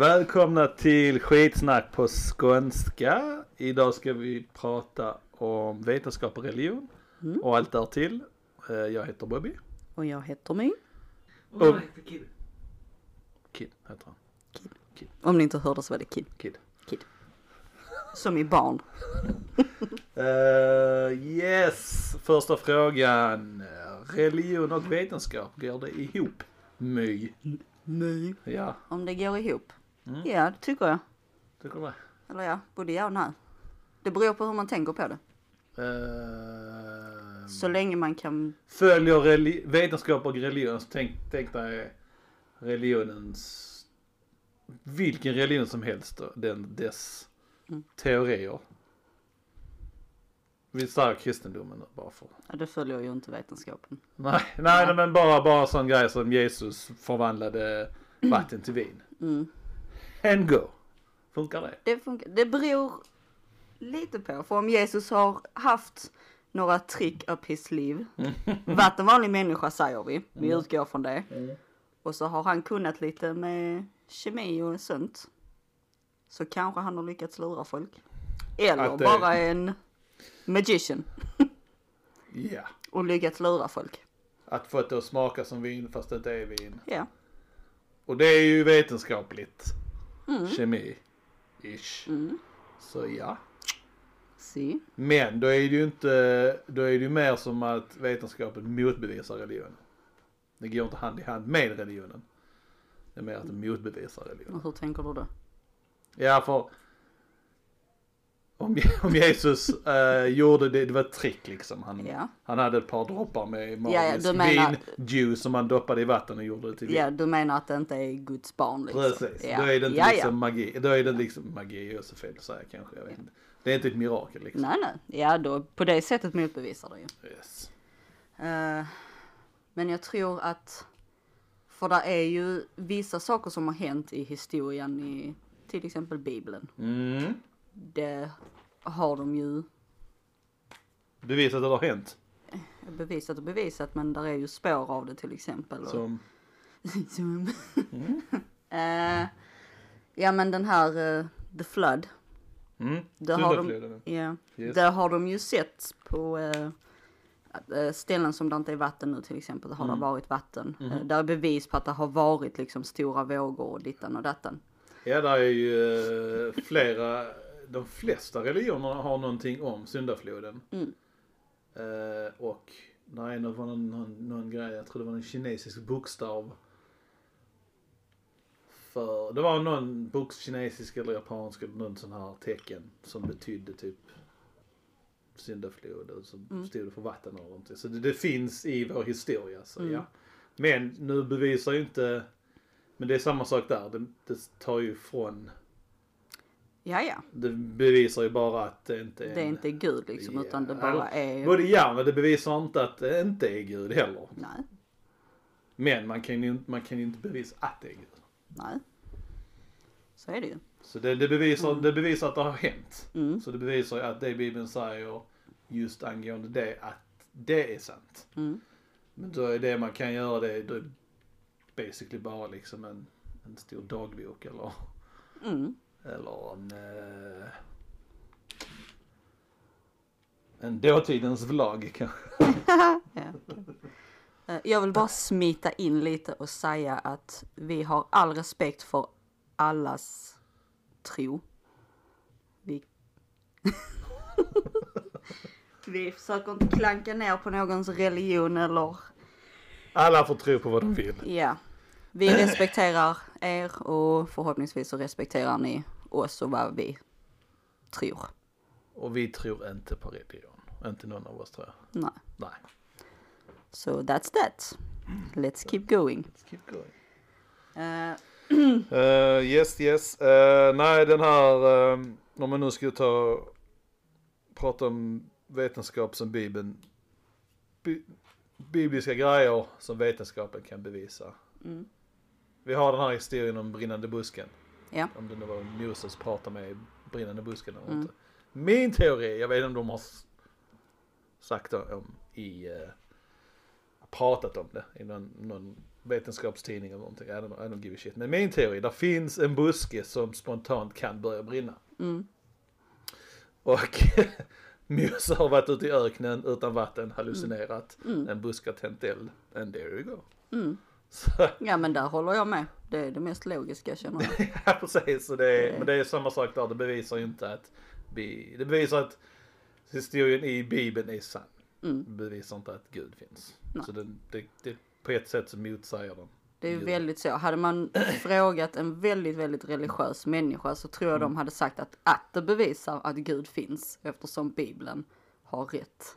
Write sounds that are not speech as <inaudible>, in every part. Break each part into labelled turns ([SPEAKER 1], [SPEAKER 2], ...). [SPEAKER 1] Välkomna till skitsnack på skånska. Idag ska vi prata om vetenskap och religion
[SPEAKER 2] Mm.
[SPEAKER 1] och allt därtill. Eh, Jag heter Bobby.
[SPEAKER 2] Och jag heter My.
[SPEAKER 1] Och- Kid heter han.
[SPEAKER 2] Om ni inte hörde så var det Kid.
[SPEAKER 1] Kid.
[SPEAKER 2] Som i barn.
[SPEAKER 1] Eh, yes, första frågan. Religion och vetenskap, går det ihop? My.
[SPEAKER 2] My.
[SPEAKER 1] Ja,
[SPEAKER 2] Om det går ihop.
[SPEAKER 1] Mm.
[SPEAKER 2] Ja, det tycker jag.
[SPEAKER 1] tycker du det?
[SPEAKER 2] Eller ja, både ja och nej. Det beror på hur man tänker på det.
[SPEAKER 1] Eh,
[SPEAKER 2] Så länge man kan...
[SPEAKER 1] följer reli- vetenskap och religion. Så tänk, tänk dig religionens, vilken religion som helst, då, den, dess
[SPEAKER 2] Mm.
[SPEAKER 1] teorier. Vi säger kristendomen nu, bara för.
[SPEAKER 2] Ja, det följer ju inte vetenskapen.
[SPEAKER 1] Nej, nej, nej men bara, bara sån grej som Jesus förvandlade vatten till vin.
[SPEAKER 2] Mm.
[SPEAKER 1] And go. Funkar det?
[SPEAKER 2] Det, funkar. det beror lite på. För om Jesus har haft några trick up his sleeve.
[SPEAKER 1] <laughs>
[SPEAKER 2] Varit en vanlig människa säger vi. Vi
[SPEAKER 1] Mm.
[SPEAKER 2] utgår från det. Och så har han kunnat lite med kemi och sånt. Så kanske han har lyckats lura folk. Eller
[SPEAKER 1] Att det-
[SPEAKER 2] bara en magician
[SPEAKER 1] Ja.
[SPEAKER 2] och lyckats lura folk.
[SPEAKER 1] Att få det att smaka som vin fast det inte är vin.
[SPEAKER 2] Ja,
[SPEAKER 1] Och det är ju vetenskapligt.
[SPEAKER 2] Mm.
[SPEAKER 1] Kemi. Ish. Så ja.
[SPEAKER 2] si.
[SPEAKER 1] Men då är det ju inte, då är det ju mer som att vetenskapen motbevisar religionen. Det går inte hand i hand med religionen. Det är mer att det motbevisar religionen.
[SPEAKER 2] Och hur tänker du då?
[SPEAKER 1] Ja, för om, <laughs> om Jesus eh, gjorde det, det var ett trick liksom. Han,
[SPEAKER 2] Ja.
[SPEAKER 1] han hade ett par droppar med magisk
[SPEAKER 2] Ja, ja, du menar-
[SPEAKER 1] vinjuice som han doppade i vatten och gjorde det till vin.
[SPEAKER 2] Ja, du menar att det inte är Guds barn liksom?
[SPEAKER 1] Precis,
[SPEAKER 2] Ja.
[SPEAKER 1] då är det inte
[SPEAKER 2] ja,
[SPEAKER 1] liksom
[SPEAKER 2] ja.
[SPEAKER 1] magi. Då är det liksom magi, är så fel att säga kanske. Jag vet inte. Det är inte ett mirakel liksom.
[SPEAKER 2] Nej, nej. Ja, då, på det sättet motbevisar det ju.
[SPEAKER 1] Yes.
[SPEAKER 2] Eh, men jag tror att, för det är ju vissa saker som har hänt i historien i till exempel Bibeln.
[SPEAKER 1] Mm.
[SPEAKER 2] Det har de ju
[SPEAKER 1] Bevisat att det har hänt.
[SPEAKER 2] bevisat och bevisat men där är ju spår av det till exempel. Och- <laughs>
[SPEAKER 1] Som,
[SPEAKER 2] Som. <laughs> Eh, ja men den här eh, The Flood.
[SPEAKER 1] mm,
[SPEAKER 2] Det har de,
[SPEAKER 1] syndafloden.
[SPEAKER 2] ja,
[SPEAKER 1] Yes.
[SPEAKER 2] det har de ju sett på eh, att, eh, ställen som där inte är vatten nu till exempel. Där har
[SPEAKER 1] Mm.
[SPEAKER 2] det varit vatten.
[SPEAKER 1] Mm-hmm.
[SPEAKER 2] Eh, där är bevis på att det har varit liksom stora vågor och dittan och dattan.
[SPEAKER 1] Ja, där är ju eh, flera, de flesta religioner har någonting om syndafloden.
[SPEAKER 2] Mm.
[SPEAKER 1] Eh, och nej, det var någon, någon, någon grej, jag tror det var en kinesisk bokstav. För, det var någon bok, kinesisk eller japansk eller någon sån här tecken som betydde typ syndaflod och så stod det för vatten eller någonting. Så det, det finns i vår historia. Så, ja. Men nu bevisar ju inte men det är samma sak där. Det, det tar ju från.
[SPEAKER 2] Ja ja,
[SPEAKER 1] Det bevisar ju bara att det inte är.
[SPEAKER 2] det är inte Gud liksom
[SPEAKER 1] Ja,
[SPEAKER 2] utan det bara är.
[SPEAKER 1] Både ja, men det bevisar inte att det inte är Gud heller.
[SPEAKER 2] Nej,
[SPEAKER 1] Men man kan ju, inte- man kan ju inte bevisa att det är Gud.
[SPEAKER 2] nej. Så är det ju.
[SPEAKER 1] Så det, det, bevisar, det bevisar att det har hänt.
[SPEAKER 2] Mm.
[SPEAKER 1] Så det bevisar ju att det Bibeln säger just angående det, att det är sant.
[SPEAKER 2] Mm.
[SPEAKER 1] Men då är det man kan göra det, då är basically bara liksom en, en stor dagbok eller
[SPEAKER 2] Mm.
[SPEAKER 1] Eller en... Eh, en dåtidens vlogg kanske.
[SPEAKER 2] Ja. Eh, Jag vill bara smita in lite och säga att vi har all respekt för allas tro. Vi, <laughs> vi försöker inte klanka ner på någons religion eller
[SPEAKER 1] Alla får tro på vad de vill.
[SPEAKER 2] ja. Vi respekterar er och förhoppningsvis så respekterar ni oss och vad vi tror.
[SPEAKER 1] Och vi tror inte på religion. Inte någon av oss tror jag.
[SPEAKER 2] Nej.
[SPEAKER 1] Nej.
[SPEAKER 2] So that's that. Let's keep going.
[SPEAKER 1] Let's keep going.
[SPEAKER 2] Eh,
[SPEAKER 1] yes, yes. Eh, nej, den här... Uh, om man nu ska ta... Prata om vetenskap som Bibeln... Bi- bibliska grejer som vetenskapen kan bevisa.
[SPEAKER 2] Mm.
[SPEAKER 1] Vi har den här historien om brinnande busken.
[SPEAKER 2] ja.
[SPEAKER 1] Om det nu var Moses pratar med brinnande busken eller
[SPEAKER 2] Mm.
[SPEAKER 1] inte. Min teori, jag vet inte om de har s- sagt det om i eh, pratat om det i någon, någon vetenskapstidning eller någonting. I don't, I don't give a shit. Men min teori, där finns en buske som spontant kan börja brinna.
[SPEAKER 2] Mm.
[SPEAKER 1] Och <laughs> Musse har varit ute i öknen utan vatten, hallucinerat. En buske har tänt eld. And there you go.
[SPEAKER 2] Mm.
[SPEAKER 1] Så,
[SPEAKER 2] Ja men där håller jag med. Det är det mest logiska känner jag.
[SPEAKER 1] ja precis, så det är, men det är samma sak där. Det bevisar ju inte att bi, det bevisar att historien i Bibeln är sann.
[SPEAKER 2] Mm.
[SPEAKER 1] Det bevisar inte att Gud finns.
[SPEAKER 2] Nej.
[SPEAKER 1] Så det, det, det, på ett sätt så motsäger den.
[SPEAKER 2] Det är ju
[SPEAKER 1] Jo.
[SPEAKER 2] väldigt så.
[SPEAKER 1] <clears throat>
[SPEAKER 2] Hade man frågat en väldigt, väldigt religiös människa så tror jag de hade sagt att, att det bevisar att Gud finns eftersom Bibeln har rätt.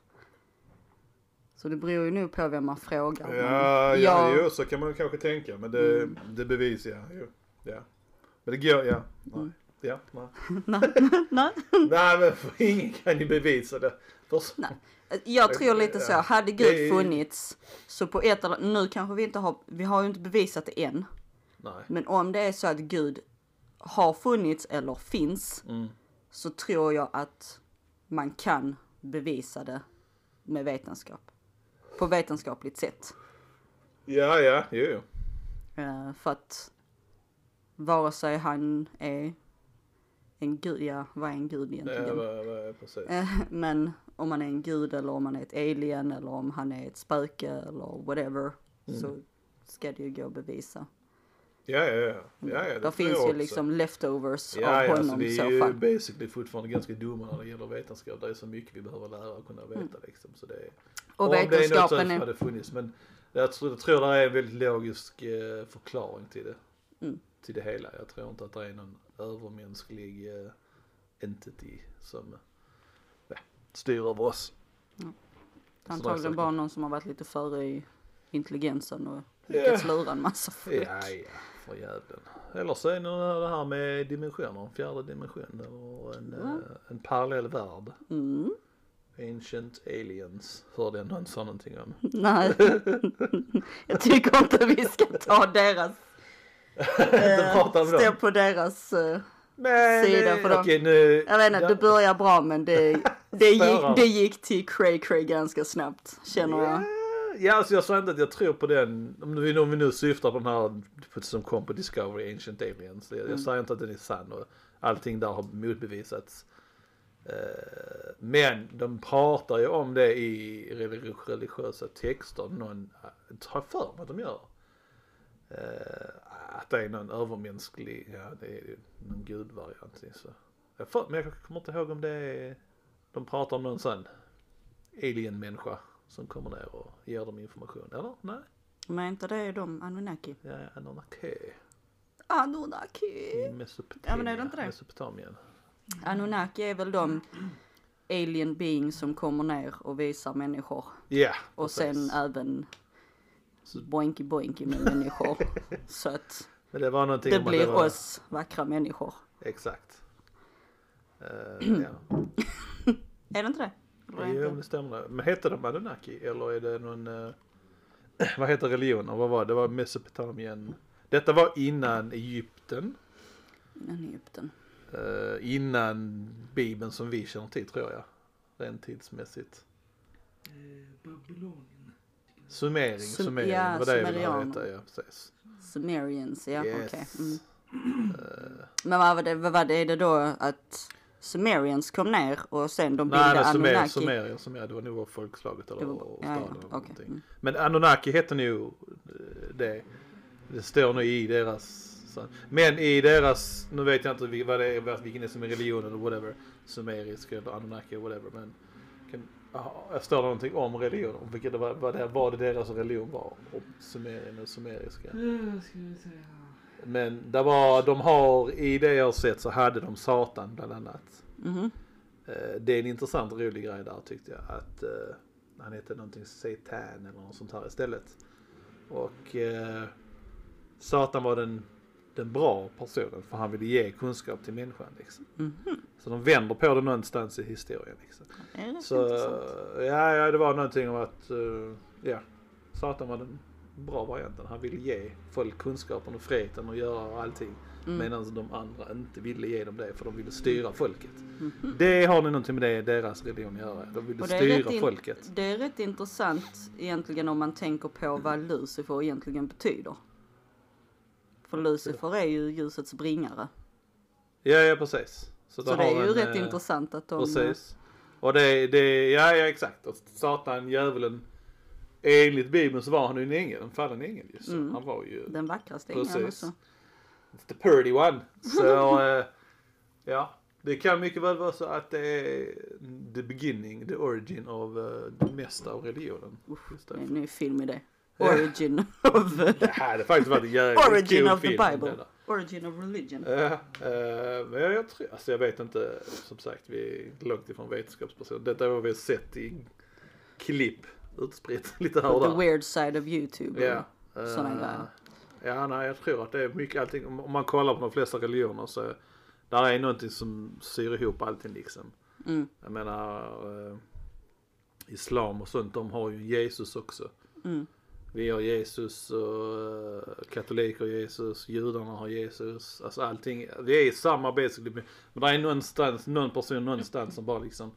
[SPEAKER 2] Så det beror ju nu på vem man frågar. men
[SPEAKER 1] Ja, ja,
[SPEAKER 2] jag-
[SPEAKER 1] jo, så kan man kanske tänka. Men det,
[SPEAKER 2] Mm.
[SPEAKER 1] det bevisar jag. Jo, ja. Men det går, ja. Nej.
[SPEAKER 2] Mm.
[SPEAKER 1] Ja, nej.
[SPEAKER 2] <laughs> Nej.
[SPEAKER 1] <laughs> nej, men <laughs> för ingen kan ju bevisa det. Först,
[SPEAKER 2] Nej. Jag tror lite så.
[SPEAKER 1] Ja.
[SPEAKER 2] Hade
[SPEAKER 1] eh, Det är-
[SPEAKER 2] Gud funnits så på ett eller nu kanske vi inte har, vi har ju inte bevisat det än.
[SPEAKER 1] nej.
[SPEAKER 2] Men om det är så att Gud har funnits eller finns
[SPEAKER 1] Mm.
[SPEAKER 2] så tror jag att man kan bevisa det med vetenskap. På vetenskapligt sätt.
[SPEAKER 1] Ja, ja, jo, jo.
[SPEAKER 2] Eh, för att vare sig han är en gud, ja vad är en gud egentligen?
[SPEAKER 1] Ja, va- va- precis.
[SPEAKER 2] Eh, Men om man är en gud eller om man är ett alien eller om han är ett spöke eller whatever så ska det ju gå att bevisa.
[SPEAKER 1] Mm. Ja, ja, ja. ja, ja det
[SPEAKER 2] Det
[SPEAKER 1] tror
[SPEAKER 2] finns
[SPEAKER 1] jag
[SPEAKER 2] ju
[SPEAKER 1] också.
[SPEAKER 2] liksom leftovers
[SPEAKER 1] Ja,
[SPEAKER 2] av
[SPEAKER 1] ja,
[SPEAKER 2] honom
[SPEAKER 1] alltså,
[SPEAKER 2] i
[SPEAKER 1] vi är
[SPEAKER 2] så
[SPEAKER 1] ju
[SPEAKER 2] fall.
[SPEAKER 1] basically fortfarande ganska dumma när det gäller vetenskap. Det är så mycket vi behöver lära och kunna veta liksom. Så det är...
[SPEAKER 2] Mm. Och
[SPEAKER 1] Om det är något
[SPEAKER 2] vetenskapen
[SPEAKER 1] som
[SPEAKER 2] är-
[SPEAKER 1] hade funnits. Men jag tror, jag tror det är en väldigt logisk eh, förklaring till det.
[SPEAKER 2] Mm.
[SPEAKER 1] Till det hela. Jag tror inte att det är någon övermänsklig eh, entity som ja, styr över oss.
[SPEAKER 2] Antagligen
[SPEAKER 1] saker.
[SPEAKER 2] bara någon som har varit lite före i intelligensen och
[SPEAKER 1] Ja.
[SPEAKER 2] lyckats lura en massa folk.
[SPEAKER 1] Ja, ja, för jäveln. Eller så är det nog det här med dimensioner, en fjärde dimension eller en, eh, en parallell värld.
[SPEAKER 2] Mm.
[SPEAKER 1] Ancient aliens hörde jag någon sa någonting om. <laughs>
[SPEAKER 2] Nej, <laughs> jag tycker inte vi ska ta deras,
[SPEAKER 1] <laughs>
[SPEAKER 2] eh,
[SPEAKER 1] Inte prata om
[SPEAKER 2] stå
[SPEAKER 1] dem.
[SPEAKER 2] på deras, eh,
[SPEAKER 1] Men,
[SPEAKER 2] sida
[SPEAKER 1] eh,
[SPEAKER 2] för dem.
[SPEAKER 1] okej, nu,
[SPEAKER 2] jag vet inte, det börjar bra
[SPEAKER 1] <laughs>
[SPEAKER 2] men det, det,
[SPEAKER 1] Spårar.
[SPEAKER 2] gick, det gick till cray cray ganska snabbt känner jag.
[SPEAKER 1] Ja, alltså jag sa inte att jag tror på den, om vi, om vi nu syftar på den här som kom på Discovery, Ancient Aliens.
[SPEAKER 2] Mm.
[SPEAKER 1] Jag, jag säger inte att den är sann och allting där har motbevisats. Eh, Men de pratar ju om det i religi- religiösa texter, någon tar för mig att de gör. Eh, Att det är någon övermänsklig, ja det är ju någon gudvariant. i, Så. Jag för, men jag kommer inte ihåg om det är, de pratar om någon sån alien-människa som kommer ner och ger dem information. Eller? Nej?
[SPEAKER 2] Men inte det är de, Anunnaki?
[SPEAKER 1] Ja, Anunnaki.
[SPEAKER 2] Anunnaki!
[SPEAKER 1] I Mesopotamien.
[SPEAKER 2] Eh, Ja, men är det inte det?
[SPEAKER 1] Mesopotamien.
[SPEAKER 2] Anunnaki är väl de alien beings som kommer ner och visar människor
[SPEAKER 1] Ja,
[SPEAKER 2] och sen eh,
[SPEAKER 1] precis.
[SPEAKER 2] även boinky boinky med människor.
[SPEAKER 1] <laughs>
[SPEAKER 2] Så att
[SPEAKER 1] Men det var någonting
[SPEAKER 2] det
[SPEAKER 1] om att
[SPEAKER 2] blir
[SPEAKER 1] var...
[SPEAKER 2] oss vackra människor.
[SPEAKER 1] Exakt.
[SPEAKER 2] <clears throat>
[SPEAKER 1] Uh, ja.
[SPEAKER 2] Är det inte det? Eller är det
[SPEAKER 1] Jo,
[SPEAKER 2] inte?
[SPEAKER 1] det stämmer. Men heter de Anunnaki eller är det någon... eh, <clears throat> vad heter religionen? Vad var det? Det var Mesopotamien. Detta var innan Egypten.
[SPEAKER 2] Men Egypten.
[SPEAKER 1] eh, innan Bibeln som vi känner till tror jag. Rent tidsmässigt.
[SPEAKER 3] Babylonien.
[SPEAKER 1] Summering,
[SPEAKER 2] Sum-
[SPEAKER 1] summering.
[SPEAKER 2] ja,
[SPEAKER 1] vad det är vi
[SPEAKER 2] sumerianer.
[SPEAKER 1] heta, ja precis.
[SPEAKER 2] Sumerians, ja okej. Mm.
[SPEAKER 1] Eh,
[SPEAKER 2] Men vad var, det, vad var det, är det då att Sumerians kom ner och sen de
[SPEAKER 1] Nej,
[SPEAKER 2] bildade
[SPEAKER 1] nej, sumer,
[SPEAKER 2] Anunnaki?
[SPEAKER 1] sumerier, sumerier, det var nog folkslaget eller
[SPEAKER 2] Det var-
[SPEAKER 1] och
[SPEAKER 2] ja, ja,
[SPEAKER 1] staden eller
[SPEAKER 2] okej.
[SPEAKER 1] någonting.
[SPEAKER 2] Mm.
[SPEAKER 1] Men Anunnaki heter nog eh, det. Det står nog i deras... så- Men i deras, nu vet jag inte vil- vad det är, vad- vilken är som är religion eller whatever. Sumerisk eller Anunnaki eller whatever. Men kan, ja, jag står det någonting om religion, om vilket det var, vad, det, vad det deras religion var. Om Sumerien och sumeriska.
[SPEAKER 2] Mm.
[SPEAKER 3] Eh, ska vi säga.
[SPEAKER 1] Men det var, de har, i det jag har sett så hade de Satan bland annat.
[SPEAKER 2] Mhm.
[SPEAKER 1] Eh, Det är en intressant och rolig grej där tyckte jag. Att eh, han hette någonting Satan eller något sånt här istället. Och eh, Satan var den, den bra personen för han ville ge kunskap till människan. Liksom. Så de vänder på det någonstans i historien. Liksom.
[SPEAKER 2] Mhm. Det är rätt
[SPEAKER 1] Så
[SPEAKER 2] Mm, intressant.
[SPEAKER 1] ja, ja, det var någonting om att eh, ja, Satan var den bra varianten. Han ville ge folk kunskapen och friheten och göra allting.
[SPEAKER 2] Mm.
[SPEAKER 1] Medan de andra inte ville ge dem det för de ville styra folket. Det har ni någonting med det deras religion att göra. De ville
[SPEAKER 2] Mm-hmm. Och det, är
[SPEAKER 1] styra
[SPEAKER 2] rätt in-
[SPEAKER 1] folket.
[SPEAKER 2] det är rätt intressant egentligen om man tänker på vad Lucifer egentligen betyder. För Lucifer är ju ljusets bringare.
[SPEAKER 1] Ja, ja precis.
[SPEAKER 2] Så
[SPEAKER 1] de
[SPEAKER 2] det
[SPEAKER 1] har
[SPEAKER 2] är ju
[SPEAKER 1] en,
[SPEAKER 2] rätt
[SPEAKER 1] eh,
[SPEAKER 2] intressant att de...
[SPEAKER 1] Precis. Och det, det, ja, ja exakt. Och Satan, djävulen. Enligt Bibeln så var han ju en ängel, en fallen ängel ju. Så
[SPEAKER 2] Mm.
[SPEAKER 1] Han var ju
[SPEAKER 2] Den vackraste ängeln
[SPEAKER 1] Precis.
[SPEAKER 2] också.
[SPEAKER 1] It's the pretty one.
[SPEAKER 2] <laughs>
[SPEAKER 1] Så eh, ja, det kan mycket väl vara så att det är the beginning, the origin av eh, det mesta av religionen. Just
[SPEAKER 2] Det
[SPEAKER 1] det.
[SPEAKER 2] är en ny film i det. <laughs> Origin of...
[SPEAKER 1] det hade faktiskt varit en jävligt
[SPEAKER 2] <laughs> Origin
[SPEAKER 1] kul
[SPEAKER 2] of the
[SPEAKER 1] film, det
[SPEAKER 2] Bible.
[SPEAKER 1] där.
[SPEAKER 2] Origin of religion.
[SPEAKER 1] Ja, eh, men jag, jag tror, alltså jag vet inte, som sagt vi är långt ifrån vetenskapsperson. Detta har vi sett i klipp utspritt <laughs> lite här och
[SPEAKER 2] The
[SPEAKER 1] där.
[SPEAKER 2] weird side of YouTube.
[SPEAKER 1] Ja,
[SPEAKER 2] Sådana
[SPEAKER 1] eh,
[SPEAKER 2] grejer.
[SPEAKER 1] Ja, nej, jag tror att det är mycket allting. Om om man kollar på de flesta religioner så där är någonting som syr ihop allting liksom.
[SPEAKER 2] Mm.
[SPEAKER 1] Jag menar eh, Islam och sånt, de har ju Jesus också.
[SPEAKER 2] Mm.
[SPEAKER 1] Vi har Jesus och eh, katoliker har Jesus, judarna har Jesus. Alltså allting, vi är i samma basically. Men men det är någonstans, någon person någonstans som bara liksom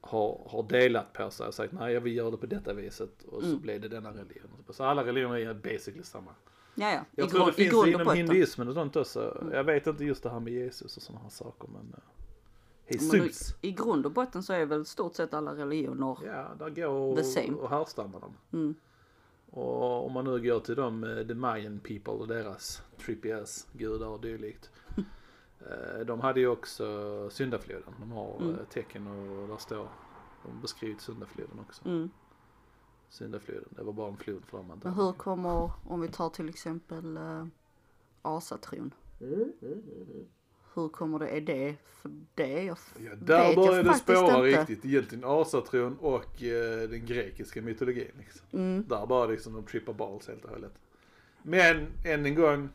[SPEAKER 1] har, har delat på sig och sagt nej jag vill göra det på detta viset och så
[SPEAKER 2] Mm.
[SPEAKER 1] blev det denna religion. Så alla religioner är basically samma.
[SPEAKER 2] Ja, ja.
[SPEAKER 1] Jag
[SPEAKER 2] I
[SPEAKER 1] tror det
[SPEAKER 2] grund- i
[SPEAKER 1] finns
[SPEAKER 2] grund och
[SPEAKER 1] inom
[SPEAKER 2] botten. Mm.
[SPEAKER 1] hinduismen och sånt också. Jag vet inte just det här med Jesus och sådana här saker men eh,
[SPEAKER 2] Men du,
[SPEAKER 1] Jesus.
[SPEAKER 2] I grund och botten så är väl stort sett alla religioner.
[SPEAKER 1] Ja, där går
[SPEAKER 2] The same.
[SPEAKER 1] och härstammar de.
[SPEAKER 2] Mm.
[SPEAKER 1] Och om man nu går till dem, eh, the Mayan people och deras trippy ass gudar och
[SPEAKER 2] <laughs>
[SPEAKER 1] dylikt. Eh, de hade ju också syndafloden. De har
[SPEAKER 2] Mm.
[SPEAKER 1] eh, tecken och där står, de beskriver syndafloden också.
[SPEAKER 2] Mm.
[SPEAKER 1] Syndafloden, det var bara en flod för dem
[SPEAKER 2] Men
[SPEAKER 1] antagligen.
[SPEAKER 2] hur kommer, om vi tar till exempel eh, asatron. Hur kommer det, är det, för det jag f-
[SPEAKER 1] Ja,
[SPEAKER 2] vet
[SPEAKER 1] där börjar
[SPEAKER 2] jag
[SPEAKER 1] det
[SPEAKER 2] faktiskt
[SPEAKER 1] spåra
[SPEAKER 2] inte.
[SPEAKER 1] riktigt. Egentligen asatron och eh, den grekiska mytologin. Liksom.
[SPEAKER 2] Mm.
[SPEAKER 1] Där bara liksom de trippar balls helt och hållet. Men än en gång,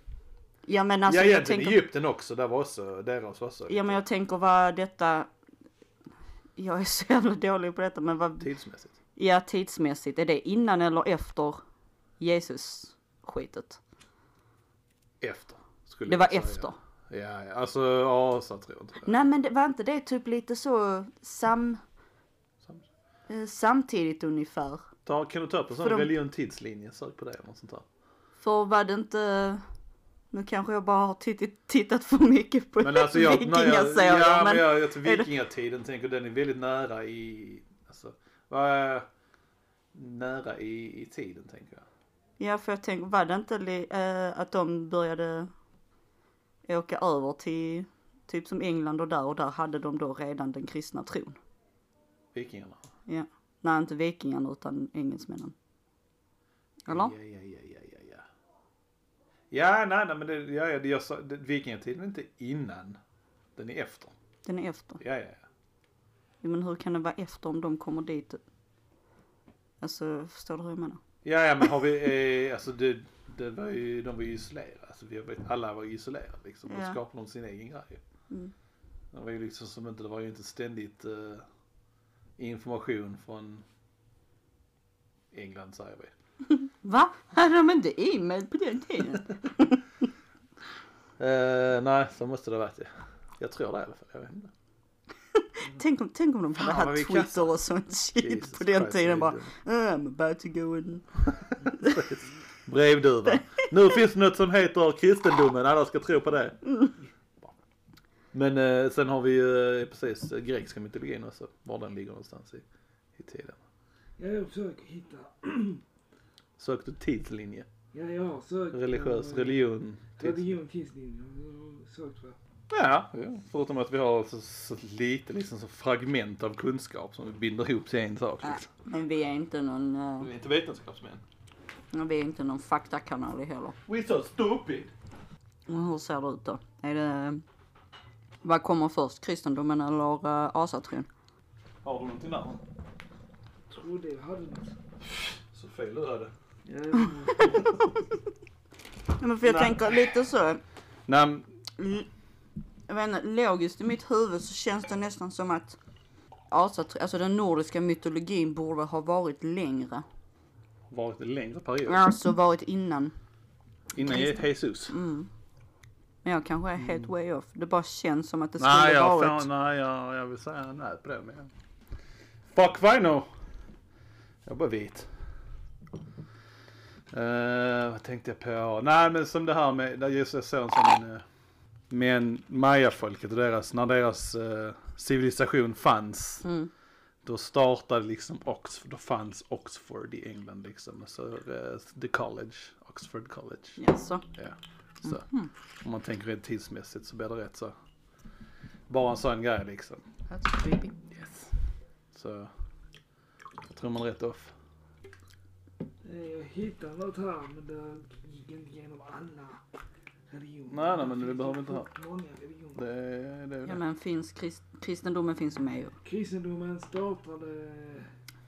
[SPEAKER 2] Ja men alltså
[SPEAKER 1] ja
[SPEAKER 2] jag
[SPEAKER 1] egentligen
[SPEAKER 2] tänker,
[SPEAKER 1] Egypten också, där var också deras också.
[SPEAKER 2] ja men jag tänker vad detta, jag är så jävla dålig på detta men vad,
[SPEAKER 1] Tidsmässigt.
[SPEAKER 2] ja tidsmässigt, är det innan eller efter Jesus skitet?
[SPEAKER 1] Efter. Skulle
[SPEAKER 2] Det
[SPEAKER 1] jag
[SPEAKER 2] var
[SPEAKER 1] säga.
[SPEAKER 2] efter.
[SPEAKER 1] Ja, ja. alltså asatron tror jag.
[SPEAKER 2] Nej men det, var inte det typ lite så sam,
[SPEAKER 1] Sam-
[SPEAKER 2] eh, samtidigt ungefär?
[SPEAKER 1] Ta, kan du ta upp en
[SPEAKER 2] För
[SPEAKER 1] sån
[SPEAKER 2] de-
[SPEAKER 1] religionstidslinje, sök på det eller något
[SPEAKER 2] <laughs>
[SPEAKER 1] sånt där.
[SPEAKER 2] För var det inte... Nu kanske jag bara har tittit- tittat för mycket på
[SPEAKER 1] Men
[SPEAKER 2] <laughs>
[SPEAKER 1] alltså jag, när jag,
[SPEAKER 2] vikingaserier.
[SPEAKER 1] ja,
[SPEAKER 2] men
[SPEAKER 1] men jag, jag till
[SPEAKER 2] <laughs> är det-
[SPEAKER 1] vikingatiden tänker den är väldigt nära i, alltså, vad är nära i, i tiden tänker jag.
[SPEAKER 2] Ja, för jag tänker, var det inte li, eh, att de började åka över till typ som England och där och där hade de då redan den kristna tron?
[SPEAKER 1] Vikingarna.
[SPEAKER 2] Ja. Nej, inte vikingarna utan engelsmännen. Eller?
[SPEAKER 1] Ja, ja, ja, ja, ja, ja. Ja, nej, nej, men det, ja, ja, det, jag sa, det, vikingatiden är inte innan. Den är efter.
[SPEAKER 2] Den är efter.
[SPEAKER 1] Ja, ja, ja.
[SPEAKER 2] Ja, men hur kan det vara efter om de kommer dit? Alltså, förstår du hur jag menar?
[SPEAKER 1] Ja, ja, men har vi, eh, alltså det, det var ju, de var ju isolerade. Alltså, vi vet, alla var ju isolerade liksom. Då
[SPEAKER 2] Ja.
[SPEAKER 1] skapade de sin egen grej.
[SPEAKER 2] Mm.
[SPEAKER 1] Det var ju liksom som inte, det var ju inte ständigt eh, information från England säger vi.
[SPEAKER 2] Va? Hade de inte e-mail på den tiden?
[SPEAKER 1] Eh, nej, så måste det ha varit det. Jag tror det i alla fall, jag vet
[SPEAKER 2] <laughs>
[SPEAKER 1] inte.
[SPEAKER 2] <laughs> Tänk om, tänk om de hade
[SPEAKER 1] Fan, vad vi
[SPEAKER 2] haft Twitter
[SPEAKER 1] kassar.
[SPEAKER 2] och sånt shit
[SPEAKER 1] Jesus
[SPEAKER 2] på den
[SPEAKER 1] Christ,
[SPEAKER 2] tiden
[SPEAKER 1] vad
[SPEAKER 2] bara. "Äh,
[SPEAKER 1] är
[SPEAKER 2] I'm about to go in.
[SPEAKER 1] Brevduva. Nu finns det något som heter kristendomen, alla ska tro på det. Men eh, sen har vi ju eh, precis eh, grekiska mytologin också, var den ligger någonstans i, i tiden.
[SPEAKER 3] Ja, jag försöker hitta.
[SPEAKER 1] Sökte tidslinje,
[SPEAKER 3] Ja, jag har sökt.
[SPEAKER 1] religiös
[SPEAKER 3] eh,
[SPEAKER 1] religion. Tids.
[SPEAKER 3] Religion finns inte. Jag har sökt på.
[SPEAKER 1] Ja, ja, förutom att vi har så, så lite liksom så fragment av kunskap som vi binder ihop till en sak. Liksom.
[SPEAKER 2] Men vi är inte någon, eh,
[SPEAKER 1] Vi är inte vetenskapsmän.
[SPEAKER 2] vi är inte någon faktakanal heller.
[SPEAKER 1] We're so stupid!
[SPEAKER 2] Men hur ser det ut då? Är det, vad kommer först? Kristendomen eller uh, asatron?
[SPEAKER 1] Har du någonting där?
[SPEAKER 3] Trodde jag hade något.
[SPEAKER 1] Så fel du hade.
[SPEAKER 3] Ja, jag vet inte.
[SPEAKER 2] Ja, men för jag
[SPEAKER 1] Nej.
[SPEAKER 2] tänker lite så,
[SPEAKER 1] Nej, men-
[SPEAKER 2] l- jag vet inte, logiskt i mitt huvud så känns det nästan som att asatron, alltså den nordiska mytologin borde ha varit längre
[SPEAKER 1] Varit en längre period.
[SPEAKER 2] Alltså varit innan.
[SPEAKER 1] Innan Jesus.
[SPEAKER 2] Men jag kanske är helt way off. Det bara känns som att det skulle
[SPEAKER 1] Mm. Nej, jag,
[SPEAKER 2] varit.
[SPEAKER 1] får, nej jag, jag vill säga nej på det. Men jag... Fuck Vino! Jag bara vit. Eh, vad tänkte jag på? Nej men som det här med, där Jesus är son som en, eh, men mayafolket och deras, när deras eh, civilisation fanns.
[SPEAKER 2] Mm.
[SPEAKER 1] Då startade liksom Oxford, då fanns Oxford i England liksom. Och så eh, the college, Oxford college.
[SPEAKER 2] Jaså? Mhm.
[SPEAKER 1] Ja. Så. Om man tänker rent tidsmässigt så blir det rätt så. Bara en sån grej liksom.
[SPEAKER 2] That's creepy.
[SPEAKER 1] Så jag tror man är rätt off.
[SPEAKER 3] Nej, eh, Jag hittade något här men det gick inte igenom alla religioner.
[SPEAKER 1] Nej, nej, men
[SPEAKER 3] Det
[SPEAKER 1] vi
[SPEAKER 3] finns
[SPEAKER 1] behöver
[SPEAKER 3] ju
[SPEAKER 1] inte ha.
[SPEAKER 3] Många religioner.
[SPEAKER 1] Det är det. Är
[SPEAKER 2] Ja
[SPEAKER 1] det.
[SPEAKER 2] men finns krist, kristendomen finns med ju.
[SPEAKER 3] Kristendomen startade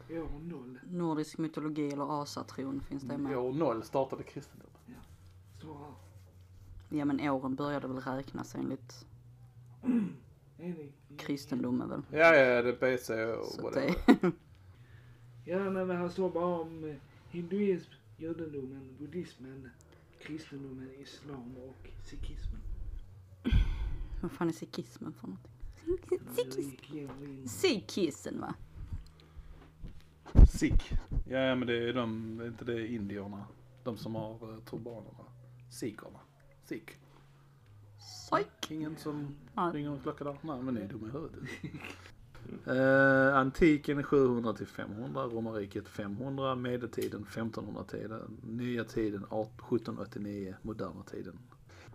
[SPEAKER 3] år noll.
[SPEAKER 2] Nordisk mytologi eller asatron finns det med.
[SPEAKER 1] År noll startade kristendomen.
[SPEAKER 3] Står här.
[SPEAKER 2] Ja men åren började väl räknas enligt
[SPEAKER 3] Enligt-
[SPEAKER 2] kristendomen väl.
[SPEAKER 1] Ja, ja, det är BC och
[SPEAKER 2] Så
[SPEAKER 1] vad
[SPEAKER 2] att
[SPEAKER 1] det
[SPEAKER 2] det,
[SPEAKER 1] är.
[SPEAKER 2] <laughs>
[SPEAKER 3] Ja, nej, men här står bara om eh, hinduism, judendomen, buddhismen, kristendomen, islam och sikhismen.
[SPEAKER 2] vad fan är sikhismen för någonting?
[SPEAKER 3] Jag gick igenom in.
[SPEAKER 2] Sikhismen va?
[SPEAKER 1] Sikh. Ja, ja, men det är de, är inte det indierna. De som har uh, turbanerna. Sikherna. Sikh.
[SPEAKER 2] Psyk.
[SPEAKER 1] Ingen som
[SPEAKER 2] Ja.
[SPEAKER 1] ringer en klocka där. Nej, men ni är dumma i huvudet.
[SPEAKER 2] <laughs>
[SPEAKER 1] Eh, antiken är 700 till 500, romarriket 500, medeltiden 1500-tiden, nya tiden 1789, moderna tiden.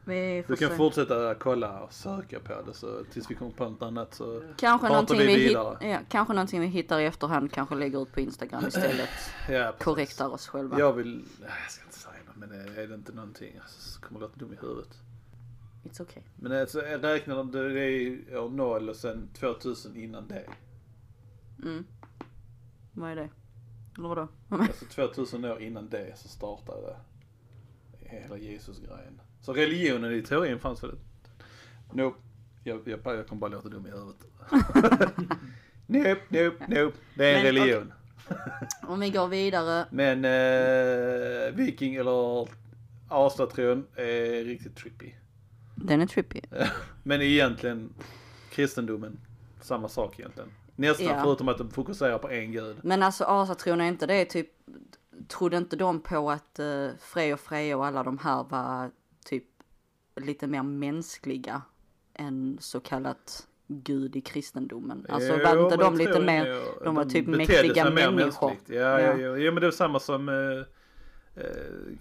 [SPEAKER 2] Vi
[SPEAKER 1] Du
[SPEAKER 2] får
[SPEAKER 1] kan
[SPEAKER 2] se.
[SPEAKER 1] fortsätta kolla och söka på det så tills vi kommer på något annat så
[SPEAKER 2] Kanske
[SPEAKER 1] Pratar
[SPEAKER 2] någonting,
[SPEAKER 1] vi
[SPEAKER 2] vi hit,
[SPEAKER 1] vidare?
[SPEAKER 2] ja, kanske någonting vi hittar i efterhand kanske lägger ut på
[SPEAKER 1] <clears throat>
[SPEAKER 2] Instagram istället.
[SPEAKER 1] ja, precis.
[SPEAKER 2] Korrektar oss själva.
[SPEAKER 1] Jag vill, nej, jag ska inte säga det, men eh, är det inte någonting alltså, så kommer jag låta dum i huvudet.
[SPEAKER 2] It's okay.
[SPEAKER 1] Men alltså, jag räknar de, det är ju år 0 och sen 2000 innan det.
[SPEAKER 2] Mm. Vad är det? Eller vadå? <laughs>
[SPEAKER 1] Alltså 2000 år innan det så startade hela Jesus-grejen. Så religionen i teorin fanns väl? Nope. Jag, jag, jag kommer bara låta dum i huvudet. <laughs> nope, nope, nope. Det är en
[SPEAKER 2] Men,
[SPEAKER 1] religion.
[SPEAKER 2] Om vi går vidare.
[SPEAKER 1] Men eh, viking eller asatron är riktigt trippy.
[SPEAKER 2] Den är trippy.
[SPEAKER 1] Men egentligen kristendomen, samma sak egentligen. Nästan
[SPEAKER 2] Ja.
[SPEAKER 1] förutom att de fokuserar på en gud.
[SPEAKER 2] Men alltså asatron är inte det typ, trodde inte de på att eh, Frej och Freja och alla de här var typ lite mer mänskliga än så kallat gud i kristendomen? Alltså var
[SPEAKER 1] Jo,
[SPEAKER 2] inte
[SPEAKER 1] men
[SPEAKER 2] de
[SPEAKER 1] det
[SPEAKER 2] lite
[SPEAKER 1] tror jag.
[SPEAKER 2] mer, de var typ
[SPEAKER 1] betedde
[SPEAKER 2] mäktiga
[SPEAKER 1] sig mer
[SPEAKER 2] människor?
[SPEAKER 1] mänskligt. Ja, ja.
[SPEAKER 2] Ja.
[SPEAKER 1] Ja, ja, men det är samma som eh, eh,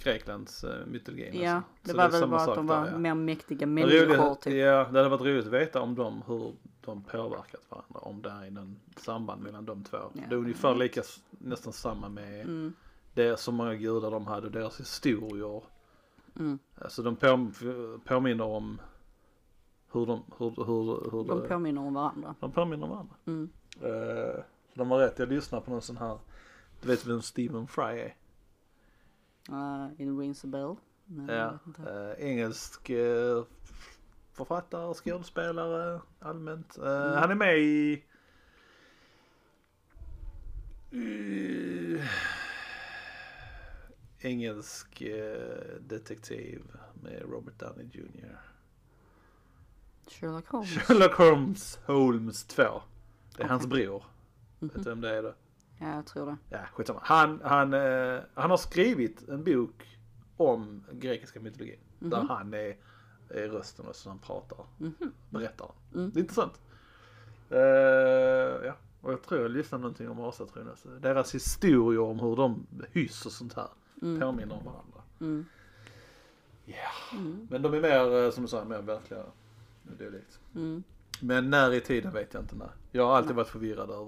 [SPEAKER 1] Greklands eh, mytologin.
[SPEAKER 2] Ja,
[SPEAKER 1] alltså.
[SPEAKER 2] det
[SPEAKER 1] Så
[SPEAKER 2] var
[SPEAKER 1] är
[SPEAKER 2] väl
[SPEAKER 1] samma
[SPEAKER 2] bara att
[SPEAKER 1] sak
[SPEAKER 2] de
[SPEAKER 1] där,
[SPEAKER 2] var
[SPEAKER 1] ja.
[SPEAKER 2] mer mäktiga
[SPEAKER 1] Roligt-
[SPEAKER 2] människor typ.
[SPEAKER 1] Ja, det hade varit roligt att veta om dem, hur de påverkat varandra. Om det är någon samband mellan de två.
[SPEAKER 2] Ja.
[SPEAKER 1] Det är ungefär lika, nästan samma med
[SPEAKER 2] Mm.
[SPEAKER 1] det så många gudar de hade och deras historier.
[SPEAKER 2] Mm.
[SPEAKER 1] Alltså de på, påminner om hur de, hur, hur, hur
[SPEAKER 2] De påminner om varandra.
[SPEAKER 1] de påminner om varandra.
[SPEAKER 2] Mm.
[SPEAKER 1] Eh, de har rätt, jag lyssnar på någon sån här, du vet vem Stephen Fry är?
[SPEAKER 2] Uh, in rings a bell. Nej, jag
[SPEAKER 1] Ja.
[SPEAKER 2] vet inte.
[SPEAKER 1] Eh, engelsk eh, författare, skådespelare allmänt. Eh, Han är med i... Eh, engelsk eh, detektiv med Robert Downey Jr.
[SPEAKER 2] Sherlock Holmes.
[SPEAKER 1] Sherlock Holmes, Holmes 2. Det är hans bror. Vet du vem det är då?
[SPEAKER 2] Ja, jag tror det.
[SPEAKER 1] Ja, skitsamma. Han, han, eh, han har skrivit en bok om grekiska mytologin. Där han är, är rösten och så han pratar.
[SPEAKER 2] Mhm.
[SPEAKER 1] Berättar. Det är intressant. Eh, ja. Och jag tror jag lyssnade någonting om asatron. Alltså. Deras historier om hur de hyss och sånt här påminner om varandra.
[SPEAKER 2] Mm.
[SPEAKER 1] Ja. Men de är mer, eh, som du sa, mer verkliga. Det är likt.
[SPEAKER 2] Mm.
[SPEAKER 1] Men när i tiden vet jag inte när. Jag har alltid varit förvirrad över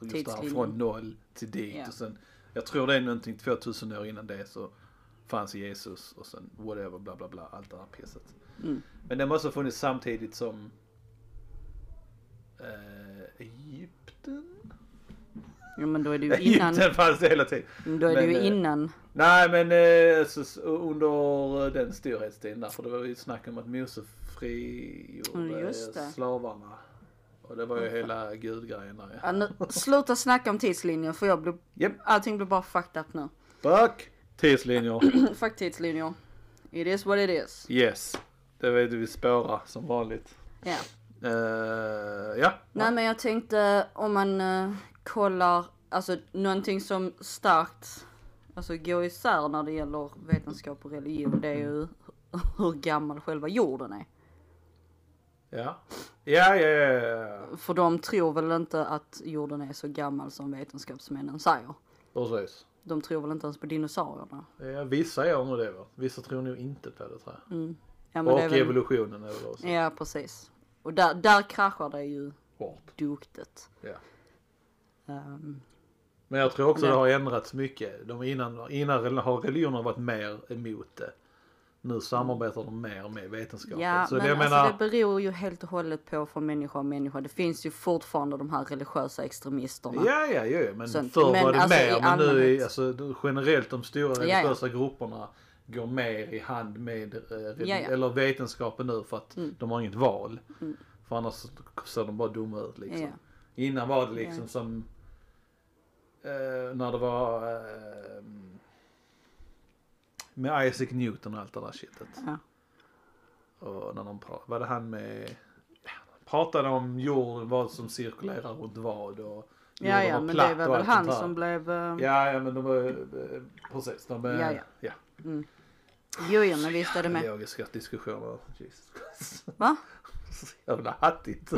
[SPEAKER 1] just det här
[SPEAKER 2] Tidslinjen.
[SPEAKER 1] från noll till dit.
[SPEAKER 2] Ja.
[SPEAKER 1] Och sen, jag tror det är någonting 2000 år innan det så fanns Jesus och sen whatever bla bla bla allt det här pisset.
[SPEAKER 2] Mm.
[SPEAKER 1] Men det måste ha funnits samtidigt som eh, Egypten?
[SPEAKER 2] Ja, men
[SPEAKER 1] <laughs>
[SPEAKER 2] då är det ju innan.
[SPEAKER 1] Egypten fanns det hela tiden.
[SPEAKER 2] Då är det
[SPEAKER 1] Men,
[SPEAKER 2] ju
[SPEAKER 1] eh,
[SPEAKER 2] innan.
[SPEAKER 1] Nej men eh, så, så, under eh, den storhetstiden där, för det var ju snack om att Mose
[SPEAKER 2] Mm,
[SPEAKER 1] frigjorde
[SPEAKER 2] just det.
[SPEAKER 1] slavarna. Och det var ju hela gudgrejen där
[SPEAKER 2] Ja, nu, sluta snacka om tidslinjen för jag blir,
[SPEAKER 1] Japp.
[SPEAKER 2] allting blir bara fucked up nu. <clears throat>
[SPEAKER 1] Fuck tidslinjer.
[SPEAKER 2] Fuck tidslinjer. It is what it is.
[SPEAKER 1] Yes. Det vet vi spåra som vanligt.
[SPEAKER 2] Ja.
[SPEAKER 1] Eh, ja.
[SPEAKER 2] Nej men jag tänkte om man eh, kollar, alltså någonting som starkt alltså, går isär när det gäller vetenskap och religion det är ju <laughs> hur gammal själva jorden är.
[SPEAKER 1] Ja. Ja, ja, ja, ja.
[SPEAKER 2] För de tror väl inte att jorden är så gammal som vetenskapsmännen säger.
[SPEAKER 1] Precis.
[SPEAKER 2] De tror väl inte ens på dinosaurierna.
[SPEAKER 1] Ja, vissa gör nog det va? Vissa tror nog inte på det tror jag.
[SPEAKER 2] Ja, men
[SPEAKER 1] Och
[SPEAKER 2] det är väl-
[SPEAKER 1] evolutionen är väl också.
[SPEAKER 2] Ja precis. Och där, där kraschar det ju
[SPEAKER 1] Hårt.
[SPEAKER 2] duktigt.
[SPEAKER 1] Ja.
[SPEAKER 2] Ehm,
[SPEAKER 1] Men jag tror också
[SPEAKER 2] Nej.
[SPEAKER 1] det har ändrats mycket. De innan, innan har religionerna varit mer emot det. Nu samarbetar de mer med vetenskapen.
[SPEAKER 2] Ja,
[SPEAKER 1] så
[SPEAKER 2] men
[SPEAKER 1] det, jag
[SPEAKER 2] alltså
[SPEAKER 1] menar,
[SPEAKER 2] det beror ju helt och hållet på från människa och människa. Det finns ju fortfarande de här religiösa extremisterna.
[SPEAKER 1] Ja, ja, ja, ja. men
[SPEAKER 2] Sånt.
[SPEAKER 1] förr
[SPEAKER 2] Men
[SPEAKER 1] var det
[SPEAKER 2] alltså, i
[SPEAKER 1] mer. Men nu
[SPEAKER 2] allmänhet.
[SPEAKER 1] är, alltså, då- generellt de stora
[SPEAKER 2] Ja, ja.
[SPEAKER 1] religiösa grupperna går mer i hand med eh, reli-
[SPEAKER 2] Ja, Mm. ja.
[SPEAKER 1] Eller vetenskapen nu för att de har inget val. För annars så ser de bara dumma ut liksom.
[SPEAKER 2] Ja.
[SPEAKER 1] Innan var det liksom som eh, när det var eh, med Isaac Newton och allt det där shitet.
[SPEAKER 2] Ja.
[SPEAKER 1] Och när de pra- var det han med, ja, de pratade om jorden, vad som cirkulerar runt vad och
[SPEAKER 2] Ja,
[SPEAKER 1] jorden
[SPEAKER 2] ja,
[SPEAKER 1] var
[SPEAKER 2] men
[SPEAKER 1] platt
[SPEAKER 2] det var
[SPEAKER 1] och
[SPEAKER 2] väl
[SPEAKER 1] allt
[SPEAKER 2] han
[SPEAKER 1] sånt där.
[SPEAKER 2] som blev... Uh...
[SPEAKER 1] Ja, ja, men de var, eh, precis, de, eh,
[SPEAKER 2] Ja, ja.
[SPEAKER 1] ja.
[SPEAKER 2] Jo, jo, men visst är det med.
[SPEAKER 1] Logiska diskussioner, Jesus Christ. <laughs>
[SPEAKER 2] Va?
[SPEAKER 1] Så jävla
[SPEAKER 2] <laughs>
[SPEAKER 1] hattigt.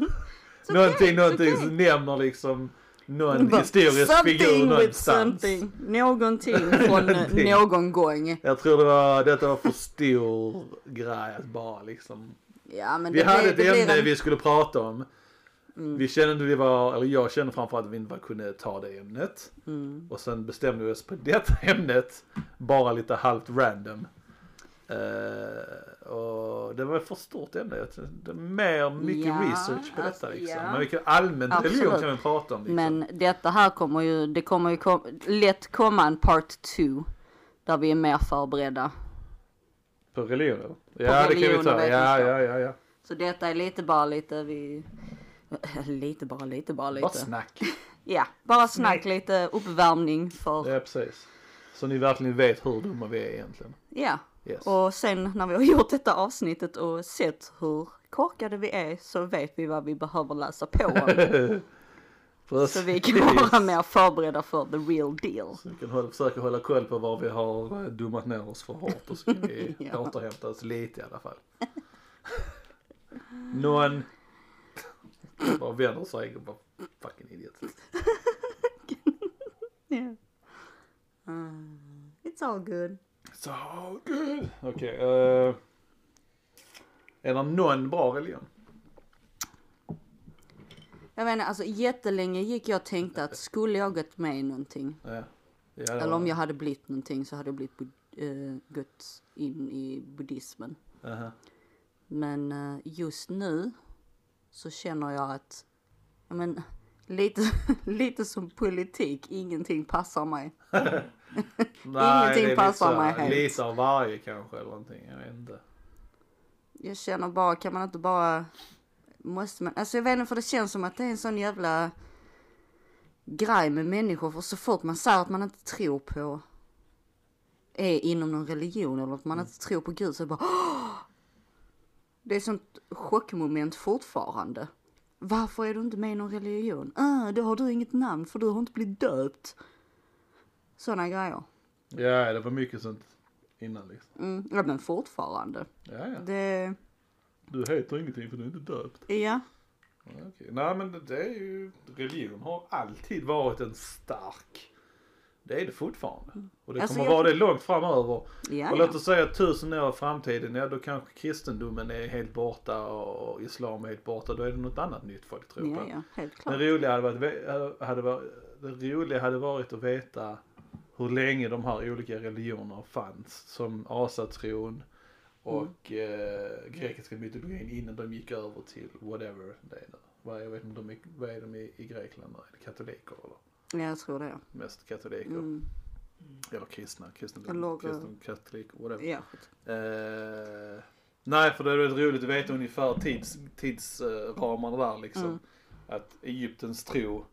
[SPEAKER 1] <laughs> någonting, någonting som nämner liksom någon
[SPEAKER 2] <laughs> Bara,
[SPEAKER 1] historisk figur någonstans.
[SPEAKER 2] something.
[SPEAKER 1] <laughs>
[SPEAKER 2] Någonting från
[SPEAKER 1] Någonting.
[SPEAKER 2] någon gång.
[SPEAKER 1] Jag tror det var, detta var för stor grej att bara liksom.
[SPEAKER 2] Ja, men
[SPEAKER 1] Vi
[SPEAKER 2] det,
[SPEAKER 1] hade
[SPEAKER 2] blir-
[SPEAKER 1] ett
[SPEAKER 2] det blir
[SPEAKER 1] ämne
[SPEAKER 2] en... Mm.
[SPEAKER 1] vi skulle prata om. Vi kände inte vi var, eller jag kände framförallt att vi inte kunde ta det ämnet.
[SPEAKER 2] Mm.
[SPEAKER 1] Och sen bestämde vi oss på detta <laughs> ämnet, bara lite halvt random. Eh, och det var ett för stort ämne. Jag tänkte, det är Mer, mycket
[SPEAKER 2] Ja,
[SPEAKER 1] research på detta
[SPEAKER 2] alltså,
[SPEAKER 1] liksom.
[SPEAKER 2] ja.
[SPEAKER 1] Men vilken allmän
[SPEAKER 2] Absolut.
[SPEAKER 1] religion kan vi prata om liksom.
[SPEAKER 2] Men detta här kommer ju, det kommer ju kom, lätt komma en part 2. Där vi är mer förberedda.
[SPEAKER 1] På religion eller? Ja det
[SPEAKER 2] religion
[SPEAKER 1] kan vi ta.
[SPEAKER 2] och
[SPEAKER 1] Ja,
[SPEAKER 2] vetenskap.
[SPEAKER 1] ja, ja, ja.
[SPEAKER 2] Så detta är lite bara lite vi... <laughs> Lite bara, lite bara,
[SPEAKER 1] Bara
[SPEAKER 2] lite.
[SPEAKER 1] snack.
[SPEAKER 2] Ja, bara snack lite uppvärmning för...
[SPEAKER 1] Ja precis. Så ni verkligen vet hur dumma vi är egentligen.
[SPEAKER 2] Ja.
[SPEAKER 1] Yes.
[SPEAKER 2] Och sen när vi har <laughs> gjort detta avsnittet och sett hur korkade vi är så vet vi vad vi behöver läsa på om.
[SPEAKER 1] Precis.
[SPEAKER 2] så vi kan
[SPEAKER 1] <laughs>
[SPEAKER 2] vara mer förberedda för the real deal.
[SPEAKER 1] Så vi kan hålla, försöka hålla koll på var vi har eh, dummat ner oss för hårt och så kan vi
[SPEAKER 2] <laughs> Ja.
[SPEAKER 1] återhämta oss lite i alla fall. <laughs> Någon bara vänder sig och bara fucking idiot.
[SPEAKER 2] Yeah. Ah, it's all good.
[SPEAKER 1] So good. Okej. eh, är det någon bra religion?
[SPEAKER 2] Jag vet inte, alltså jättelänge gick jag och tänkte att skulle jag gått med i någonting
[SPEAKER 1] Eh, Ja. Ja, det var-
[SPEAKER 2] eller om jag hade blivit någonting så hade jag blivit bud- eh, gått in i buddhismen.
[SPEAKER 1] Aha.
[SPEAKER 2] Men eh, just nu så känner jag att, ja men lite, <laughs> lite som politik, ingenting passar mig.
[SPEAKER 1] Nej,
[SPEAKER 2] Ingenting
[SPEAKER 1] det är
[SPEAKER 2] passar
[SPEAKER 1] lite så här,
[SPEAKER 2] mig helt.
[SPEAKER 1] Lite av varje kanske eller någonting. Jag vet inte.
[SPEAKER 2] Jag känner bara, kan man inte bara, måste man, alltså jag vet inte för det känns som att det är en sån jävla grej med människor för så fort man säger att man inte tror på, är inom någon religion eller att man
[SPEAKER 1] Mm.
[SPEAKER 2] inte tror på gud så är det bara <gasps> "Åh!" Det är sånt chockmoment fortfarande. Varför är du inte med i någon religion? Ah, då har du inget namn för du har inte blivit döpt. Såna grejer.
[SPEAKER 1] Ja, det var mycket sånt innan liksom.
[SPEAKER 2] Mm. Ja men fortfarande.
[SPEAKER 1] Ja, ja.
[SPEAKER 2] Det,
[SPEAKER 1] Du heter ingenting för du är inte döpt.
[SPEAKER 2] ja.
[SPEAKER 1] Ja, okej. Nej men det, det är ju, religion har alltid varit en stark, det är det fortfarande. Och det
[SPEAKER 2] Alltså,
[SPEAKER 1] kommer
[SPEAKER 2] jag-
[SPEAKER 1] vara det långt framöver.
[SPEAKER 2] Ja,
[SPEAKER 1] och
[SPEAKER 2] ja.
[SPEAKER 1] låt oss säga tusen år i framtiden, ja då kanske kristendomen är helt borta och islam är helt borta. Då är det något annat nytt folk tror på.
[SPEAKER 2] Ja, ja, helt klart.
[SPEAKER 1] Det roliga hade varit, ve- hade varit, det roliga hade varit att veta hur länge de här olika religionerna fanns. Som asatron och
[SPEAKER 2] Mm.
[SPEAKER 1] eh, grekiska mytologin innan de gick över till whatever det är nu. Vad, är- jag vet inte om de är, vad är de i, i Grekland nu? Är det katoliker eller?
[SPEAKER 2] Ja, jag tror det.
[SPEAKER 1] Mest katoliker.
[SPEAKER 2] Mm.
[SPEAKER 1] Eller kristna, kristendom,
[SPEAKER 2] Eller, eh,
[SPEAKER 1] kristen, katolik, whatever.
[SPEAKER 2] Ja.
[SPEAKER 1] Eh, nej, för det är väldigt roligt att veta ungefär tids, tidsramarna där liksom.
[SPEAKER 2] Mm.
[SPEAKER 1] Att Egyptens tro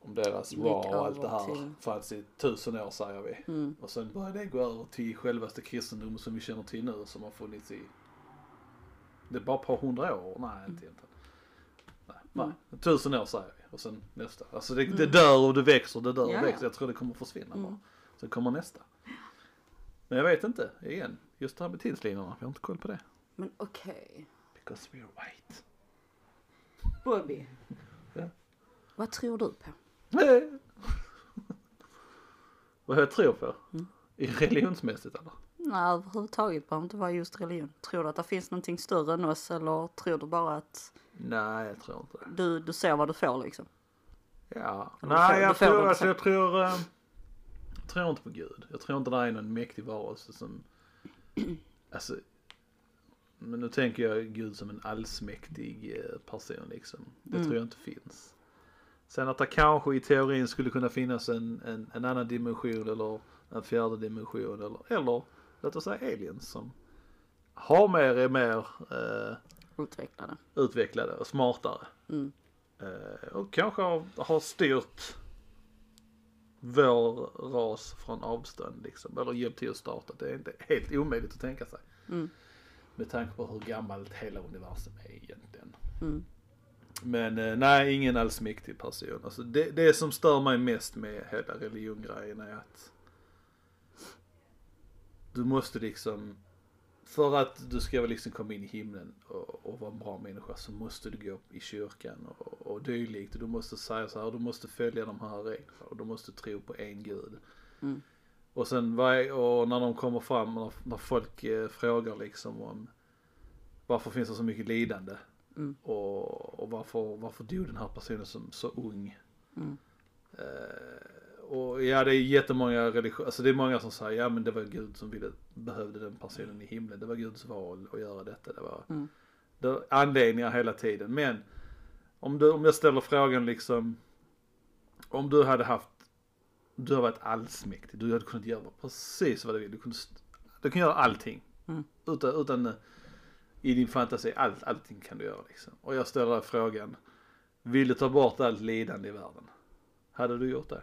[SPEAKER 1] om deras
[SPEAKER 2] Gick
[SPEAKER 1] Ra och allt
[SPEAKER 2] över
[SPEAKER 1] det
[SPEAKER 2] till-
[SPEAKER 1] här fanns i tusen år säger vi.
[SPEAKER 2] Mm.
[SPEAKER 1] Och sen började det gå över till självaste kristendomen som vi känner till nu som har funnits i det är bara ett par hundra år, nej inte egentligen. Nej,
[SPEAKER 2] Mm.
[SPEAKER 1] nej. tusen år säger vi och sen nästa. Alltså det, det dör och det växer, det dör och
[SPEAKER 2] Ja, Mm. ja.
[SPEAKER 1] växer. Jag tror det kommer försvinna bara. Sen kommer nästa. Men jag vet inte, igen, just det här med tidslinjerna, vi har inte koll på det.
[SPEAKER 2] Men okej.
[SPEAKER 1] Because we're white. <laughs>
[SPEAKER 2] Bobby.
[SPEAKER 1] Ja.
[SPEAKER 2] Vad tror du på?
[SPEAKER 1] Nej. Vad jag tror på?
[SPEAKER 2] Mm.
[SPEAKER 1] I religionsmässigt eller?
[SPEAKER 2] Nej, överhuvudtaget behöver inte vara just religion. Tror du att det finns någonting större än oss eller tror du bara att
[SPEAKER 1] Nej, jag tror inte det.
[SPEAKER 2] du, du ser vad du får liksom?
[SPEAKER 1] Ja.
[SPEAKER 2] får-
[SPEAKER 1] Nej,
[SPEAKER 2] då
[SPEAKER 1] jag
[SPEAKER 2] får du
[SPEAKER 1] tror,
[SPEAKER 2] inte
[SPEAKER 1] alltså,
[SPEAKER 2] säga.
[SPEAKER 1] jag tror... eh, Jag tror inte på Gud. Jag tror inte det är någon mäktig varelse som... Alltså... Men nu tänker jag Gud som en allsmäktig eh, person liksom. Det
[SPEAKER 2] Mm.
[SPEAKER 1] tror jag inte finns. Sen att det kanske i teorin skulle kunna finnas en, en, en annan dimension eller en fjärde dimension eller, eller låt oss säga aliens som har mer är mer eh,
[SPEAKER 2] Utvecklade.
[SPEAKER 1] utvecklade och smartare.
[SPEAKER 2] Mm.
[SPEAKER 1] Eh, och kanske har, har styrt vår ras från avstånd liksom. Eller hjälpt till att starta. Det är inte helt omöjligt att tänka sig.
[SPEAKER 2] Mm.
[SPEAKER 1] Med tanke på hur gammalt hela universum är egentligen.
[SPEAKER 2] Mm.
[SPEAKER 1] Men eh, nej, ingen allsmäktig person. Alltså, det, det som stör mig mest med hela religiongrejen är att du måste liksom för att du ska väl liksom komma in i himlen och, och vara en bra människa så måste du gå i kyrkan och, och dylikt. Och du måste säga så här, du måste följa de här reglerna och du måste tro på en gud.
[SPEAKER 2] Mm.
[SPEAKER 1] Och sen vad- och när de kommer fram, när, när folk eh, frågar liksom om varför finns det så mycket lidande?
[SPEAKER 2] Mm.
[SPEAKER 1] Och, och varför, varför dog den här personen som så ung?
[SPEAKER 2] Mm.
[SPEAKER 1] Eh, och ja, det är jättemånga religiösa, alltså det är många som säger ja men det var Gud som ville, behövde den personen i himlen. Det var Guds val att göra detta. Det var,
[SPEAKER 2] Mm.
[SPEAKER 1] det var anledningar hela tiden. Men om, du, om jag ställer frågan liksom, om du hade haft, du hade varit allsmäktig, du hade kunnat göra precis vad du vill. Du kunde, st- du kan göra allting.
[SPEAKER 2] Mm.
[SPEAKER 1] Utan, utan eh, i din fantasi, allt, allting kan du göra liksom. Och jag ställer dig frågan, vill du ta bort allt lidande i världen? Hade du gjort det?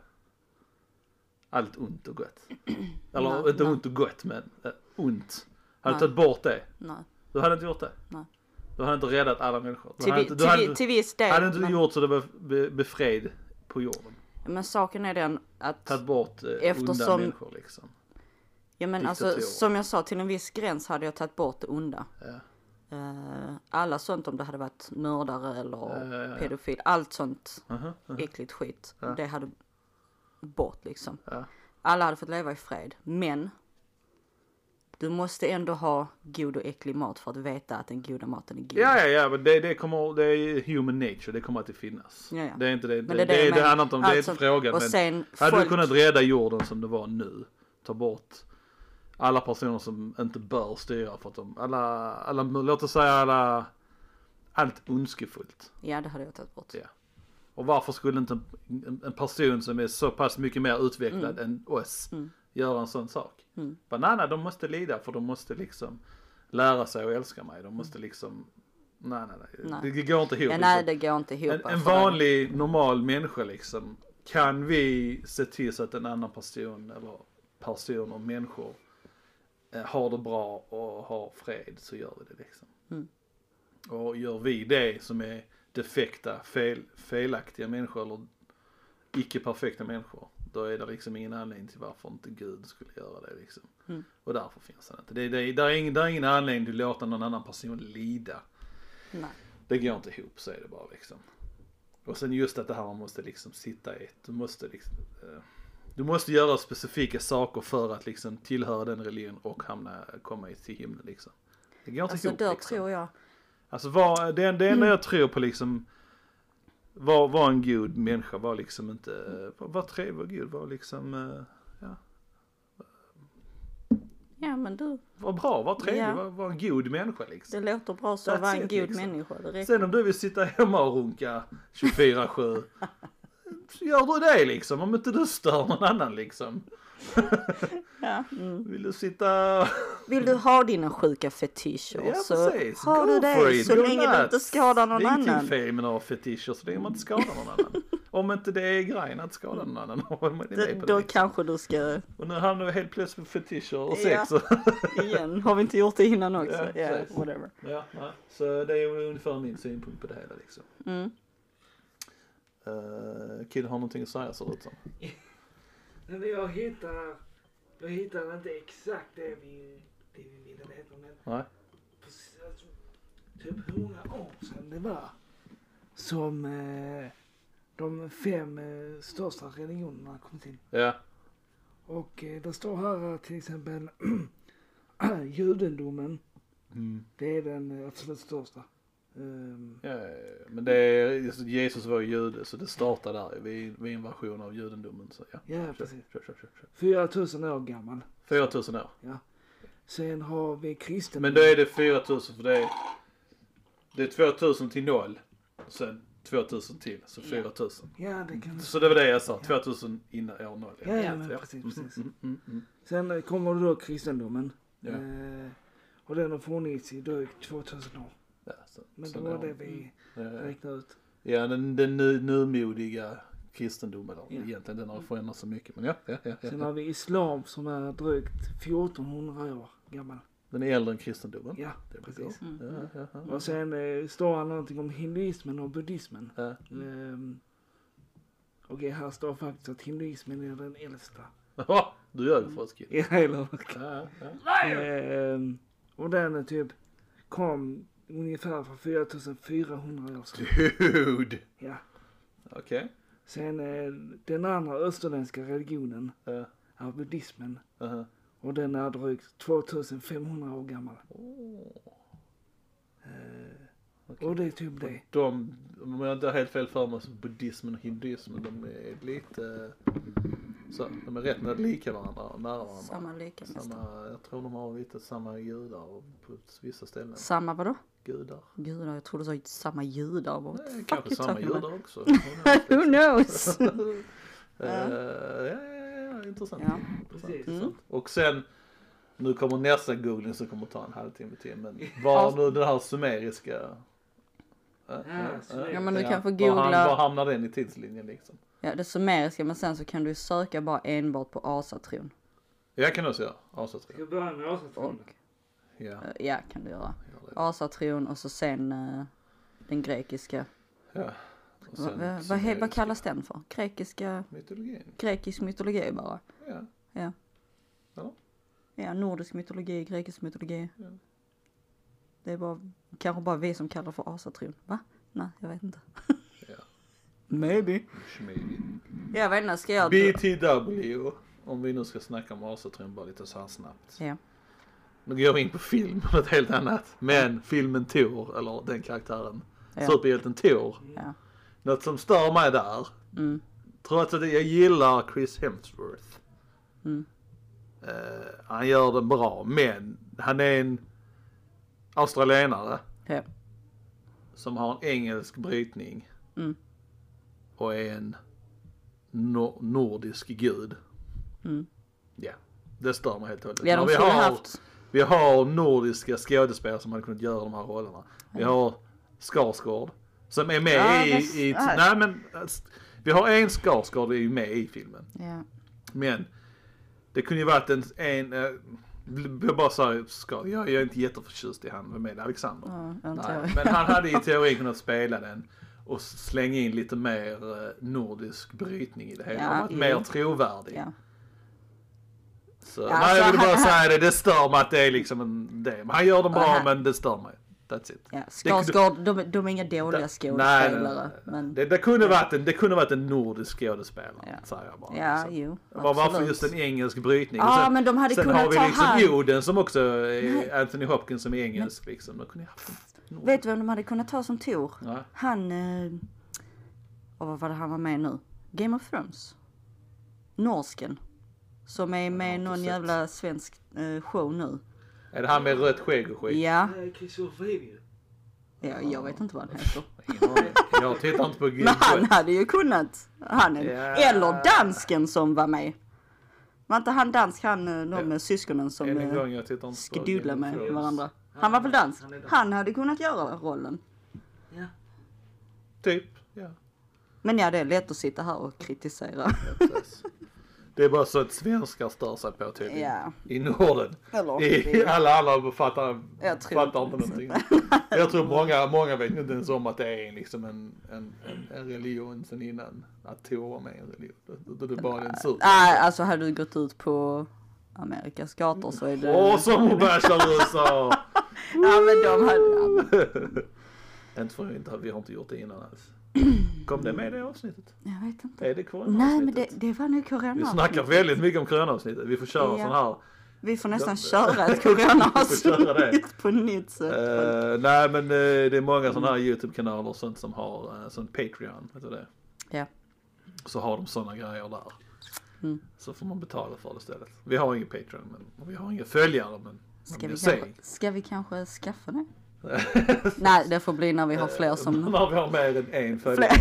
[SPEAKER 1] Allt ont och gott. Eller
[SPEAKER 2] Nej,
[SPEAKER 1] inte
[SPEAKER 2] nej.
[SPEAKER 1] ont och gott men eh, ont. Hade du
[SPEAKER 2] Nej.
[SPEAKER 1] tagit bort det?
[SPEAKER 2] Nej.
[SPEAKER 1] Du hade inte gjort det?
[SPEAKER 2] Nej.
[SPEAKER 1] Du hade inte räddat alla människor? Du
[SPEAKER 2] Till,
[SPEAKER 1] hade
[SPEAKER 2] vi,
[SPEAKER 1] inte,
[SPEAKER 2] till,
[SPEAKER 1] du hade,
[SPEAKER 2] vi, till viss del.
[SPEAKER 1] hade inte
[SPEAKER 2] men,
[SPEAKER 1] gjort så det var be, befred på jorden?
[SPEAKER 2] men saken är den att
[SPEAKER 1] Tagit bort eh, onda
[SPEAKER 2] Eftersom-
[SPEAKER 1] människor liksom?
[SPEAKER 2] Ja men alltså
[SPEAKER 1] Diktatorer.
[SPEAKER 2] som jag sa till en viss gräns hade jag tagit bort det onda.
[SPEAKER 1] Ja.
[SPEAKER 2] Eh, alla sånt om det hade varit mördare eller
[SPEAKER 1] Ja, ja, ja, ja.
[SPEAKER 2] pedofil. Allt sånt
[SPEAKER 1] Aha, aha.
[SPEAKER 2] äckligt skit. Det hade bort liksom.
[SPEAKER 1] Ja.
[SPEAKER 2] Alla hade fått leva i fred. Men du måste ändå ha god och äcklig mat för att veta att den goda maten är god.
[SPEAKER 1] Ja, ja, ja, men det, det kommer, det är human nature, det kommer alltid finnas.
[SPEAKER 2] Ja, ja.
[SPEAKER 1] Det är inte det, det,
[SPEAKER 2] Men
[SPEAKER 1] det,
[SPEAKER 2] det är det jag
[SPEAKER 1] det,
[SPEAKER 2] menar.
[SPEAKER 1] handlar inte om, det är
[SPEAKER 2] Alltså,
[SPEAKER 1] inte frågan.
[SPEAKER 2] och
[SPEAKER 1] men
[SPEAKER 2] sen
[SPEAKER 1] hade
[SPEAKER 2] folk-
[SPEAKER 1] du kunnat rädda jorden som det var nu, ta bort alla personer som inte bör styra för att de, alla, alla låt oss säga alla, allt ondskefullt.
[SPEAKER 2] Ja, det hade jag tagit bort.
[SPEAKER 1] Ja. Och varför skulle inte en- en, en person som är så pass mycket mer utvecklad än oss göra en sån sak? Mm. Banana, de måste lida för de måste liksom lära sig att älska mig. De måste liksom, nej nej nej,
[SPEAKER 2] Nej.
[SPEAKER 1] Det, det går inte ihop.
[SPEAKER 2] Ja, nej,
[SPEAKER 1] liksom.
[SPEAKER 2] det går inte ihop. alltså.
[SPEAKER 1] en, en
[SPEAKER 2] för den-
[SPEAKER 1] vanlig normal människa liksom, kan vi se till så att en annan person eller personer, människor eh, har det bra och har fred så gör vi det liksom.
[SPEAKER 2] Mm.
[SPEAKER 1] Och gör vi det som är defekta, fel, felaktiga människor eller icke perfekta människor, då är det liksom ingen anledning till varför inte Gud skulle göra det liksom.
[SPEAKER 2] Mm.
[SPEAKER 1] Och därför finns han inte. Det, det, där, är ingen, där är ingen anledning till att låta någon annan person lida.
[SPEAKER 2] Nej.
[SPEAKER 1] Det går inte ihop, så är det bara liksom. Och sen just att det här man måste liksom sitta i, ett- du måste liksom, eh, du måste göra specifika saker för att liksom tillhöra den religionen och hamna, komma i- till himlen liksom. Det går inte
[SPEAKER 2] Alltså
[SPEAKER 1] ihop
[SPEAKER 2] där
[SPEAKER 1] liksom.
[SPEAKER 2] tror jag. Mm.
[SPEAKER 1] Alltså var, det, det enda jag tror på liksom var, var en god människa, var liksom inte, eh, var, var trevlig och god, var liksom, eh, ja,
[SPEAKER 2] Ja men du,
[SPEAKER 1] var bra, var trevlig,
[SPEAKER 2] Ja.
[SPEAKER 1] var, var en god människa liksom.
[SPEAKER 2] det låter bra så att
[SPEAKER 1] That's
[SPEAKER 2] vara en
[SPEAKER 1] it,
[SPEAKER 2] god
[SPEAKER 1] liksom.
[SPEAKER 2] människa. Det räcker.
[SPEAKER 1] Sen om du vill sitta hemma och runka 24-7, så gör du det liksom. Om inte du stör någon annan liksom.
[SPEAKER 2] Ja. Mm.
[SPEAKER 1] <laughs> Vill du sitta...
[SPEAKER 2] Vill du ha dina sjuka fetischer
[SPEAKER 1] Ja
[SPEAKER 2] så
[SPEAKER 1] precis,
[SPEAKER 2] har
[SPEAKER 1] go
[SPEAKER 2] du
[SPEAKER 1] for
[SPEAKER 2] det
[SPEAKER 1] it,
[SPEAKER 2] så
[SPEAKER 1] go
[SPEAKER 2] länge du inte
[SPEAKER 1] nuts.
[SPEAKER 2] skadar någon
[SPEAKER 1] Det är
[SPEAKER 2] annan.
[SPEAKER 1] ingenting fel med att ha fetischer så länge man inte skadar någon annan. Om inte det är grejen att skada någon annan. <laughs> Om man är
[SPEAKER 2] Det,
[SPEAKER 1] med på
[SPEAKER 2] då
[SPEAKER 1] det.
[SPEAKER 2] kanske du ska
[SPEAKER 1] Och nu hamnar vi helt plötsligt på fetischer och
[SPEAKER 2] Ja.
[SPEAKER 1] sex. och- <laughs>
[SPEAKER 2] igen. Har vi inte gjort det innan också?
[SPEAKER 1] Ja,
[SPEAKER 2] Ja,
[SPEAKER 1] precis.
[SPEAKER 2] whatever.
[SPEAKER 1] Ja, ja. Så det är ungefär min synpunkt på det hela liksom.
[SPEAKER 2] Mm.
[SPEAKER 1] Uh, killen har någonting att säga ser ut som.
[SPEAKER 3] Men jag hittar, jag hittar inte exakt det vi, det vi ville veta men
[SPEAKER 1] Nej.
[SPEAKER 3] precis, alltså, typ hundra år sedan det var som eh, de fem eh, största religionerna kom till.
[SPEAKER 1] Ja.
[SPEAKER 3] Och eh, det står här eh, till exempel <clears throat> judendomen,
[SPEAKER 1] Mm.
[SPEAKER 3] det är den eh, absolut största. Ehm,
[SPEAKER 1] Ja, ja, ja. men det är, just Jesus var ju jude så det startar där ju, vid, vid en version av judendomen. Så ja.
[SPEAKER 3] ja,
[SPEAKER 1] Kör,
[SPEAKER 3] precis.
[SPEAKER 1] kör, kör, kör, kör.
[SPEAKER 3] 4000 år gammal.
[SPEAKER 1] 4000 år.
[SPEAKER 3] Sen har vi kristendomen.
[SPEAKER 1] Men då är det 4000 för det är, det är 2000 till noll. och Sen 2000 till, så 4000.
[SPEAKER 3] Ja, det kan
[SPEAKER 1] Så det var det jag sa, 2000 innan år noll.
[SPEAKER 3] Ja, ja, men precis,
[SPEAKER 1] Mm,
[SPEAKER 3] precis.
[SPEAKER 1] mm, mm, mm.
[SPEAKER 3] Sen eh, kommer då kristendomen.
[SPEAKER 1] Ja.
[SPEAKER 3] Eh, och den har funnits i drygt 2000 år.
[SPEAKER 1] Ja, så,
[SPEAKER 3] Men
[SPEAKER 1] så
[SPEAKER 3] det var
[SPEAKER 1] har-
[SPEAKER 3] det vi
[SPEAKER 1] Mm. Ja,
[SPEAKER 3] räknade ut.
[SPEAKER 1] Ja, den, den nu, numodiga kristendomen, eller
[SPEAKER 3] Ja.
[SPEAKER 1] egentligen den har förändrats så mycket. Men ja, ja, ja, ja.
[SPEAKER 3] Sen har vi islam som är drygt 1400 år gammal.
[SPEAKER 1] Den är äldre än kristendomen.
[SPEAKER 3] Ja,
[SPEAKER 1] det är
[SPEAKER 3] precis. Mm.
[SPEAKER 1] bra. Ja, ja, ja.
[SPEAKER 3] Och sen eh, står det någonting om hinduismen och buddhismen.
[SPEAKER 1] Ja,
[SPEAKER 3] Ehm, Okej, här står faktiskt att hinduismen är den äldsta.
[SPEAKER 1] Haha, du gör det för oss kid.
[SPEAKER 3] I hela världen.
[SPEAKER 1] Ja, ja.
[SPEAKER 3] Ehm, och den är typ kom ungefär för 4400 år sedan.
[SPEAKER 1] Dude!
[SPEAKER 3] Ja.
[SPEAKER 1] Okej.
[SPEAKER 3] Sen eh, den andra österländska religionen
[SPEAKER 1] Ja,
[SPEAKER 3] är buddhismen
[SPEAKER 1] aha.
[SPEAKER 3] och den är drygt 2500 år gammal. Eh,
[SPEAKER 1] Åh.
[SPEAKER 3] Och det är typ det.
[SPEAKER 1] De, om jag inte har helt fel för mig, så buddhismen och hinduismen, de är lite så, de är rätt lika varandra och nära varandra.
[SPEAKER 2] Samma lika nästan.
[SPEAKER 1] Samma, jag tror de har lite samma gudar på vissa ställen.
[SPEAKER 2] Samma vadå?
[SPEAKER 1] Gudar.
[SPEAKER 2] Gudar, jag trodde du sa samma judar. Vad
[SPEAKER 1] Nej,
[SPEAKER 2] fuck
[SPEAKER 1] kanske
[SPEAKER 2] you
[SPEAKER 1] samma
[SPEAKER 2] talking about?
[SPEAKER 1] judar
[SPEAKER 2] <laughs>
[SPEAKER 1] också.
[SPEAKER 2] Who knows?
[SPEAKER 1] <laughs> Eh, ja, ja, ja, intressant.
[SPEAKER 2] Ja.
[SPEAKER 1] intressant,
[SPEAKER 3] Precis.
[SPEAKER 1] intressant. Och sen, nu kommer nästa googling som kommer ta en halvtimme till. Men var nu den här sumeriska... eh, eh, eh,
[SPEAKER 3] sumeriska.
[SPEAKER 2] Ja, men du kan få
[SPEAKER 1] var
[SPEAKER 2] googla-
[SPEAKER 1] ham- Var hamnar den i tidslinjen liksom?
[SPEAKER 2] ja, det summeriska men sen så kan du söka bara enbart på asatron.
[SPEAKER 1] Jag kan också göra asatron.
[SPEAKER 3] Ska vi börja med
[SPEAKER 2] Och
[SPEAKER 3] asatronen?
[SPEAKER 1] Ja,
[SPEAKER 2] eh, ja, kan du göra.
[SPEAKER 1] jag gör det.
[SPEAKER 2] Asatron och så sen eh, den grekiska.
[SPEAKER 1] ja. Och
[SPEAKER 2] Va, va,
[SPEAKER 1] sen
[SPEAKER 2] vad he- vad
[SPEAKER 1] sumeriska
[SPEAKER 2] kallas den för? Grekiska,
[SPEAKER 1] Mytologin.
[SPEAKER 2] grekisk mytologi bara.
[SPEAKER 1] Ja.
[SPEAKER 2] Ja.
[SPEAKER 1] Ja.
[SPEAKER 2] Ja, nordisk mytologi, grekisk mytologi.
[SPEAKER 1] Ja.
[SPEAKER 2] Det är bara, kanske bara vi som kallar det för asatron. Va? Nej, jag vet inte.
[SPEAKER 1] Ja.
[SPEAKER 2] Maybe.
[SPEAKER 1] Schmidig.
[SPEAKER 2] Jag vet inte, ska jag...
[SPEAKER 1] BTW. Om vi nu ska snacka om asatron bara lite så här snabbt.
[SPEAKER 2] Ja.
[SPEAKER 1] Nu går vi in på film, <laughs> något helt annat. Men filmen Tor, eller den karaktären,
[SPEAKER 2] Ja.
[SPEAKER 1] superhjälten Tor.
[SPEAKER 2] Ja.
[SPEAKER 1] Något som stör mig där,
[SPEAKER 2] Mm.
[SPEAKER 1] trots att jag gillar Chris Hemsworth.
[SPEAKER 2] Mm.
[SPEAKER 1] Eh, han gör det bra, men han är en australienare
[SPEAKER 2] Ja.
[SPEAKER 1] som har en engelsk brytning.
[SPEAKER 2] Mm.
[SPEAKER 1] Och är en no- nordisk gud.
[SPEAKER 2] Mm.
[SPEAKER 1] Ja, det stör mig helt och hållet.
[SPEAKER 2] Ja,
[SPEAKER 1] När
[SPEAKER 2] de
[SPEAKER 1] vi
[SPEAKER 2] skulle
[SPEAKER 1] har-
[SPEAKER 2] haft...
[SPEAKER 1] vi har nordiska skådespelare som hade kunnat göra de här rollerna. Vi har Skarsgård som är med
[SPEAKER 2] Ja,
[SPEAKER 1] i...
[SPEAKER 2] men-
[SPEAKER 1] i
[SPEAKER 2] nej.
[SPEAKER 1] nej men, alltså, vi har en Skarsgård är ju med i filmen.
[SPEAKER 2] Ja.
[SPEAKER 1] Men det kunde ju varit en... en eh, jag bara säger Skarsgård, jag är inte jätteförtjust i han, vem är det? Alexander?
[SPEAKER 2] Ja, jag antar
[SPEAKER 1] Nej,
[SPEAKER 2] jag.
[SPEAKER 1] men han hade i
[SPEAKER 2] <laughs>
[SPEAKER 1] teorin kunnat spela den och slänga in lite mer eh, nordisk brytning i det hela.
[SPEAKER 2] Ja,
[SPEAKER 1] Han varit
[SPEAKER 2] mm.
[SPEAKER 1] mer trovärdig.
[SPEAKER 2] Ja.
[SPEAKER 1] Så,
[SPEAKER 2] Ja,
[SPEAKER 1] nej,
[SPEAKER 2] alltså,
[SPEAKER 1] jag ville bara
[SPEAKER 2] han- han-
[SPEAKER 1] säga det, det stör mig att det är liksom en det. Men han gör det bra
[SPEAKER 2] Och han-
[SPEAKER 1] men det stör mig. That's it.
[SPEAKER 2] Ja,
[SPEAKER 1] Det kunde-
[SPEAKER 2] Skarsgård, de, de är inga
[SPEAKER 1] Nej,
[SPEAKER 2] dåliga
[SPEAKER 1] nej, nej,
[SPEAKER 2] skådespelare.
[SPEAKER 1] nej.
[SPEAKER 2] Men
[SPEAKER 1] Det, det, kunde varit en, det kunde varit en nordisk skådespelare,
[SPEAKER 2] Ja.
[SPEAKER 1] säger jag bara.
[SPEAKER 2] ja,
[SPEAKER 1] liksom.
[SPEAKER 2] jo.
[SPEAKER 1] Var, varför
[SPEAKER 2] absolut.
[SPEAKER 1] just en engelsk brytning? Och
[SPEAKER 2] Ja, men de hade
[SPEAKER 1] sen
[SPEAKER 2] kunnat
[SPEAKER 1] har vi
[SPEAKER 2] ta
[SPEAKER 1] liksom
[SPEAKER 2] han.
[SPEAKER 1] Oden som också är Anthony Hopkins som är engelsk liksom. De kunde ju haft en nordisk.
[SPEAKER 2] Vet du vem de hade kunnat ta som Tor?
[SPEAKER 1] Nej.
[SPEAKER 2] Han... Eh... Och vad var det han var med i nu? Game of Thrones. Norsken. Som är med i
[SPEAKER 1] inte
[SPEAKER 2] någon
[SPEAKER 1] sett.
[SPEAKER 2] jävla svensk eh, show nu.
[SPEAKER 1] Är det han med rött skägg och skit?
[SPEAKER 2] Ja,
[SPEAKER 3] Eh, Christopher Reeve.
[SPEAKER 2] ja, jag vet inte vad han heter.
[SPEAKER 1] Ingen aning. Jag tittar inte på Gud.
[SPEAKER 2] <laughs> Men han hade ju kunnat. Han är,
[SPEAKER 1] Ja.
[SPEAKER 2] Eller dansken som var med. Var inte han dansk, han eh, de med syskonen som...
[SPEAKER 1] Än
[SPEAKER 2] eh,
[SPEAKER 1] en gång, jag tittar inte på
[SPEAKER 2] skedula
[SPEAKER 1] Game of
[SPEAKER 2] med
[SPEAKER 1] Thrones.
[SPEAKER 2] varandra. Han var väl dansk?
[SPEAKER 3] Han är dansk.
[SPEAKER 2] Han hade kunnat göra rollen.
[SPEAKER 3] Ja.
[SPEAKER 1] Typ, ja.
[SPEAKER 2] Men ja, det är lätt att sitta här och kritisera.
[SPEAKER 1] Precis. Det är bara så att svenskar stör sig på tydligen.
[SPEAKER 2] Ja.
[SPEAKER 1] I Norden.
[SPEAKER 2] Eller,
[SPEAKER 1] I,
[SPEAKER 2] det-
[SPEAKER 1] alla andra fattar,
[SPEAKER 2] Jag tror
[SPEAKER 1] fattar inte
[SPEAKER 2] inte.
[SPEAKER 1] någonting. Jag tror många, många vet inte ens om att det är liksom en, en, en, en religion sen innan. Att Tora med en religion. Det, det är bara en super.
[SPEAKER 2] Nej, alltså hade du gått ut på Amerikas gator så är det...
[SPEAKER 1] Åh, som hon bashar USA!
[SPEAKER 2] <laughs> Ja men de hade... Ja, men-
[SPEAKER 1] <laughs> inte för att vi inte, har- vi har inte gjort det innan alls. Kom det med i det avsnittet?
[SPEAKER 2] Jag vet inte.
[SPEAKER 1] Är det corona
[SPEAKER 2] Nej men det, det var nu corona.
[SPEAKER 1] Vi snackar väldigt mycket om coronaavsnittet. Vi får köra
[SPEAKER 2] Ja.
[SPEAKER 1] sån här.
[SPEAKER 2] Vi får nästan
[SPEAKER 1] Ja. <laughs>
[SPEAKER 2] köra ett
[SPEAKER 1] Vi får köra
[SPEAKER 2] coronaavsnitt på nytt sätt.
[SPEAKER 1] Eh, nej men eh, det är många sådana här YouTube-kanaler och sånt som har uh, sån Patreon. Vet du det?
[SPEAKER 2] Ja.
[SPEAKER 1] Så har de sådana grejer där.
[SPEAKER 2] Mm.
[SPEAKER 1] Så får man betala för det istället. Vi har ingen Patreon men, och vi har inga följare men
[SPEAKER 2] Ska
[SPEAKER 1] men
[SPEAKER 2] vi,
[SPEAKER 1] jag ser.
[SPEAKER 2] kanske, ska vi kanske skaffa det? Nej det får bli när <laughs> vi har
[SPEAKER 1] <laughs>
[SPEAKER 2] fler som...
[SPEAKER 1] När vi har mer än en följare.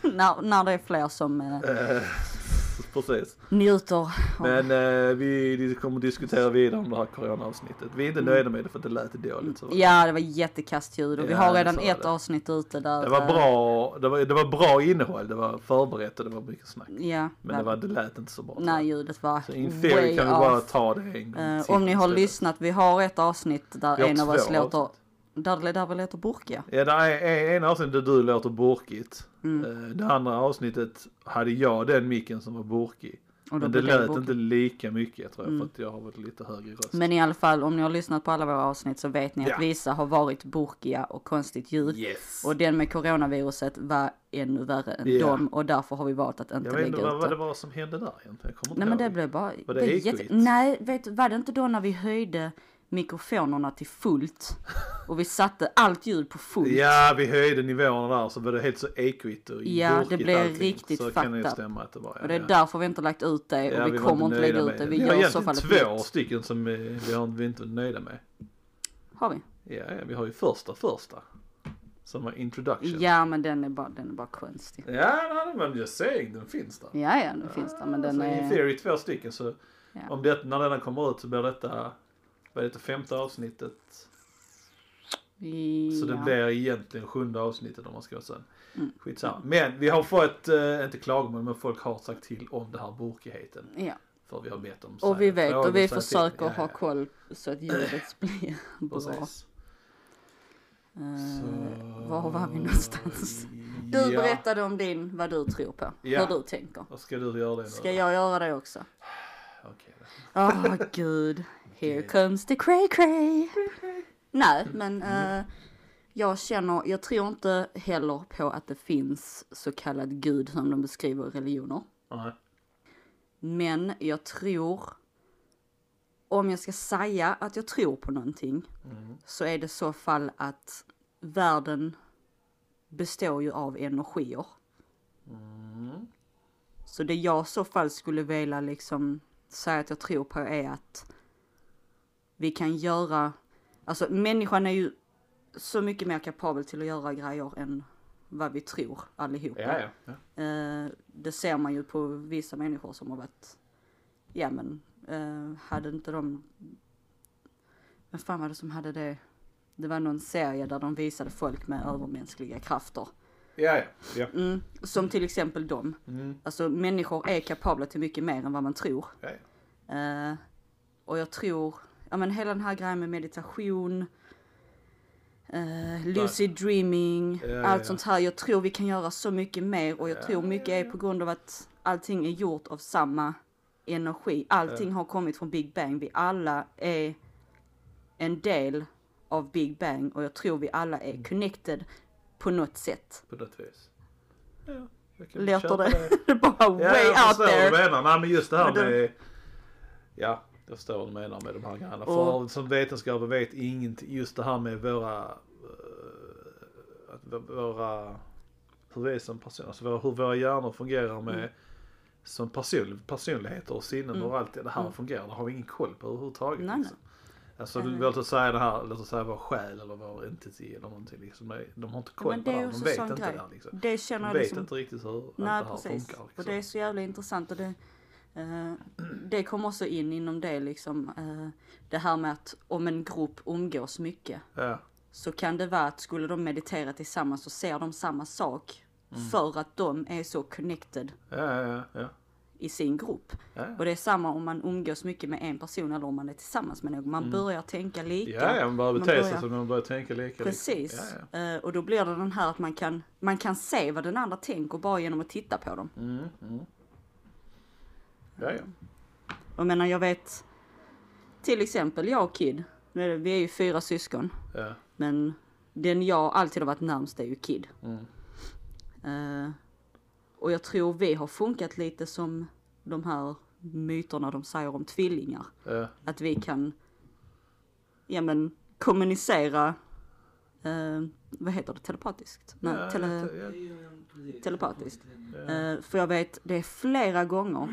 [SPEAKER 2] Fler, <laughs> när, när det är fler som eh,
[SPEAKER 1] Eh, <laughs> Precis.
[SPEAKER 2] njuter av...
[SPEAKER 1] Men eh, vi kommer diskutera vidare om det här coronaavsnittet. Vi är inte nöjda med det för att det lät dåligt. Så.
[SPEAKER 2] Mm. Ja det var jättekast ljud och vi
[SPEAKER 1] Ja,
[SPEAKER 2] har
[SPEAKER 1] det
[SPEAKER 2] redan
[SPEAKER 1] sa
[SPEAKER 2] ett
[SPEAKER 1] det.
[SPEAKER 2] avsnitt ute där...
[SPEAKER 1] Det var
[SPEAKER 2] eh,
[SPEAKER 1] bra, det var, det var bra innehåll, det var förberett och det var mycket snack.
[SPEAKER 2] eh, Ja.
[SPEAKER 1] Men det, var, det lät inte så bra.
[SPEAKER 2] Nej ljudet var
[SPEAKER 1] Så in
[SPEAKER 2] way
[SPEAKER 1] theory kan vi bara
[SPEAKER 2] off.
[SPEAKER 1] ta det en gång
[SPEAKER 2] Eh,
[SPEAKER 1] till
[SPEAKER 2] om ni har
[SPEAKER 1] istället.
[SPEAKER 2] lyssnat, vi har ett avsnitt där
[SPEAKER 1] Vi har
[SPEAKER 2] en av
[SPEAKER 1] två
[SPEAKER 2] oss låter,
[SPEAKER 1] avsnitt.
[SPEAKER 2] där, där vi låter burka.
[SPEAKER 1] Ja, det är en- en avsnitt där du låter burkigt.
[SPEAKER 2] Mm.
[SPEAKER 1] Eh, Det andra avsnittet hade jag den micken som var burkig.
[SPEAKER 2] Och då
[SPEAKER 1] Men det
[SPEAKER 2] blir det
[SPEAKER 1] lät
[SPEAKER 2] burkig.
[SPEAKER 1] inte lika mycket tror jag
[SPEAKER 2] Mm.
[SPEAKER 1] för att jag har varit lite högre i röst.
[SPEAKER 2] Men i alla fall, om ni har lyssnat på alla våra avsnitt så vet ni att
[SPEAKER 1] Ja.
[SPEAKER 2] vissa har varit burkiga och konstigt ljud.
[SPEAKER 1] yes!
[SPEAKER 2] Och den med coronaviruset var ännu värre än
[SPEAKER 1] Ja.
[SPEAKER 2] dem och därför har vi valt att inte
[SPEAKER 1] jag vet inte
[SPEAKER 2] lägga
[SPEAKER 1] vad,
[SPEAKER 2] ut
[SPEAKER 1] vad det
[SPEAKER 2] det.
[SPEAKER 1] var som hände där egentligen. Jag kommer inte
[SPEAKER 2] Nej men det
[SPEAKER 1] ihåg.
[SPEAKER 2] blev bara...
[SPEAKER 1] Var det
[SPEAKER 2] blev
[SPEAKER 1] ekoigt?
[SPEAKER 2] Nej, vet, var det inte då när vi höjde mikrofonerna
[SPEAKER 1] <laughs>
[SPEAKER 2] till fullt och vi satte allt ljud på fullt?
[SPEAKER 1] Ja, vi höjde nivåerna där så var det helt så ekoigt och
[SPEAKER 2] Ja, det
[SPEAKER 1] burkigt
[SPEAKER 2] blev
[SPEAKER 1] allting.
[SPEAKER 2] riktigt
[SPEAKER 1] Så kan det ju
[SPEAKER 2] fucked up.
[SPEAKER 1] stämma att det var. ja,
[SPEAKER 2] Och det är
[SPEAKER 1] ja.
[SPEAKER 2] därför vi inte lagt ut det och
[SPEAKER 1] Ja,
[SPEAKER 2] vi,
[SPEAKER 1] var
[SPEAKER 2] kommer inte lägga
[SPEAKER 1] nöjda
[SPEAKER 2] ut
[SPEAKER 1] med
[SPEAKER 2] det. Vi
[SPEAKER 1] Vi har
[SPEAKER 2] gör i så fall
[SPEAKER 1] egentligen
[SPEAKER 2] ett
[SPEAKER 1] två
[SPEAKER 2] nytt.
[SPEAKER 1] stycken som eh, vi, har, vi inte är nöjda med.
[SPEAKER 2] Har vi?
[SPEAKER 1] Ja, ja, vi har ju första första. Som var introduction.
[SPEAKER 2] Ja men den är bara, den är bara konstig.
[SPEAKER 1] Ja, nej, men just saying, den finns där.
[SPEAKER 2] Ja ja den finns där men den
[SPEAKER 1] alltså, In
[SPEAKER 2] är...
[SPEAKER 1] theory två stycken så
[SPEAKER 2] Ja.
[SPEAKER 1] om det, när denna kommer ut så blir detta, vad är det, femte avsnittet? Så det
[SPEAKER 2] Ja. Mm.
[SPEAKER 1] blir egentligen sjunde avsnittet om man ska vara sån. Skitsamma. Men vi har fått, eh, inte klagomål, men folk har sagt till om det här burkigheten.
[SPEAKER 2] Ja.
[SPEAKER 1] För vi har bett dem säga
[SPEAKER 2] Och vi vet
[SPEAKER 1] frågor,
[SPEAKER 2] och vi
[SPEAKER 1] säga till.
[SPEAKER 2] försöker
[SPEAKER 1] Ja,
[SPEAKER 2] ha
[SPEAKER 1] ja,
[SPEAKER 2] koll så
[SPEAKER 1] <clears throat>
[SPEAKER 2] att ljudet blir bra.
[SPEAKER 1] Precis.
[SPEAKER 2] Eh, var var vi någonstans? Du berättade om din, vad du tror på,
[SPEAKER 1] Ja.
[SPEAKER 2] hur du tänker.
[SPEAKER 1] Vad ska du göra det nu?
[SPEAKER 2] Ska jag göra det också?
[SPEAKER 1] <laughs> Okej.
[SPEAKER 2] Åh gud, here comes the cray cray. Nej, men
[SPEAKER 1] Mm.
[SPEAKER 2] eh, jag känner, jag tror inte heller på att det finns så kallad gud som de beskriver i religioner.
[SPEAKER 1] Nej.
[SPEAKER 2] Men jag tror, om jag ska säga att jag tror på någonting,
[SPEAKER 1] Mm.
[SPEAKER 2] så är det så fall att världen består ju av energier.
[SPEAKER 1] Mm.
[SPEAKER 2] Så det jag i så fall skulle vilja liksom säga att jag tror på är att vi kan göra, alltså människan är ju så mycket mer kapabel till att göra grejer än vad vi tror allihopa.
[SPEAKER 1] Ja, ja. ja.
[SPEAKER 2] Eh, det ser man ju på vissa människor som har varit, ja men, eh, hade inte de, vem fan var det som hade det? Det var någon serie där de visade folk med övermänskliga krafter.
[SPEAKER 1] Ja, ja. ja.
[SPEAKER 2] Mm, som till exempel dem.
[SPEAKER 1] Mm.
[SPEAKER 2] Alltså människor är kapabla till mycket mer än vad man tror.
[SPEAKER 1] ja, ja.
[SPEAKER 2] Eh, och jag tror, ja men hela den här grejen med meditation, eh, lucid dreaming,
[SPEAKER 1] Ja, ja,
[SPEAKER 2] allt
[SPEAKER 1] ja.
[SPEAKER 2] sånt här. Jag tror vi kan göra så mycket mer och jag tror mycket är på grund av att allting är gjort av samma energi. Allting har kommit från Big Bang. Vi alla är en del av Big Bang och jag tror vi alla
[SPEAKER 1] Mm.
[SPEAKER 2] är connected på något sätt.
[SPEAKER 1] På något vis. Ja, jag kan
[SPEAKER 2] Låter
[SPEAKER 1] köpa
[SPEAKER 2] det <laughs> bara
[SPEAKER 1] Ja,
[SPEAKER 2] way
[SPEAKER 1] jag
[SPEAKER 2] out
[SPEAKER 1] förstår vad
[SPEAKER 2] there?
[SPEAKER 1] du menar. Nej, men just det här
[SPEAKER 2] Men det-
[SPEAKER 1] med... Ja, jag förstår vad du menar med de här grejerna. För
[SPEAKER 2] Och-
[SPEAKER 1] som vetenskapen vet ingenting. Just det här med våra... eh, att v- våra... Hur vi är som personer. Alltså våra- hur våra hjärnor fungerar med...
[SPEAKER 2] Mm.
[SPEAKER 1] Som person, personligheter och sinnen och allt det det här fungerar. Det har vi ingen koll på överhuvudtaget.
[SPEAKER 2] Mm. Nej, nej.
[SPEAKER 1] liksom. Alltså låt oss säga det här, låt oss säga vår själ eller vår entity eller någonting liksom. De- De har inte koll
[SPEAKER 2] Men
[SPEAKER 1] på
[SPEAKER 2] det
[SPEAKER 1] det
[SPEAKER 2] är
[SPEAKER 1] här,
[SPEAKER 2] ju
[SPEAKER 1] de
[SPEAKER 2] också
[SPEAKER 1] vet
[SPEAKER 2] sån
[SPEAKER 1] inte
[SPEAKER 2] grej.
[SPEAKER 1] det här liksom.
[SPEAKER 2] Det känner
[SPEAKER 1] De
[SPEAKER 2] jag
[SPEAKER 1] vet
[SPEAKER 2] liksom
[SPEAKER 1] inte riktigt hur allt det
[SPEAKER 2] Nej
[SPEAKER 1] här
[SPEAKER 2] precis.
[SPEAKER 1] funkar. Liksom.
[SPEAKER 2] Och det är så jävla intressant och det, eh, det kommer också in inom det liksom. Eh, det här med att om en grupp umgås mycket
[SPEAKER 1] Ja.
[SPEAKER 2] så kan det vara att skulle de meditera tillsammans så ser de samma sak
[SPEAKER 1] Mm.
[SPEAKER 2] För att de är så connected
[SPEAKER 1] Ja, ja, ja.
[SPEAKER 2] i sin grupp.
[SPEAKER 1] Ja, ja.
[SPEAKER 2] Och det är samma om man umgås mycket med en person eller om man är tillsammans med någon. Man börjar tänka lika.
[SPEAKER 1] Mm. Ja, ja, man börjar bete sig
[SPEAKER 2] börjar-
[SPEAKER 1] som man börjar tänka lika.
[SPEAKER 2] Precis.
[SPEAKER 1] Ja, ja.
[SPEAKER 2] Eh, och då blir det den här att man kan, man kan se vad den andra tänker bara genom att titta på dem.
[SPEAKER 1] Mm, mm. Ja, ja.
[SPEAKER 2] Jag menar jag vet, till exempel jag och Kid, nu är det- vi är ju fyra syskon.
[SPEAKER 1] Ja.
[SPEAKER 2] Men den jag alltid har varit närmst är ju Kid.
[SPEAKER 1] Mm.
[SPEAKER 2] Eh, och jag tror vi har funkat lite som de här myterna de säger om tvillingar.
[SPEAKER 1] Ja.
[SPEAKER 2] Att vi kan, ja men kommunicera, eh, vad heter det, telepatiskt? Nej,
[SPEAKER 1] Ja,
[SPEAKER 2] tele-
[SPEAKER 1] ja, ja.
[SPEAKER 2] telepatiskt.
[SPEAKER 1] Ja. Mm.
[SPEAKER 2] Eh, för jag vet, det är flera gånger.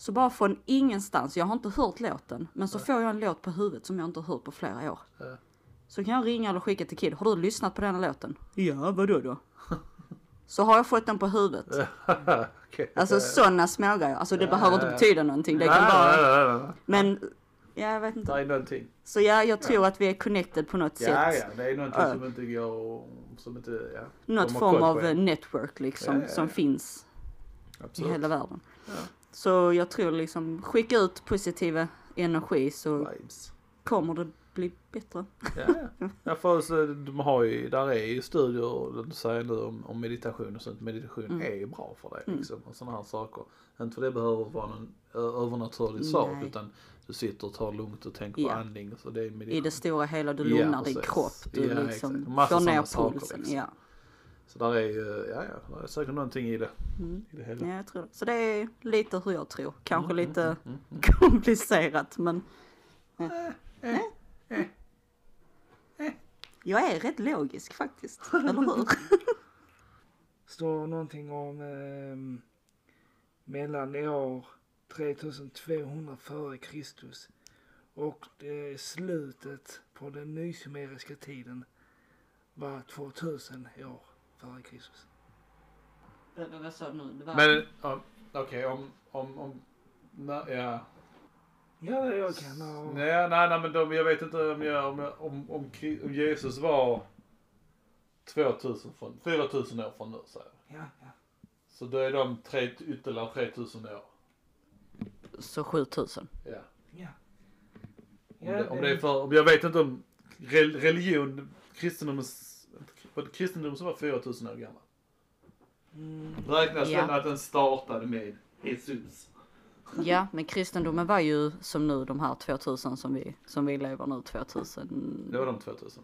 [SPEAKER 2] Så bara från ingenstans, jag har inte hört låten, men så får jag en låt på huvudet som jag inte har hört på flera år.
[SPEAKER 1] Ja.
[SPEAKER 2] Så kan jag ringa eller skicka till Kid, har du lyssnat på den här låten? Ja, vadå då? <laughs> Så har jag fått den på huvudet.
[SPEAKER 1] <laughs> Okej.
[SPEAKER 2] Alltså sådana smågrejer, alltså det behöver inte
[SPEAKER 1] ja.
[SPEAKER 2] betyda någonting. Det
[SPEAKER 1] Nej,
[SPEAKER 2] kan bara...
[SPEAKER 1] nej, nej, nej.
[SPEAKER 2] Men, ja jag vet inte.
[SPEAKER 1] Det är någonting.
[SPEAKER 2] Så ja, jag tror att vi är connected på något
[SPEAKER 1] Ja,
[SPEAKER 2] sätt.
[SPEAKER 1] ja, det är någonting
[SPEAKER 2] Ja.
[SPEAKER 1] som inte går, som inte, ja.
[SPEAKER 2] Något
[SPEAKER 1] De har
[SPEAKER 2] form
[SPEAKER 1] koll
[SPEAKER 2] av
[SPEAKER 1] på er.
[SPEAKER 2] eh, network liksom,
[SPEAKER 1] Ja, ja,
[SPEAKER 2] som
[SPEAKER 1] ja.
[SPEAKER 2] finns i
[SPEAKER 1] Absolut.
[SPEAKER 2] hela världen.
[SPEAKER 1] Ja.
[SPEAKER 2] Så jag tror liksom, skicka ut positiva energi så
[SPEAKER 1] Vibes.
[SPEAKER 2] kommer det bli bättre.
[SPEAKER 1] Ja, ja. ja för så, de har ju, där är ju studier, låt oss säga nu om, om meditation och sånt. Meditation
[SPEAKER 2] Mm.
[SPEAKER 1] är ju bra för det liksom. Och sådana här saker. Inte för det behöver vara någon ö, övernaturlig sak
[SPEAKER 2] Nej.
[SPEAKER 1] utan du sitter och tar lugnt och tänker
[SPEAKER 2] Ja.
[SPEAKER 1] på andning. Så det är
[SPEAKER 2] I
[SPEAKER 1] meditation.
[SPEAKER 2] det stora hela, du
[SPEAKER 1] Ja,
[SPEAKER 2] lugnar din
[SPEAKER 1] precis.
[SPEAKER 2] kropp, du
[SPEAKER 1] Ja,
[SPEAKER 2] liksom
[SPEAKER 1] exakt. Massa
[SPEAKER 2] får ner
[SPEAKER 1] sådana saker,
[SPEAKER 2] pulsen.
[SPEAKER 1] liksom.
[SPEAKER 2] Ja.
[SPEAKER 1] Så där är ju, ja ja, där är säkert någonting i det.
[SPEAKER 2] Mm.
[SPEAKER 1] I det hela.
[SPEAKER 2] ja, jag tror det. Så det är lite hur jag tror,
[SPEAKER 1] Mm,
[SPEAKER 2] kanske lite komplicerat men...
[SPEAKER 1] Eh,
[SPEAKER 2] Ja. Jag är rätt logisk
[SPEAKER 1] <laughs>
[SPEAKER 2] faktiskt, eller hur?
[SPEAKER 3] Står någonting om eh, mellan år 3200 före Kristus och eh, slutet på den nysumeriska tiden var 2000 år före Kristus.
[SPEAKER 2] Vad sa du nu? Det var-
[SPEAKER 1] Men ja, okej om, om, om, nej, ja.
[SPEAKER 3] Ja, det jag kan ha.
[SPEAKER 1] Nej, nej, nej men de, jag vet inte om, jag, om, jag, om, om, Kri- om Jesus var 2000 från, 4000 år från nu säger jag.
[SPEAKER 3] Ja, ja.
[SPEAKER 1] Så då är de tre, ytterligare 3000 år.
[SPEAKER 2] Så 7000.
[SPEAKER 1] Ja.
[SPEAKER 3] ja.
[SPEAKER 1] Om,
[SPEAKER 3] Ja,
[SPEAKER 1] det, om det är för, om jag vet inte om rel- religion, kristendomens, inte kri- var det kristendom som var 4000 år gammal?
[SPEAKER 3] Mm,
[SPEAKER 1] Räknas
[SPEAKER 2] Ja.
[SPEAKER 1] den att den startade med Jesus?
[SPEAKER 2] Ja, men kristendomen var ju som nu de här 2000 som vi, som vi lever nu, 2000...
[SPEAKER 1] Det var de 2000.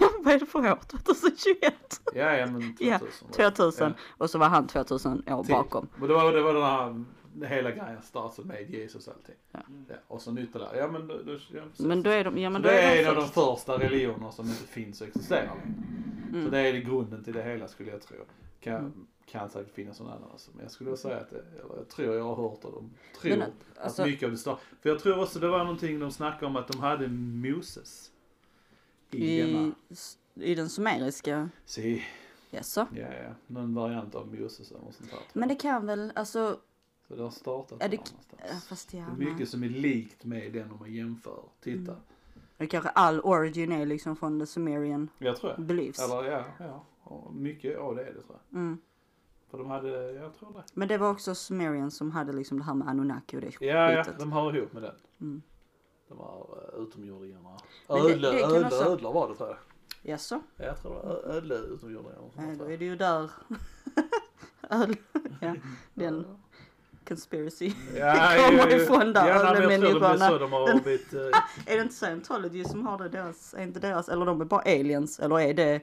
[SPEAKER 2] <laughs> Vad är det för år? 2021?
[SPEAKER 1] Ja, ja men 2000.
[SPEAKER 2] <laughs> Ja,
[SPEAKER 1] var det.
[SPEAKER 2] 2000 och så var han 2000 år
[SPEAKER 1] Till.
[SPEAKER 2] bakom.
[SPEAKER 1] Men det var, det var den här hela grejen startade med Jesus och allting.
[SPEAKER 2] Ja.
[SPEAKER 1] Ja, och sen ytterligare, ja men då, då, ja, precis.
[SPEAKER 2] Men då är de, ja men
[SPEAKER 1] Så
[SPEAKER 2] då
[SPEAKER 1] det
[SPEAKER 2] är
[SPEAKER 1] är
[SPEAKER 2] de
[SPEAKER 1] en av de
[SPEAKER 2] först.
[SPEAKER 1] första religioner som inte finns och existerar längre. Så
[SPEAKER 2] Mm.
[SPEAKER 1] det är grunden till det hela skulle jag tro. Kan, kan säkert finnas någon annan också. Men jag skulle säga att, det- eller jag tror jag har hört att de tror
[SPEAKER 2] Men, alltså-
[SPEAKER 1] att mycket av det star. För jag tror också det var någonting de snackade om att de hade Moses. I,
[SPEAKER 2] I,
[SPEAKER 1] denna.
[SPEAKER 2] I den sumeriska,
[SPEAKER 1] Si,
[SPEAKER 2] jaså?
[SPEAKER 1] ja ja. Någon variant av Moses eller något sånt där. tror jag.
[SPEAKER 2] Men det kan väl, alltså,
[SPEAKER 1] Så det har startat där
[SPEAKER 2] är det, äh,
[SPEAKER 1] någonstans.
[SPEAKER 2] fast ja,
[SPEAKER 1] Det är
[SPEAKER 2] nej.
[SPEAKER 1] mycket som är likt med den om man jämför. Titta.
[SPEAKER 2] Mm. Det kanske all origin är liksom från the sumerian
[SPEAKER 1] Jag tror jag.
[SPEAKER 2] beliefs.
[SPEAKER 1] Eller ja, ja. Ja, Mycket av det är det tror jag.
[SPEAKER 2] Mm.
[SPEAKER 1] För de hade, jag tror det.
[SPEAKER 2] Men det var också sumerian som hade liksom det här med Anunnaki och det
[SPEAKER 1] Ja, ja,
[SPEAKER 2] skitet.
[SPEAKER 1] de hör ihop med den.
[SPEAKER 2] Mm.
[SPEAKER 1] De här eh, utomjordingarna.
[SPEAKER 2] Men det-
[SPEAKER 1] Ödlor,
[SPEAKER 2] det kan
[SPEAKER 1] ödlor,
[SPEAKER 2] också-
[SPEAKER 1] ödlor var det tror jag.
[SPEAKER 2] Jaså?
[SPEAKER 1] Ja, Jag tror det var ö- ödlor, utomjordingar och
[SPEAKER 2] Nej,
[SPEAKER 1] sånt
[SPEAKER 2] Eh, då
[SPEAKER 1] där.
[SPEAKER 2] är det ju där. <laughs> Öl. ja, den conspiracy. <laughs>
[SPEAKER 1] Ja,
[SPEAKER 2] Det kommer
[SPEAKER 1] ju- ju.
[SPEAKER 2] ifrån där,
[SPEAKER 1] Ja, nej, men jag tror det blir
[SPEAKER 2] ödlemänniskorna.
[SPEAKER 1] så de har blivit. eh,
[SPEAKER 2] <laughs> Är det inte scientology som har det deras, är inte deras, eller de är bara aliens, eller är det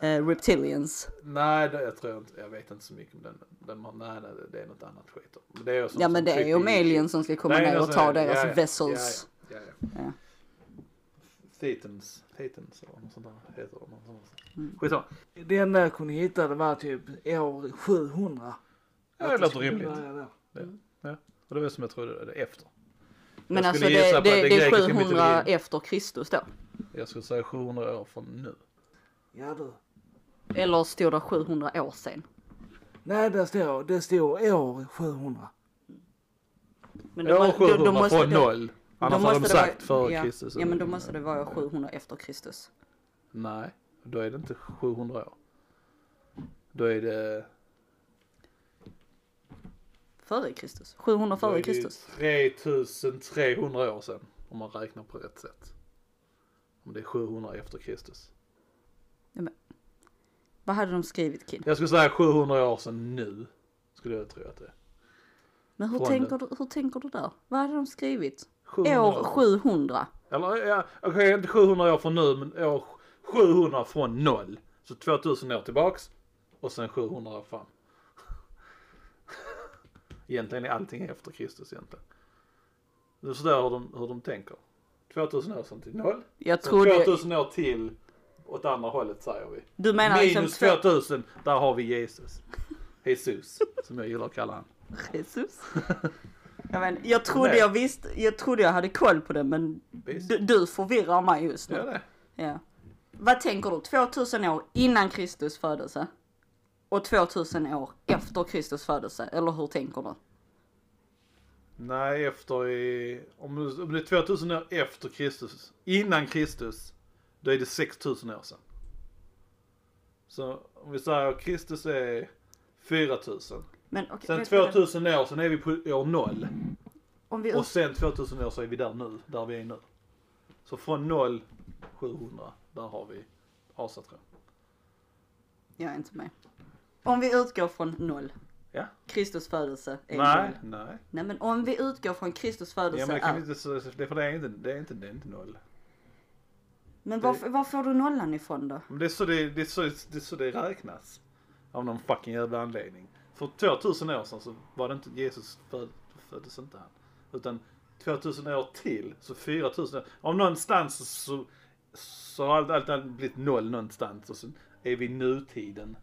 [SPEAKER 2] eh, reptilians?
[SPEAKER 1] Nej, det, jag tror inte, jag vet inte så mycket om den. men den har- nej, nej, det är något annat skit. Men det är ju sånt
[SPEAKER 2] Ja
[SPEAKER 1] som
[SPEAKER 2] men det är ju
[SPEAKER 1] typ
[SPEAKER 2] om
[SPEAKER 1] i-
[SPEAKER 2] aliens som ska komma
[SPEAKER 1] Nej,
[SPEAKER 2] ner och
[SPEAKER 1] alltså,
[SPEAKER 2] ta deras
[SPEAKER 1] ja, ja,
[SPEAKER 2] vessels.
[SPEAKER 1] Ja, ja,
[SPEAKER 2] Ja.
[SPEAKER 1] ja. Thetans, Thetans eller något sånt där heter det. något sånt där.
[SPEAKER 2] Mm.
[SPEAKER 1] Skitsamma.
[SPEAKER 3] Det enda jag kunde hitta det var typ år 700.
[SPEAKER 1] Ja, det
[SPEAKER 3] Att
[SPEAKER 1] låter
[SPEAKER 3] skulle
[SPEAKER 1] rimligt.
[SPEAKER 3] börja där.
[SPEAKER 1] Ja, och det var som jag trodde det är efter.
[SPEAKER 2] Men
[SPEAKER 1] Jag
[SPEAKER 2] alltså
[SPEAKER 1] skulle
[SPEAKER 2] det,
[SPEAKER 1] gissa
[SPEAKER 2] det,
[SPEAKER 1] på att det
[SPEAKER 2] det är
[SPEAKER 1] grekiska
[SPEAKER 2] 700
[SPEAKER 1] mytologin.
[SPEAKER 2] efter Kristus då.
[SPEAKER 1] Jag skulle säga 700 år från nu.
[SPEAKER 3] Ja du.
[SPEAKER 2] Eller stod det 700 år sen.
[SPEAKER 3] Nej, där står, det står år
[SPEAKER 1] <clears throat>
[SPEAKER 3] 700.
[SPEAKER 2] Men
[SPEAKER 1] År
[SPEAKER 2] må-
[SPEAKER 1] 700 från
[SPEAKER 2] det-
[SPEAKER 1] noll. Annars hade de
[SPEAKER 2] måste det
[SPEAKER 1] sagt
[SPEAKER 2] vara-
[SPEAKER 1] före
[SPEAKER 2] ja,
[SPEAKER 1] Kristus.
[SPEAKER 2] Ja men då måste det vara 700 efter Kristus.
[SPEAKER 1] Nej, då är det inte 700 år. Då är det...
[SPEAKER 2] Före Kristus. 700
[SPEAKER 1] då är
[SPEAKER 2] före
[SPEAKER 1] det
[SPEAKER 2] Kristus.
[SPEAKER 1] 3300 år sedan. Om man räknar på rätt sätt. Om det är 700 efter Kristus.
[SPEAKER 2] Vad hade de skrivit kid?
[SPEAKER 1] Jag skulle säga 700 år sedan nu. Skulle jag tro att det är.
[SPEAKER 2] Men hur
[SPEAKER 1] Från
[SPEAKER 2] tänker, du, hur tänker du där? Vad hade de skrivit?
[SPEAKER 1] 700
[SPEAKER 2] År 700.
[SPEAKER 1] Eller ja, okej inte 700 år från nu men år 700 från noll. Så 2000 år tillbaks och sen 700 år fram. <laughs> Egentligen är allting efter Kristus egentligen. Du förstår hur de, hur de tänker. 2000 år sedan till noll.
[SPEAKER 2] Jag
[SPEAKER 1] Sen
[SPEAKER 2] trodde...
[SPEAKER 1] 2000 år till åt andra hållet säger vi.
[SPEAKER 2] Du menar liksom
[SPEAKER 1] Minus
[SPEAKER 2] två...
[SPEAKER 1] 2000, där har vi Jesus. Jesus, som jag gillar att kalla han. <laughs>
[SPEAKER 2] Jesus. Jag, vet, inte, jag trodde
[SPEAKER 1] Nej.
[SPEAKER 2] jag visste, jag trodde jag hade koll på det men
[SPEAKER 1] Visst.
[SPEAKER 2] du, du förvirrar mig just
[SPEAKER 1] Gör
[SPEAKER 2] nu.
[SPEAKER 1] det?
[SPEAKER 2] Ja. Vad tänker du? 2000 år innan Kristus födelse? Och 2000 år efter Kristus födelse? Eller hur tänker du?
[SPEAKER 1] Nej, efter i... Om, du- om det är 2000 år efter Kristus, innan Kristus, då är det 6000 år sedan. Så om vi säger att Kristus är 4000.
[SPEAKER 2] Men okej,
[SPEAKER 1] Sen
[SPEAKER 2] vänta.
[SPEAKER 1] 2000 år, sen är vi på år 0.
[SPEAKER 2] Om vi
[SPEAKER 1] Och sen 2000 år så är vi där nu, där vi är nu. Så från 0, 700, där har vi asatron.
[SPEAKER 2] Jag är inte med. Om vi utgår från noll.
[SPEAKER 1] Ja.
[SPEAKER 2] Kristus födelse är
[SPEAKER 1] Nej,
[SPEAKER 2] noll.
[SPEAKER 1] nej.
[SPEAKER 2] Nej men om vi utgår från Kristus
[SPEAKER 1] Ja,
[SPEAKER 2] födelse
[SPEAKER 1] men det kan
[SPEAKER 2] är...
[SPEAKER 1] vi inte, så- det, för det är inte, det är inte, det är inte 0.
[SPEAKER 2] Men var, var får du nollan ifrån då?
[SPEAKER 1] Men det är, så det, det, är så, det är så det räknas. Av någon fucking jävla anledning. För 2000 år sedan så var det inte Jesus föd, föddes inte han. Utan 2000 år till, så 4000 år. Om någonstans så, så har allt, allt, allt blivit noll någonstans och sen är vi i nutiden.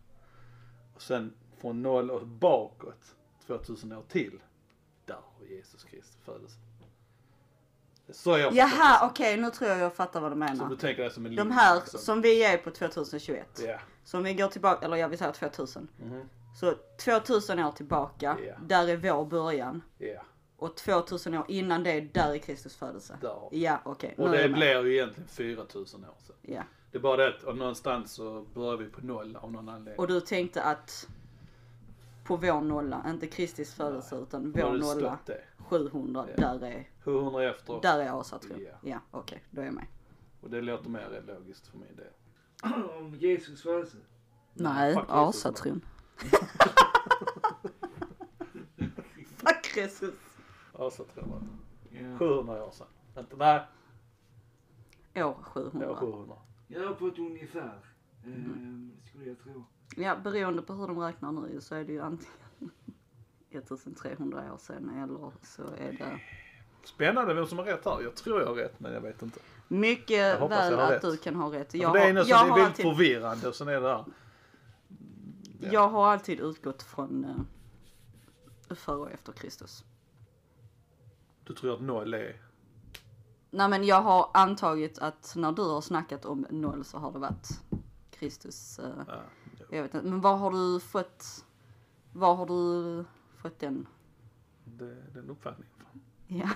[SPEAKER 1] Och sen från noll och bakåt 2000 år till. Där har Jesus Kristus födelse. Det är Så jag förstår
[SPEAKER 2] Jaha okej nu tror jag jag fattar vad du
[SPEAKER 1] det. Så du
[SPEAKER 2] menar.
[SPEAKER 1] tänker det som en
[SPEAKER 2] De
[SPEAKER 1] linje,
[SPEAKER 2] här
[SPEAKER 1] liksom.
[SPEAKER 2] som vi är på 2021.
[SPEAKER 1] Ja.
[SPEAKER 2] Så om vi går tillbaka, eller jag vill säga 2000.
[SPEAKER 1] Mhm.
[SPEAKER 2] Så 2000 år tillbaka,
[SPEAKER 1] Ja.
[SPEAKER 2] där är vår början.
[SPEAKER 1] Ja.
[SPEAKER 2] Och 2000 år innan det, där är Kristus födelse.
[SPEAKER 1] Där har vi.
[SPEAKER 2] Ja okej.
[SPEAKER 1] Och
[SPEAKER 2] nu är
[SPEAKER 1] det
[SPEAKER 2] jag med.
[SPEAKER 1] blir ju egentligen 4000 år sedan.
[SPEAKER 2] Ja.
[SPEAKER 1] Det är bara det att och någonstans så börjar vi på noll av någon anledning.
[SPEAKER 2] Och du tänkte att på vår nolla, inte Kristis födelse utan
[SPEAKER 1] Då har
[SPEAKER 2] vår
[SPEAKER 1] det
[SPEAKER 2] nolla,
[SPEAKER 1] stått det.
[SPEAKER 2] 700,
[SPEAKER 1] Ja.
[SPEAKER 2] där är,
[SPEAKER 1] 700 efter.
[SPEAKER 2] där är asatron.
[SPEAKER 1] Ja.
[SPEAKER 2] Ja, okej, då är jag med.
[SPEAKER 1] Och det låter mer logiskt för min del.
[SPEAKER 3] Om Jesus födelse.
[SPEAKER 2] Nej,
[SPEAKER 1] fuck Jesus. <laughs>
[SPEAKER 2] asatron. Fuck Jesus.
[SPEAKER 1] Asatrummar. 700 år sedan. Vänta, nej.
[SPEAKER 2] År
[SPEAKER 1] Det var
[SPEAKER 2] 700.
[SPEAKER 1] 700.
[SPEAKER 3] Ja, på ett ungefär. Eh, skulle jag tro.
[SPEAKER 2] Ja, beroende på hur de räknar nu så är det ju antingen 1300 år sedan eller så är det
[SPEAKER 1] Spännande vem som har rätt här. Jag tror jag har rätt men jag vet inte. Jag
[SPEAKER 2] mycket
[SPEAKER 1] hoppas jag
[SPEAKER 2] väl
[SPEAKER 1] har
[SPEAKER 2] att
[SPEAKER 1] rätt.
[SPEAKER 2] du kan ha rätt.
[SPEAKER 1] Jag
[SPEAKER 2] Jag
[SPEAKER 1] det är
[SPEAKER 2] har,
[SPEAKER 1] något
[SPEAKER 2] jag
[SPEAKER 1] som är
[SPEAKER 2] har
[SPEAKER 1] väldigt
[SPEAKER 2] alltid
[SPEAKER 1] förvirrande och sen är det där. Ja.
[SPEAKER 2] Jag har alltid utgått från eh, före och efter Kristus.
[SPEAKER 1] Du tror att noll är...
[SPEAKER 2] Nej men jag har antagit att när du har snackat om noll så har det varit Kristus. eh,
[SPEAKER 1] Ja.
[SPEAKER 2] jag vet inte, men var har du fått, var har du fått den?
[SPEAKER 1] Det, det är en uppfattning.
[SPEAKER 2] Ja,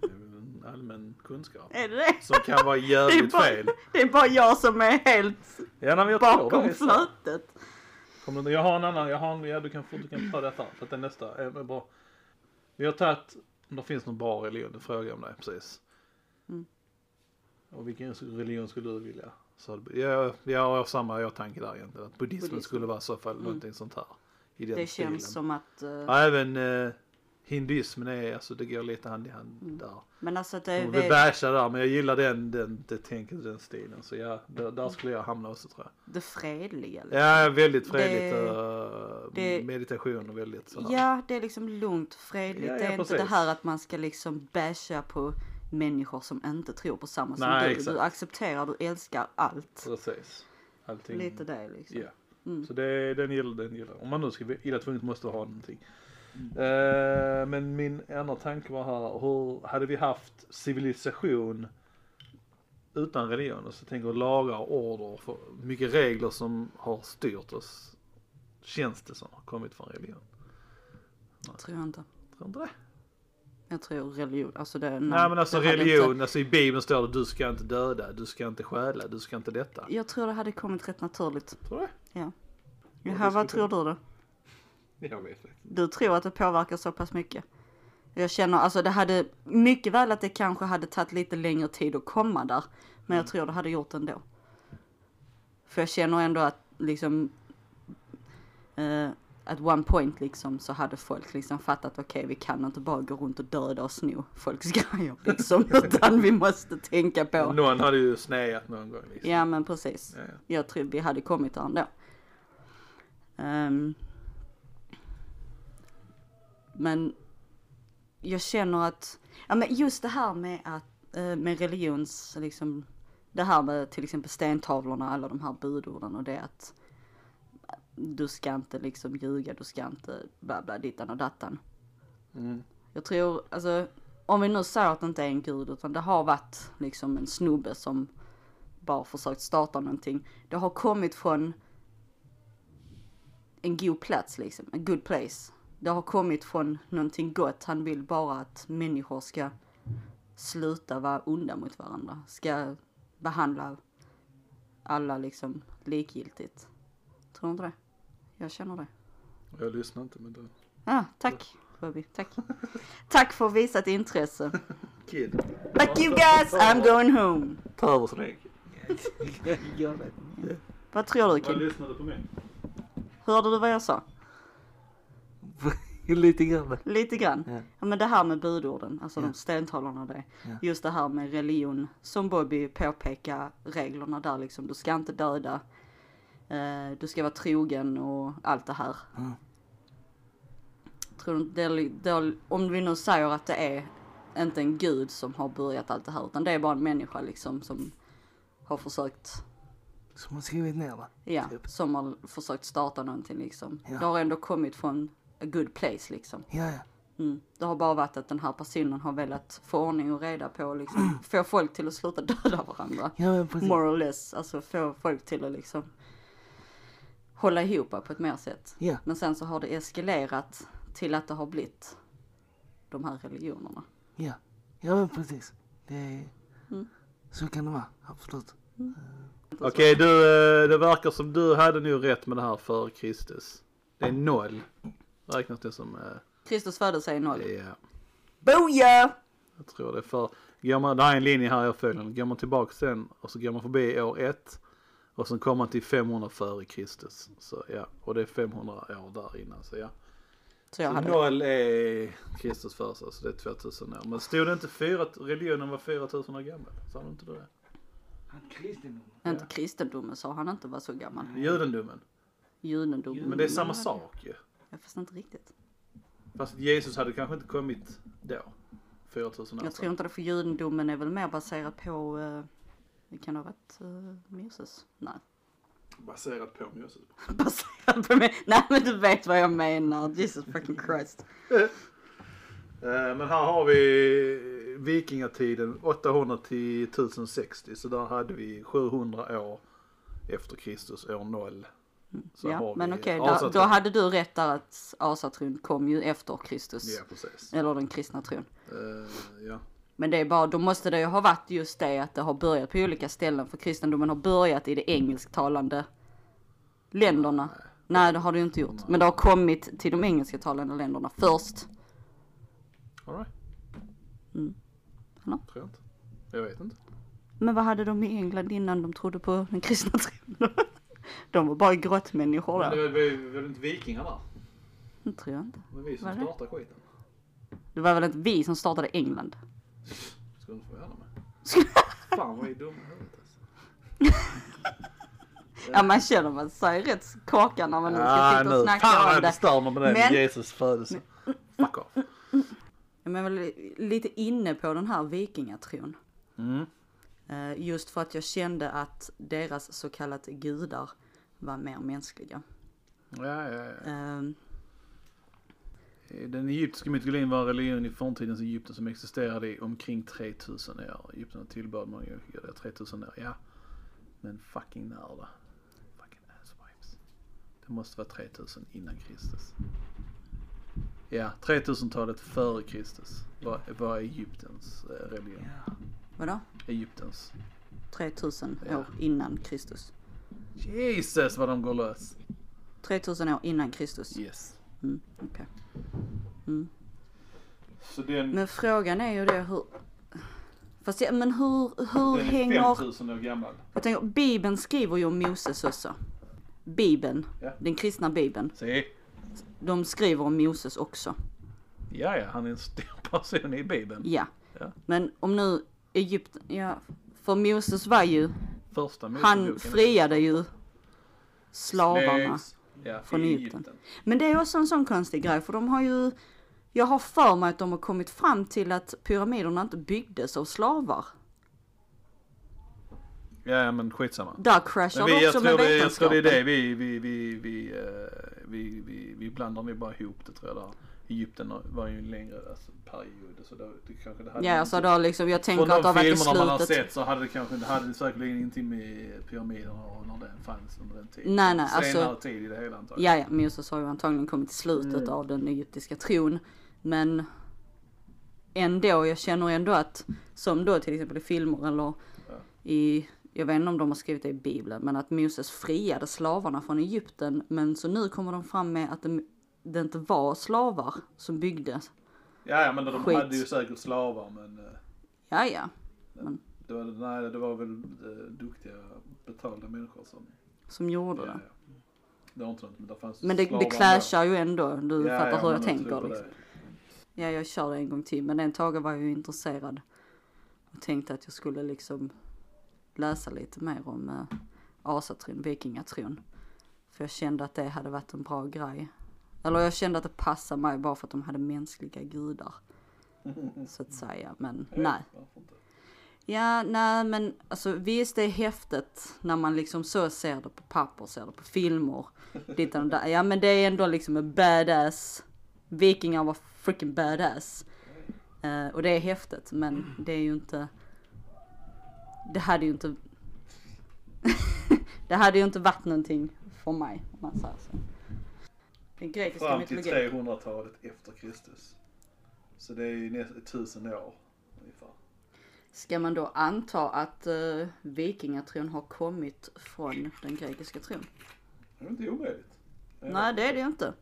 [SPEAKER 1] Det är väl en allmän kunskap.
[SPEAKER 2] är det det?
[SPEAKER 1] Som kan vara jävligt
[SPEAKER 2] bara-
[SPEAKER 1] fel.
[SPEAKER 2] Det är bara jag som är helt
[SPEAKER 1] Ja, nej, men jag tror det
[SPEAKER 2] bakom
[SPEAKER 1] är så.
[SPEAKER 2] flötet.
[SPEAKER 1] Kommer du, jag har en annan, jag har en, ja, du kan, få- du kan ta detta. För att det är nästa är bra. Vi har tagit, om det finns någon bra religion, det frågade jag om dig precis.
[SPEAKER 2] Mm.
[SPEAKER 1] Och vilken religion skulle du vilja? Så, jag, jag har samma jag tanke där egentligen. Att buddhismen
[SPEAKER 2] Buddhism.
[SPEAKER 1] skulle vara i så fall någonting sånt här. I den
[SPEAKER 2] Mm. Det
[SPEAKER 1] stilen.
[SPEAKER 2] känns som att, eh,
[SPEAKER 1] Ja, även eh, hinduismen är, alltså det går lite hand i hand där.
[SPEAKER 2] men alltså det
[SPEAKER 1] Jag
[SPEAKER 2] är
[SPEAKER 1] vill
[SPEAKER 2] väl,
[SPEAKER 1] basha där men jag gillar den, den, det tänket och den stilen. Så ja, där, där skulle jag hamna också tror jag.
[SPEAKER 2] det fredliga. liksom.
[SPEAKER 1] Ja, väldigt fredligt.
[SPEAKER 2] Det-
[SPEAKER 1] eh,
[SPEAKER 2] det-
[SPEAKER 1] meditation och väldigt så här.
[SPEAKER 2] Ja, det är liksom lugnt, fredligt.
[SPEAKER 1] Ja, ja,
[SPEAKER 2] det är inte
[SPEAKER 1] precis.
[SPEAKER 2] det här att man ska liksom basha på människor som inte tror på samma som
[SPEAKER 1] Nej,
[SPEAKER 2] du.
[SPEAKER 1] exakt.
[SPEAKER 2] Du accepterar, du älskar allt.
[SPEAKER 1] Precis. Allting.
[SPEAKER 2] Lite det liksom.
[SPEAKER 1] Ja.
[SPEAKER 2] Mm.
[SPEAKER 1] Så det, den gillar den gillar. Om man nu ska illa tvunget måste ha någonting. Eh, men min andra tanke var här, hur hade vi haft civilisation utan religion? Och så tänker jag lagar och order, för mycket regler som har styrt oss. Känns det som har kommit från religion?
[SPEAKER 2] Tror jag inte.
[SPEAKER 1] Tror inte det?
[SPEAKER 2] Jag tror religion, alltså det...
[SPEAKER 1] Nej men alltså
[SPEAKER 2] det hade
[SPEAKER 1] religion,
[SPEAKER 2] Inte,
[SPEAKER 1] alltså i bibeln står det du ska inte döda, du ska inte stjäla, du ska inte detta.
[SPEAKER 2] jag tror det hade kommit rätt naturligt.
[SPEAKER 1] Tror du det?
[SPEAKER 2] Ja. Jaha, vad tror du då?
[SPEAKER 1] Jag vet inte.
[SPEAKER 2] Du tror att det påverkar så pass mycket? Jag känner, alltså det hade mycket väl att det kanske hade tagit lite längre tid att komma där. Men jag tror det hade gjort ändå. För jag känner ändå att liksom, eh, at one point liksom så hade folk liksom fattat okej vi kan inte bara gå runt och döda och sno folks <laughs> grejer liksom. utan vi måste tänka på.
[SPEAKER 1] Någon hade ju snäat någon gång. Liksom.
[SPEAKER 2] Ja men precis.
[SPEAKER 1] Ja, ja.
[SPEAKER 2] Jag tror vi hade kommit där ändå. Ehm. men jag känner att, ja men just det här med att, eh, med religions, liksom, det här med till exempel stentavlorna, alla de här budorden och det att du ska inte liksom ljuga, du ska inte bla bla dittan och dattan.
[SPEAKER 1] Mm.
[SPEAKER 2] Jag tror, alltså, om vi nu säger att det inte är en gud utan det har varit liksom en snubbe som bara försökt starta någonting. Det har kommit från en god plats liksom, en good place. Det har kommit från någonting gott. Han vill bara att människor ska sluta vara onda mot varandra. Ska behandla alla liksom likgiltigt. Tror du inte det? Jag känner det.
[SPEAKER 1] Jag lyssnar inte men du.
[SPEAKER 2] Ja, tack Bobby. Tack. Tack för visat intresse.
[SPEAKER 1] Kid.
[SPEAKER 2] Fuck you guys, I'm going home.
[SPEAKER 1] Ta över så länge.
[SPEAKER 3] Jag vet inte.
[SPEAKER 2] Vad tror du
[SPEAKER 1] Jag
[SPEAKER 2] Kim?
[SPEAKER 1] lyssnade på mig.
[SPEAKER 2] Hörde du vad jag sa?
[SPEAKER 3] Lite grann.
[SPEAKER 2] Lite grann.
[SPEAKER 3] Ja.
[SPEAKER 2] Ja, men det här med budorden, alltså
[SPEAKER 3] Ja.
[SPEAKER 2] de stentalarna och det.
[SPEAKER 3] Ja.
[SPEAKER 2] Just det här med religion, som Bobby påpekar, reglerna där liksom. Du ska inte döda, eh, du ska vara trogen och allt det här.
[SPEAKER 3] Ja.
[SPEAKER 2] Tror du inte det, är li- det, är- om vi nu säger att det är inte en gud som har börjat allt det här, utan det är bara en människa liksom som har försökt
[SPEAKER 3] Som har skrivit ner det.
[SPEAKER 2] Ja,
[SPEAKER 3] Typ.
[SPEAKER 2] som har försökt starta någonting liksom.
[SPEAKER 3] Ja.
[SPEAKER 2] Det har ändå kommit från a good place liksom.
[SPEAKER 3] Ja, ja.
[SPEAKER 2] Mm. Det har bara varit att den här personen har velat få ordning och reda på
[SPEAKER 1] <clears throat>
[SPEAKER 2] och liksom, få folk till att sluta <laughs> döda varandra.
[SPEAKER 3] Ja, men precis.
[SPEAKER 2] More or less, alltså få folk till att liksom hålla ihop på ett mer sätt.
[SPEAKER 3] Ja.
[SPEAKER 2] Men sen så har det eskalerat till att det har blivit de här religionerna.
[SPEAKER 3] Ja, ja men precis. Det är...
[SPEAKER 2] Mm.
[SPEAKER 3] Så kan det vara, absolut.
[SPEAKER 1] Okej, du, eh, det verkar som du hade nog rätt med det här för Kristus. Det är noll. Räknas det som, eh,
[SPEAKER 2] Kristus födelse är noll.
[SPEAKER 1] ja,
[SPEAKER 2] Boja!
[SPEAKER 1] jag tror det. För går man, det här är en linje här jag följer. Går man tillbaka sen och så går man förbi år ett och sen kommer man till 500 före Kristus. Så ja, och det är 500 år där innan. Så ja.
[SPEAKER 2] Så jag
[SPEAKER 1] Så
[SPEAKER 2] hade
[SPEAKER 1] noll är Kristus födelse, så det är 2000 år. Men stod det inte fyra, religionen var 4000 år gammal? Sa du inte det?
[SPEAKER 3] Han kristendomen.
[SPEAKER 2] inte kristendomen sa han inte var så gammal.
[SPEAKER 1] Judendomen.
[SPEAKER 2] Mm. Judendomen.
[SPEAKER 1] Men det är samma sak ju.
[SPEAKER 2] Jag förstår inte riktigt.
[SPEAKER 1] Fast Jesus hade kanske inte kommit då. 4000 år
[SPEAKER 2] Jag tror inte det för judendomen är väl mer baserad på, eh, det kan ha varit eh, Moses? Nej.
[SPEAKER 1] Baserat på Moses.
[SPEAKER 2] Baserad på mig? <laughs> Nej men du vet vad jag menar, Jesus fucking Christ.
[SPEAKER 1] Eh, Men här har vi vikingatiden 800 till 1060. Så där hade vi 700 år efter Kristus, år 0. Så
[SPEAKER 2] ja,
[SPEAKER 1] har
[SPEAKER 2] men
[SPEAKER 1] vi
[SPEAKER 2] okej, då,
[SPEAKER 1] asatron.
[SPEAKER 2] då hade du rätt där att asatron kom ju efter Kristus.
[SPEAKER 1] Ja, precis.
[SPEAKER 2] Eller den kristna tron.
[SPEAKER 1] Eh, ja.
[SPEAKER 2] Men det är bara, då måste det ju ha varit just det att det har börjat på olika ställen. För kristendomen har börjat i de engelsktalande länderna. Nej, det har det ju inte gjort. Men det har kommit till de engelsktalande länderna först.
[SPEAKER 1] All right.
[SPEAKER 2] Mm. Eller?
[SPEAKER 1] Tror jag inte. Jag vet inte.
[SPEAKER 2] Men vad hade de i England innan de trodde på den kristna tron? <laughs> De var bara grottmänniskor
[SPEAKER 1] Men det
[SPEAKER 2] där.
[SPEAKER 1] var var- var det inte vikingar där?
[SPEAKER 2] Det tror jag inte.
[SPEAKER 1] Det var vi som
[SPEAKER 2] Var det?
[SPEAKER 1] startade skiten.
[SPEAKER 2] Det var väl inte vi som startade England?
[SPEAKER 1] Ska du inte förvåna mig.
[SPEAKER 2] <laughs>
[SPEAKER 1] Fan vad är dumma i huvudet alltså.
[SPEAKER 2] Ja, man känner man sig rätt skakad när man nu
[SPEAKER 1] Ah,
[SPEAKER 2] ska sitta och snacka om det.
[SPEAKER 1] förstör man med
[SPEAKER 2] det, Men-
[SPEAKER 1] Jesus födelse. Fuck off.
[SPEAKER 2] Ja, men väl lite inne på den här vikingatron.
[SPEAKER 1] Mm.
[SPEAKER 2] Eh, Just för att jag kände att deras så kallat gudar var mer mänskliga.
[SPEAKER 1] Ja, ja, ja.
[SPEAKER 2] Eh,
[SPEAKER 1] Eh, Den egyptiska mytologin var en religion i forntidens Egypten som existerade i omkring 3000 år. Egypten tillbad man ju göra det 3000 år, ja. Men fucking när då? Fucking asswipes. Det måste vara 3000 innan Kristus. Ja, 3000-talet före Kristus var, var Egyptens eh, religion.
[SPEAKER 3] Ja.
[SPEAKER 2] Vadå?
[SPEAKER 1] Egyptens.
[SPEAKER 2] 3000
[SPEAKER 1] Ja.
[SPEAKER 2] år innan Kristus.
[SPEAKER 1] Jesus vad de går lös.
[SPEAKER 2] 3000 år innan Kristus?
[SPEAKER 1] Yes.
[SPEAKER 2] Mm, okej. mm.
[SPEAKER 1] Så den,
[SPEAKER 2] Men frågan är ju det hur... Fast ja, men hur, hur
[SPEAKER 1] den
[SPEAKER 2] hänger...
[SPEAKER 1] är 5000 år gammal.
[SPEAKER 2] Jag tänker, Bibeln skriver ju om Moses också. Bibeln,
[SPEAKER 1] Ja.
[SPEAKER 2] den kristna bibeln,
[SPEAKER 1] Se,
[SPEAKER 2] de skriver om Moses också.
[SPEAKER 1] ja ja, han är en stor person i Bibeln.
[SPEAKER 2] Ja.
[SPEAKER 1] Ja.
[SPEAKER 2] Men om nu Egypten, ja. För Moses var ju,
[SPEAKER 1] Första
[SPEAKER 2] han friade ju slavarna.
[SPEAKER 1] Slaves, ja,
[SPEAKER 2] från
[SPEAKER 1] i
[SPEAKER 2] Egypten. Men det är också en sån konstig grej, för de har ju, jag har för mig att de har kommit fram till att pyramiderna inte byggdes av slavar.
[SPEAKER 1] Ja, ja, men skitsamma.
[SPEAKER 2] Där kraschar
[SPEAKER 1] Men vi,
[SPEAKER 2] det
[SPEAKER 1] jag,
[SPEAKER 2] också
[SPEAKER 1] tror
[SPEAKER 2] med
[SPEAKER 1] det, jag tror det är
[SPEAKER 2] vetenskapen.
[SPEAKER 1] det vi, vi, vi, vi, eh, vi, vi, vi blandar nog bara ihop det tror jag där. Egypten var ju en längre alltså, period så då, det kanske det hade
[SPEAKER 2] Ja, alltså då liksom, jag tänker att det
[SPEAKER 1] Från de
[SPEAKER 2] har varit i
[SPEAKER 1] filmerna man har
[SPEAKER 2] slutet.
[SPEAKER 1] sett så hade det kanske inte, hade det säkerligen ingenting med pyramiderna och när den fanns under den tiden.
[SPEAKER 2] Nej, nej,
[SPEAKER 1] Senare
[SPEAKER 2] alltså-
[SPEAKER 1] tid i det hela antagligen.
[SPEAKER 2] Ja, ja, Moses har ju antagligen kommit till slutet
[SPEAKER 1] Mm.
[SPEAKER 2] av den egyptiska tron. Men ändå, jag känner ändå att, som då till exempel i filmer eller i, jag vet inte om de har skrivit det i Bibeln, men att Moses friade slavarna från Egypten. Men så nu kommer de fram med att det, det inte var slavar som byggde.
[SPEAKER 1] Ja, ja men de
[SPEAKER 2] Skit.
[SPEAKER 1] hade ju säkert slavar men eh,
[SPEAKER 2] Ja, ja,
[SPEAKER 1] det var, nej, det var väl eh, duktiga betalda människor som...
[SPEAKER 2] som gjorde
[SPEAKER 1] Ja,
[SPEAKER 2] det.
[SPEAKER 1] ja. Det har inte något, men det fanns
[SPEAKER 2] Men det, det
[SPEAKER 1] slavar
[SPEAKER 2] clashar ju ändå, du
[SPEAKER 1] ändå. Ja,
[SPEAKER 2] fattar
[SPEAKER 1] ja,
[SPEAKER 2] hur
[SPEAKER 1] men
[SPEAKER 2] jag
[SPEAKER 1] tror
[SPEAKER 2] tänker.
[SPEAKER 1] på det.
[SPEAKER 2] Liksom. Ja, jag kör det en gång till, men den taget var jag ju intresserad och tänkte att jag skulle liksom läsa lite mer om eh, asatron, vikingatron. För jag kände att det hade varit en bra grej. Eller jag kände att det passade mig bara för att de hade mänskliga gudar. Så att säga, men nej.
[SPEAKER 1] Varför inte?
[SPEAKER 2] Ja, nej men alltså visst det är häftigt när man liksom så ser det på papper, ser det på filmer. Lite och där. Ja men det är ändå liksom en badass. Vikingar var freaking badass. Eh, och det är häftigt men det är ju inte. Det hade ju inte. <laughs> det hade ju inte varit någonting för mig om man säger så. Den grekiska
[SPEAKER 1] Fram till
[SPEAKER 2] mytologin.
[SPEAKER 1] 300-talet efter Kristus. Så det är ju nästan 1000 år ungefär.
[SPEAKER 2] Ska man då anta att eh, vikingatron har kommit från den grekiska tron?
[SPEAKER 1] Det är inte omöjligt. Ja.
[SPEAKER 2] Nej det är det ju inte.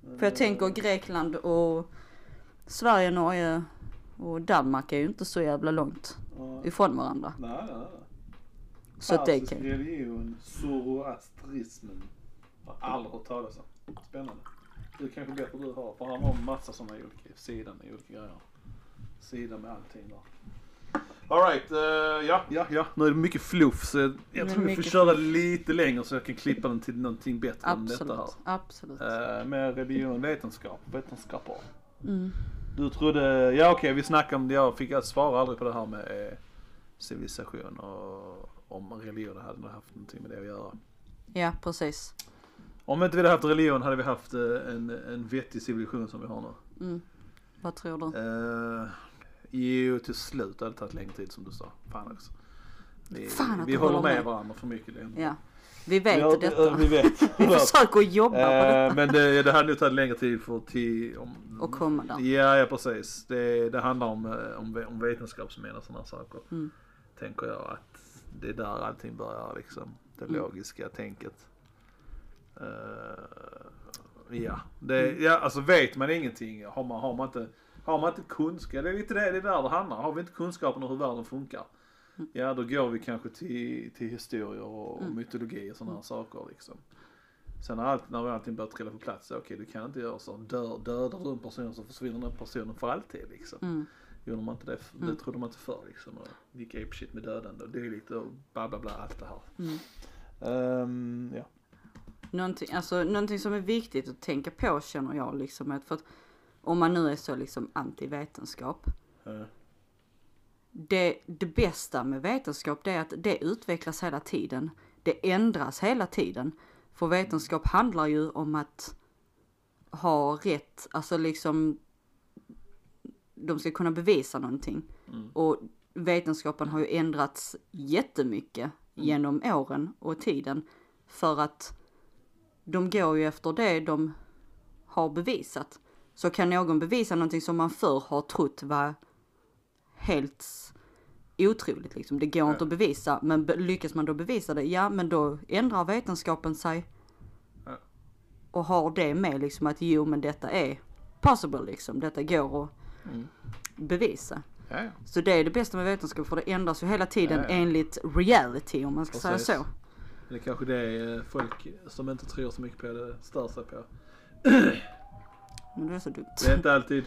[SPEAKER 2] För
[SPEAKER 1] Mm.
[SPEAKER 2] jag tänker Grekland och Sverige, Norge och Danmark är ju inte så jävla långt
[SPEAKER 1] Ja.
[SPEAKER 2] ifrån varandra.
[SPEAKER 1] Nej, nej, nej.
[SPEAKER 2] Så att det
[SPEAKER 1] Persisk
[SPEAKER 2] kan...
[SPEAKER 1] religion, zoroastrismen. Har aldrig hört talas om. Spännande. Du kanske bättre du har, för han har en massa sådana olika sidor med olika grejer. Sidor med allting där. Alright, uh, ja, ja, ja. Nu är det mycket fluff så jag, jag
[SPEAKER 2] Nu är
[SPEAKER 1] tror
[SPEAKER 2] det
[SPEAKER 1] vi får
[SPEAKER 2] mycket
[SPEAKER 1] köra lite längre så jag kan klippa den till någonting bättre än detta här.
[SPEAKER 2] Absolut, absolut.
[SPEAKER 1] Eh, med religion, vetenskap, vetenskaper.
[SPEAKER 2] Mm.
[SPEAKER 1] Du trodde, ja okej vi snackade om det, jag fick jag svarar aldrig på det här med eh, civilisation och om religion hade nog haft någonting med det att göra.
[SPEAKER 2] Ja precis.
[SPEAKER 1] Om inte vi hade haft religion hade vi haft eh, en, en vettig civilisation som vi har nu.
[SPEAKER 2] Mm. Vad tror du?
[SPEAKER 1] Eh, jo till slut hade det tagit längre tid som du sa. Fan också. Vi,
[SPEAKER 2] Fan att
[SPEAKER 1] vi
[SPEAKER 2] du
[SPEAKER 1] håller
[SPEAKER 2] håller
[SPEAKER 1] med,
[SPEAKER 2] med.
[SPEAKER 1] varandra för mycket längre.
[SPEAKER 2] Ja. Vi
[SPEAKER 1] Vi har-
[SPEAKER 2] vet detta.
[SPEAKER 1] Vi vet.
[SPEAKER 2] <laughs> Vi försöker jobba på det
[SPEAKER 1] Eh, men det, det hade nog tagit längre tid för till, om,
[SPEAKER 2] och komma där.
[SPEAKER 1] Eh. Ja, ja precis. Det, det handlar om, eh, om, ve- om vetenskapsmän och sådana saker.
[SPEAKER 2] Mm.
[SPEAKER 1] Tänker jag att det är där allting börjar liksom. Det
[SPEAKER 2] Mm.
[SPEAKER 1] logiska tänket. Eh, ja. Det,
[SPEAKER 2] Mm.
[SPEAKER 1] ja, alltså vet man ingenting, har man, har man inte har man inte kunskap, det är lite det, det är där det handlar. Har vi inte kunskapen om hur världen funkar,
[SPEAKER 2] Mm.
[SPEAKER 1] ja då går vi kanske till, till historier och och mytologi och sådana här saker liksom. Sen när, allt, när allting börjar trilla på plats, okej du kan inte göra så. Dör, dödar du en person så försvinner den personen för alltid liksom.
[SPEAKER 2] Mm.
[SPEAKER 1] Gjorde man inte det, f- det trodde man inte förr liksom. Och gick ape shit med dödande och dylikt och bla bla bla allt det här.
[SPEAKER 2] Mm.
[SPEAKER 1] Ehm, ja.
[SPEAKER 2] Någonting, alltså, någonting som är viktigt att tänka på känner jag liksom att för att om man nu är så liksom antivetenskap.
[SPEAKER 1] Eh,
[SPEAKER 2] det, det bästa med vetenskap det är att det utvecklas hela tiden. Det ändras hela tiden. För vetenskap handlar ju om att ha rätt, alltså liksom de ska kunna bevisa någonting. Och vetenskapen har ju ändrats jättemycket genom åren och tiden. För att de går ju efter det de har bevisat. Så kan någon bevisa någonting som man förr har trott var helt otroligt liksom. Det går inte att bevisa, men be- lyckas man då bevisa det, ja men då ändrar vetenskapen sig
[SPEAKER 1] Ja.
[SPEAKER 2] och har det med liksom att jo men detta är possible liksom. Detta går att
[SPEAKER 1] Mm.
[SPEAKER 2] bevisa.
[SPEAKER 1] Ja, ja.
[SPEAKER 2] Så det är det bästa med vetenskap för det ändras ju hela tiden
[SPEAKER 1] Ja, ja.
[SPEAKER 2] enligt reality om man ska
[SPEAKER 1] Precis.
[SPEAKER 2] säga så.
[SPEAKER 1] Det är kanske det är eh, folk som inte tror så mycket på det stör sig på.
[SPEAKER 2] Men det är så dumt.
[SPEAKER 1] Det är inte alltid...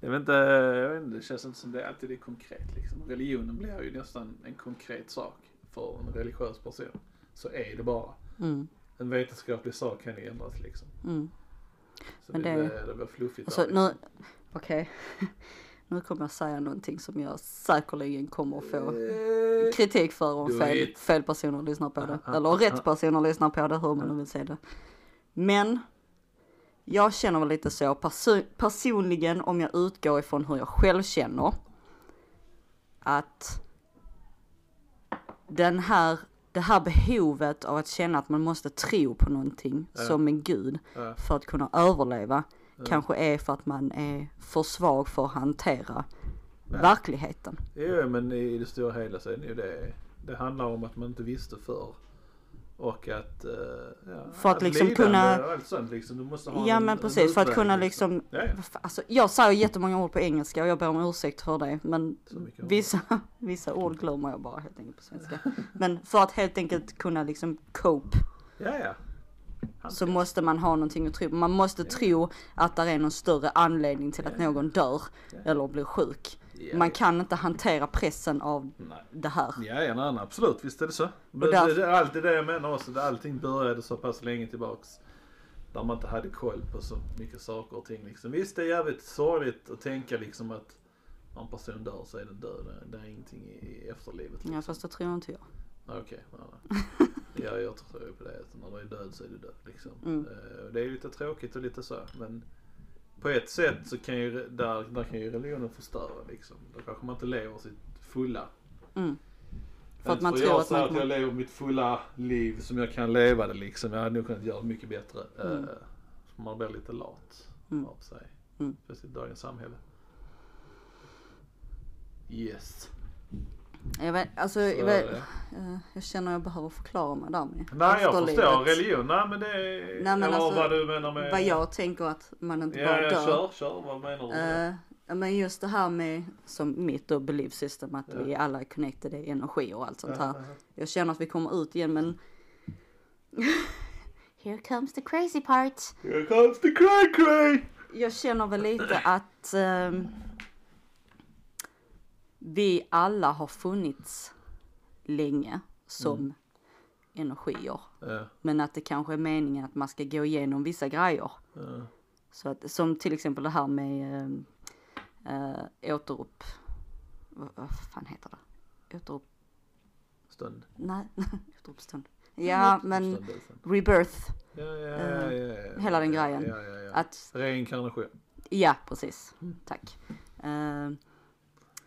[SPEAKER 1] Det, är väl inte, jag vet inte, det känns inte som det alltid är konkret liksom. Religionen blir ju nästan en konkret sak för en religiös person. Så är det bara.
[SPEAKER 2] Mm,
[SPEAKER 1] En vetenskaplig sak kan ju ändras liksom.
[SPEAKER 2] mm.
[SPEAKER 1] Så
[SPEAKER 2] Men
[SPEAKER 1] det,
[SPEAKER 2] det-
[SPEAKER 1] blir, det blir fluffigt.
[SPEAKER 2] Alltså
[SPEAKER 1] där, liksom.
[SPEAKER 2] nu, okej. <laughs> Nu kommer jag säga någonting som jag säkerligen kommer att få
[SPEAKER 1] Eh,
[SPEAKER 2] kritik för
[SPEAKER 1] Du
[SPEAKER 2] om
[SPEAKER 1] har
[SPEAKER 2] fel,
[SPEAKER 1] hit.
[SPEAKER 2] fel personer lyssnar på det.
[SPEAKER 1] Ah, ah,
[SPEAKER 2] Eller
[SPEAKER 1] ah.
[SPEAKER 2] rätt personer lyssnar på det, hur man nu vill säga det. Men jag känner väl lite så perso- personligen om jag utgår ifrån hur jag själv känner. Att den här, det här behovet av att känna att man måste tro på någonting
[SPEAKER 1] Ja.
[SPEAKER 2] som en gud
[SPEAKER 1] Ja.
[SPEAKER 2] för att kunna överleva kanske är för att man är för svag för att hantera
[SPEAKER 1] Ja.
[SPEAKER 2] verkligheten.
[SPEAKER 1] Jo, men i det stora hela så är det ju det. Det handlar om att man inte visste förr. Och att... eh, ja,
[SPEAKER 2] För att liksom
[SPEAKER 1] lidande
[SPEAKER 2] kunna-
[SPEAKER 1] och allt sånt, liksom. Du måste ha
[SPEAKER 2] Ja
[SPEAKER 1] en-
[SPEAKER 2] men
[SPEAKER 1] en
[SPEAKER 2] precis, för att
[SPEAKER 1] utväg,
[SPEAKER 2] kunna liksom,
[SPEAKER 1] Ja, ja.
[SPEAKER 2] vad fan, alltså, jag säger jättemånga ord på engelska och jag ber om ursäkt för det, men
[SPEAKER 1] Så mycket.
[SPEAKER 2] vissa, <laughs> vissa ord glömmer jag bara helt enkelt på svenska. Men för att helt enkelt kunna liksom cope
[SPEAKER 1] Ja, ja.
[SPEAKER 2] så måste man ha någonting att tro på. Man måste tro att det är någon större anledning till att någon dör eller blir sjuk.
[SPEAKER 1] Ja,
[SPEAKER 2] Man
[SPEAKER 1] ja.
[SPEAKER 2] kan inte hantera pressen av
[SPEAKER 1] Nej.
[SPEAKER 2] det här.
[SPEAKER 1] Ja, ja, nej, nej, absolut. Visst är det så. Men
[SPEAKER 2] där-
[SPEAKER 1] det, det är alltid det jag menar också. Det, allting började så pass länge tillbaks. Där man inte hade koll på så mycket saker och ting. Liksom. Visst, det är jävligt sorgligt att tänka liksom att när en person dör så är den död. Det är ingenting i i efterlivet.
[SPEAKER 2] Ja fast det tror inte jag.
[SPEAKER 1] Okej, nej,
[SPEAKER 2] <laughs>
[SPEAKER 1] nej. Ja, jag tror ju på det. Att när du är död så är du död. Liksom.
[SPEAKER 2] Mm.
[SPEAKER 1] Eh, och Det är ju lite tråkigt och lite så. Men på ett sätt så kan ju, där, där kan ju religionen förstöra. Liksom. Då kanske man inte lever sitt fulla
[SPEAKER 2] Mm. För att man
[SPEAKER 1] för
[SPEAKER 2] tror
[SPEAKER 1] jag
[SPEAKER 2] att
[SPEAKER 1] säger
[SPEAKER 2] man
[SPEAKER 1] att jag
[SPEAKER 2] kan...
[SPEAKER 1] lever mitt fulla liv som jag kan leva det liksom. Jag hade nog kunnat göra det mycket bättre.
[SPEAKER 2] Mm.
[SPEAKER 1] Eh, Man blir lite lat
[SPEAKER 2] Mm.
[SPEAKER 1] av sig.
[SPEAKER 2] Mm.
[SPEAKER 1] Speciellt i dagens samhälle. Yes.
[SPEAKER 2] Jag vet, alltså,
[SPEAKER 1] Så
[SPEAKER 2] jag,
[SPEAKER 1] är
[SPEAKER 2] vet,
[SPEAKER 1] det.
[SPEAKER 2] eh, jag känner jag behöver förklara mig där med.
[SPEAKER 1] Nej jag
[SPEAKER 2] Efterlivet.
[SPEAKER 1] förstår religion. Nej men det är...
[SPEAKER 2] men
[SPEAKER 1] Eller
[SPEAKER 2] alltså,
[SPEAKER 1] vad du menar med...
[SPEAKER 2] Vad jag tänker att man inte
[SPEAKER 1] Ja,
[SPEAKER 2] bara
[SPEAKER 1] ja
[SPEAKER 2] dör.
[SPEAKER 1] kör, kör. Vad menar du? med
[SPEAKER 2] Eh, ja, men just det här med som mitt då belief system att
[SPEAKER 1] Ja.
[SPEAKER 2] vi alla är connected i energi och allt sånt
[SPEAKER 1] det?
[SPEAKER 2] här. Jag känner att vi kommer ut igen men <laughs> Here comes the crazy part.
[SPEAKER 1] Here comes the cray cray!
[SPEAKER 2] Jag känner väl lite att ehm, vi alla har funnits länge som energier.
[SPEAKER 1] Ja,
[SPEAKER 2] Men att det kanske är meningen att man ska gå igenom vissa grejer.
[SPEAKER 1] ja.
[SPEAKER 2] Så att, som till exempel det här med ehm, eh, återupp... Vad, vad fan heter det? Återupp...
[SPEAKER 1] Stund.
[SPEAKER 2] Nej, <laughs> återuppstånd. Ja, men
[SPEAKER 1] Stund, stund.
[SPEAKER 2] rebirth.
[SPEAKER 1] Ja, ja, ja, ja, ja.
[SPEAKER 2] hela den grejen.
[SPEAKER 1] Ja, ja, ja.
[SPEAKER 2] Att
[SPEAKER 1] Reinkarnation.
[SPEAKER 2] Ja, precis. Tack. Eh,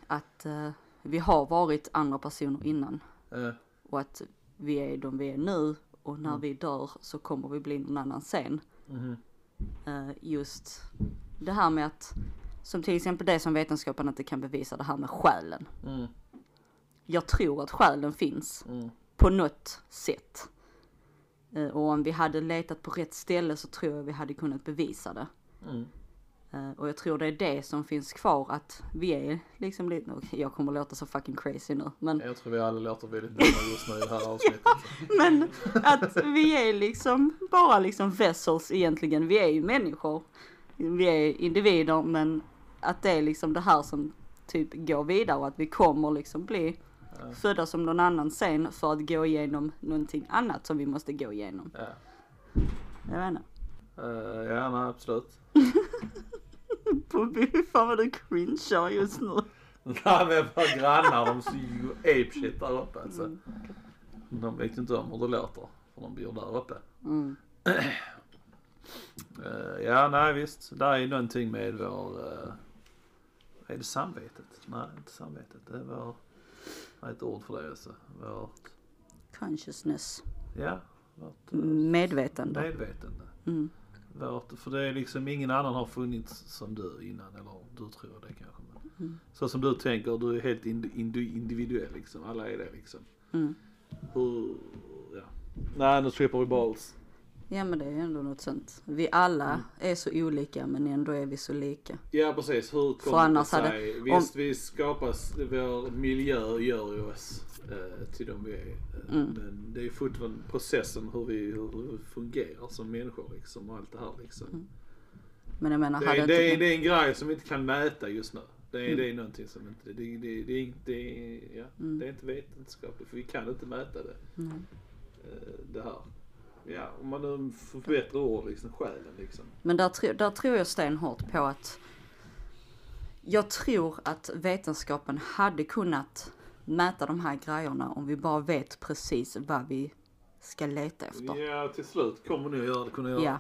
[SPEAKER 2] att eh, vi har varit andra personer innan
[SPEAKER 1] Eh,
[SPEAKER 2] och att vi är de vi är nu och när vi dör så kommer vi bli någon annan sen.
[SPEAKER 1] mhm.
[SPEAKER 2] Eh, just det här med att, som till exempel det som vetenskapen inte kan bevisa, det här med själen.
[SPEAKER 1] Mm,
[SPEAKER 2] Jag tror att själen finns
[SPEAKER 1] mm.
[SPEAKER 2] på något sätt. Eh, och om vi hade letat på rätt ställe så tror jag vi hade kunnat bevisa det.
[SPEAKER 1] Mm.
[SPEAKER 2] Eh, Och jag tror det är det som finns kvar att vi är liksom lite, okej, jag kommer låta så fucking crazy nu men,
[SPEAKER 1] Jag tror vi alla låter väldigt dumma just nu i det här
[SPEAKER 2] <laughs>
[SPEAKER 1] avsnittet.
[SPEAKER 2] men att vi är liksom bara liksom vessels egentligen, vi är ju människor, vi är individer men att det är liksom det här som typ går vidare och att vi kommer liksom bli
[SPEAKER 1] Ja.
[SPEAKER 2] födda som någon annan sen för att gå igenom någonting annat som vi måste gå igenom.
[SPEAKER 1] Ja,
[SPEAKER 2] Jag vet inte.
[SPEAKER 1] Eh, ja nej, absolut. <laughs>
[SPEAKER 2] Bobby, <laughs> fan vad du cringear just nu.
[SPEAKER 1] Nej men våra grannar de syr ju apeshit där uppe alltså.
[SPEAKER 2] Mm,
[SPEAKER 1] De vet ju inte om hur det låter. För de bor där uppe.
[SPEAKER 2] Mm.
[SPEAKER 1] Eh, ja nej visst. Där är ju någonting med vår... eh, är det samvetet? Nej inte samvetet. Det är vår... Nej ett ord för det alltså. Vårt...
[SPEAKER 2] Consciousness.
[SPEAKER 1] Ja. Vårt eh,
[SPEAKER 2] Mm. Medvetande.
[SPEAKER 1] medvetande.
[SPEAKER 2] Mm.
[SPEAKER 1] Vårt, för det är liksom ingen annan har funnits som du innan, eller du tror det kanske. Men. Så som du tänker, du är helt ind- indi- individuell liksom, alla är det liksom.
[SPEAKER 2] Mm.
[SPEAKER 1] Hur, ja. Nej nu slipper vi balls.
[SPEAKER 2] Ja men det är ändå något sånt. Vi alla är så olika men ändå är vi så lika.
[SPEAKER 1] Ja precis, hur
[SPEAKER 2] För
[SPEAKER 1] kommer det
[SPEAKER 2] annars
[SPEAKER 1] sig?
[SPEAKER 2] hade-
[SPEAKER 1] Visst, vi skapas, vår miljö gör ju oss eh, till de vi är. Eh,
[SPEAKER 2] Mm.
[SPEAKER 1] Men det är fortfarande processen hur vi, hur vi fungerar som människor liksom och allt det här liksom.
[SPEAKER 2] Men Mm. jag menar,
[SPEAKER 1] Det,
[SPEAKER 2] hade
[SPEAKER 1] är, det, är,
[SPEAKER 2] inte... Mm.
[SPEAKER 1] det är en grej som vi inte kan mäta just nu. Det är, det är någonting som inte, det, det, det, är inte- det, är- ja,
[SPEAKER 2] Mm.
[SPEAKER 1] det är inte vetenskapligt för vi kan inte mäta det. Eh, Det här. Ja, om man nu får bättre ord liksom, själen liksom.
[SPEAKER 2] Men där, tro- där tror jag stenhårt på att... Jag tror att vetenskapen hade kunnat mäta de här grejerna om vi bara vet precis vad vi ska leta efter.
[SPEAKER 1] Ja, till slut kommer nog göra det, kunna göra
[SPEAKER 2] Ja,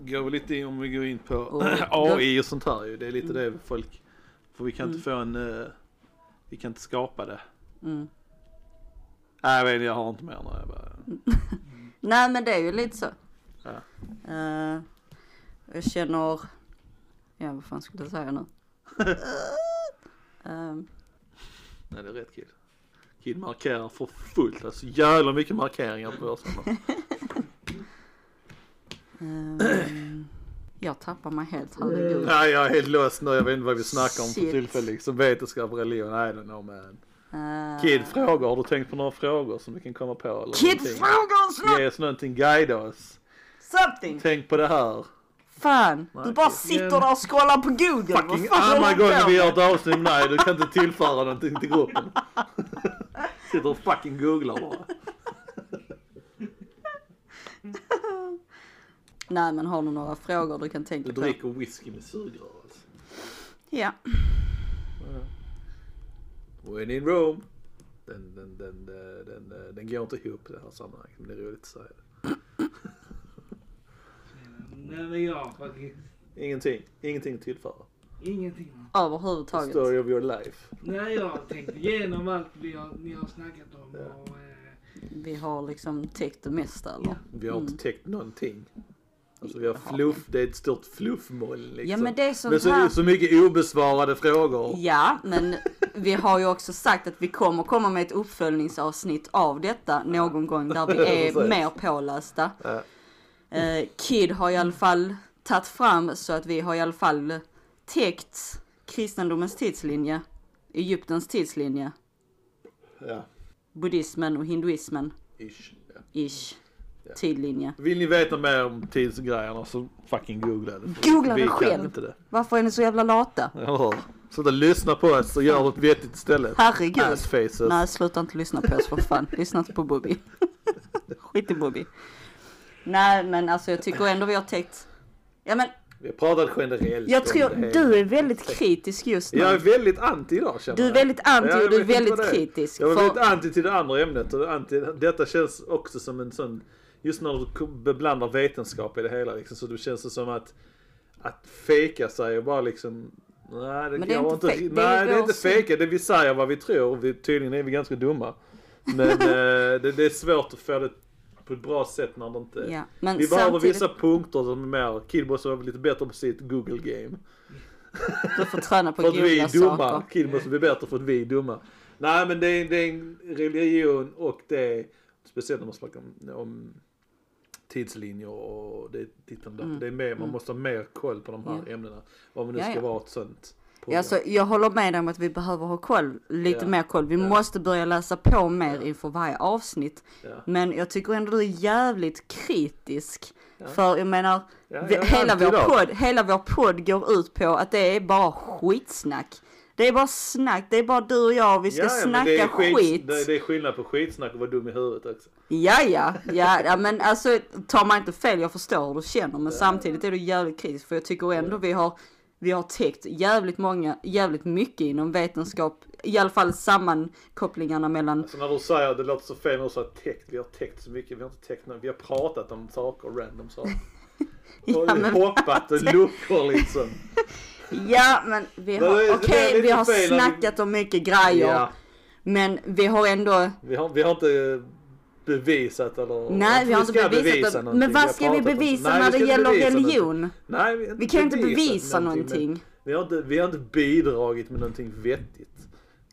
[SPEAKER 1] går väl lite in om vi går in på <laughs>
[SPEAKER 2] Och- Mm.
[SPEAKER 1] AI och sånt här ju. Det är lite det folk, för vi kan inte få en, eh, vi kan inte skapa det.
[SPEAKER 2] Mm.
[SPEAKER 1] Nej, jag vet inte, jag har inte mer nu. Jag bara,
[SPEAKER 2] nej men det är ju lite så.
[SPEAKER 1] Ja.
[SPEAKER 2] Eh, jag känner... Ja vad fan skulle jag säga
[SPEAKER 1] <laughs>
[SPEAKER 2] nu? Eh,
[SPEAKER 1] nej, det är rätt kid. Kid markerar för fullt, alltså jävla mycket markeringar på
[SPEAKER 2] <laughs>
[SPEAKER 1] börsen.
[SPEAKER 2] Ehm, jag tappar mig helt, herregud.
[SPEAKER 1] nej, jag är helt lost nu. Jag vet inte vad vi snackar om för
[SPEAKER 2] Shit.
[SPEAKER 1] tillfället. Liksom vetenskap, religion, I don't know man.
[SPEAKER 2] Uh,
[SPEAKER 1] Kid frågor, har du tänkt på några frågor som vi kan komma på? Eller
[SPEAKER 2] Kid
[SPEAKER 1] någonting?
[SPEAKER 2] frågar snabbt
[SPEAKER 1] Ge oss någonting, guida oss.
[SPEAKER 2] something!
[SPEAKER 1] Tänk på det här.
[SPEAKER 2] Fan, du
[SPEAKER 1] Nej,
[SPEAKER 2] bara
[SPEAKER 1] okej.
[SPEAKER 2] sitter där och scrollar på google.
[SPEAKER 1] fucking oh
[SPEAKER 2] Vad fan
[SPEAKER 1] andra
[SPEAKER 2] håller du
[SPEAKER 1] gången
[SPEAKER 2] på
[SPEAKER 1] vi
[SPEAKER 2] med?
[SPEAKER 1] gör ett avsnitt med dig. Du kan inte tillföra någonting till gruppen. <laughs> Sitter och fucking googlar bara.
[SPEAKER 2] Nej men har du några frågor du kan tänka
[SPEAKER 1] Du
[SPEAKER 2] på?
[SPEAKER 1] dricker whisky med sugrör alltså.
[SPEAKER 2] Ja.
[SPEAKER 1] When in Rome. Den, den, den, den, den, den, den går inte ihop i det här sammanhanget. Men det är roligt att säga det.
[SPEAKER 3] Nej men jag har faktiskt
[SPEAKER 1] Ingenting. Ingenting att tillföra.
[SPEAKER 3] ingenting.
[SPEAKER 2] Överhuvudtaget.
[SPEAKER 1] Story of your life.
[SPEAKER 3] Nej jag har tänkt igenom allt vi har, ni har snackat om och eh,
[SPEAKER 2] Vi har liksom täckt det mesta eller?
[SPEAKER 3] Ja.
[SPEAKER 1] Vi har
[SPEAKER 2] Mm.
[SPEAKER 1] inte täckt någonting. Alltså vi har fluff. Det är ett stort fluffmoll liksom.
[SPEAKER 2] Ja, men det är sånt
[SPEAKER 1] Men så,
[SPEAKER 2] här-
[SPEAKER 1] så mycket obesvarade frågor.
[SPEAKER 2] Ja, men vi har ju också sagt att vi kommer komma med ett uppföljningsavsnitt av detta någon
[SPEAKER 1] <laughs>
[SPEAKER 2] gång där vi är
[SPEAKER 1] Precis.
[SPEAKER 2] mer pålästa.
[SPEAKER 1] Ja.
[SPEAKER 2] Eh, Kid har i alla fall tagit fram så att vi har i alla fall täckt kristendomens tidslinje, Egyptens tidslinje,
[SPEAKER 1] Ja.
[SPEAKER 2] buddhismen och hinduismen,
[SPEAKER 1] Ish. Ja.
[SPEAKER 2] ish,
[SPEAKER 1] Mm.
[SPEAKER 2] tidlinje.
[SPEAKER 1] Vill ni veta mer om tidsgrejerna så fucking googla det. För
[SPEAKER 2] Googla
[SPEAKER 1] vi
[SPEAKER 2] det
[SPEAKER 1] kan
[SPEAKER 2] själv.
[SPEAKER 1] inte det.
[SPEAKER 2] Varför är ni så jävla lata?
[SPEAKER 1] Eller hur? Sluta lyssna på oss och gör något vettigt istället.
[SPEAKER 2] Herregud.
[SPEAKER 1] Assfaces.
[SPEAKER 2] Nej, sluta inte lyssna på oss för fan. Lyssna inte
[SPEAKER 1] <laughs>
[SPEAKER 2] på Bobby. Skit i Bobby. Nej, men alltså jag tycker ändå vi har täckt. Ja, men
[SPEAKER 1] Vi har pratat generellt.
[SPEAKER 2] jag
[SPEAKER 1] om
[SPEAKER 2] tror
[SPEAKER 1] det här.
[SPEAKER 2] du är väldigt kritisk just nu.
[SPEAKER 1] Jag är väldigt anti idag känner
[SPEAKER 2] Du är
[SPEAKER 1] jag.
[SPEAKER 2] väldigt anti
[SPEAKER 1] Ja, jag
[SPEAKER 2] och du är
[SPEAKER 1] vet inte
[SPEAKER 2] väldigt
[SPEAKER 1] vad det
[SPEAKER 2] kritisk.
[SPEAKER 1] Jag var
[SPEAKER 2] För-
[SPEAKER 1] väldigt anti till det andra ämnet. Och anti, detta känns också som en sån... Just när du kom- beblandar vetenskap i det hela liksom, så det känns det som att... Att fejka sig och bara liksom... Nej, det,
[SPEAKER 2] Men det är
[SPEAKER 1] går
[SPEAKER 2] inte fejk. Det är
[SPEAKER 1] Nej, det är
[SPEAKER 2] vår
[SPEAKER 1] inte
[SPEAKER 2] syn.
[SPEAKER 1] fejka. Det vi säger vad vi tror. och Vi, tydligen är vi ganska dumma.
[SPEAKER 2] <laughs>
[SPEAKER 1] Men eh, det, det är svårt att få det på ett bra sätt när det inte...
[SPEAKER 2] Ja, men
[SPEAKER 1] vi behöver
[SPEAKER 2] samtidigt-
[SPEAKER 1] vissa punkter som är mer... Killboss var lite bättre på sitt Google game.
[SPEAKER 2] Du får träna
[SPEAKER 1] <laughs>
[SPEAKER 2] på
[SPEAKER 1] För att vi
[SPEAKER 2] googla
[SPEAKER 1] är dumma.
[SPEAKER 2] saker.
[SPEAKER 1] Kid måste bli bättre för att vi är dumma. Nej men det är, det är en religion och det är speciellt när man snackar om, om tidslinjer och det tittar man där. Det är mer, man måste ha mer koll på de här ämnena. Om det nu
[SPEAKER 2] Mm. Ja,
[SPEAKER 1] ska
[SPEAKER 2] ja.
[SPEAKER 1] vara ett sånt program.
[SPEAKER 2] Ja, alltså, jag håller med dig om att vi behöver ha koll, lite
[SPEAKER 1] Ja.
[SPEAKER 2] mer koll. Vi måste börja läsa på mer inför varje avsnitt.
[SPEAKER 1] Ja.
[SPEAKER 2] Men jag tycker ändå du är jävligt kritisk. För jag menar,
[SPEAKER 1] Ja,
[SPEAKER 2] vi,
[SPEAKER 1] jag är
[SPEAKER 2] hela,
[SPEAKER 1] anti
[SPEAKER 2] vår
[SPEAKER 1] idag.
[SPEAKER 2] podd, hela vår podd går ut på att det är bara skitsnack. Det är bara snack, det är bara du och jag, vi ska
[SPEAKER 1] Ja, ja, men
[SPEAKER 2] snacka
[SPEAKER 1] det är
[SPEAKER 2] skit.
[SPEAKER 1] Det, det är skillnad på skitsnack och vara dum i huvudet också.
[SPEAKER 2] Ja, ja, ja, ja, men alltså tar man inte fel, jag förstår hur du känner, men samtidigt är du jävligt kritisk för jag tycker ändå vi har, vi har täckt jävligt många, jävligt mycket inom vetenskap, i alla fall sammankopplingarna mellan,
[SPEAKER 1] Så Alltså, när du säger att det låter så fel när du säger täckt, vi har täckt så mycket, vi har inte täckt något, vi har pratat om saker, random saker.
[SPEAKER 2] <laughs> Ja,
[SPEAKER 1] och
[SPEAKER 2] men-
[SPEAKER 1] hoppat och luckor liksom.
[SPEAKER 2] ja men vi
[SPEAKER 1] Det är- det
[SPEAKER 2] har,
[SPEAKER 1] är
[SPEAKER 2] okej
[SPEAKER 1] lite
[SPEAKER 2] vi har
[SPEAKER 1] fel när vi-
[SPEAKER 2] snackat om mycket grejer,
[SPEAKER 1] Ja.
[SPEAKER 2] men vi har ändå,
[SPEAKER 1] Vi har, vi har inte bevisat eller...
[SPEAKER 2] Nej, vi har inte
[SPEAKER 1] ska
[SPEAKER 2] bevisat det.
[SPEAKER 1] någonting.
[SPEAKER 2] Men vad
[SPEAKER 1] Vi har
[SPEAKER 2] ska vi
[SPEAKER 1] pratat om-
[SPEAKER 2] bevisa
[SPEAKER 1] Nej,
[SPEAKER 2] när
[SPEAKER 1] vi
[SPEAKER 2] det
[SPEAKER 1] ska inte
[SPEAKER 2] gäller
[SPEAKER 1] bevisa
[SPEAKER 2] religion?
[SPEAKER 1] någonting. Nej, har
[SPEAKER 2] vi kan inte
[SPEAKER 1] bevisat
[SPEAKER 2] bevisa någonting.
[SPEAKER 1] men Vi har, inte, vi har inte bidragit med någonting vettigt.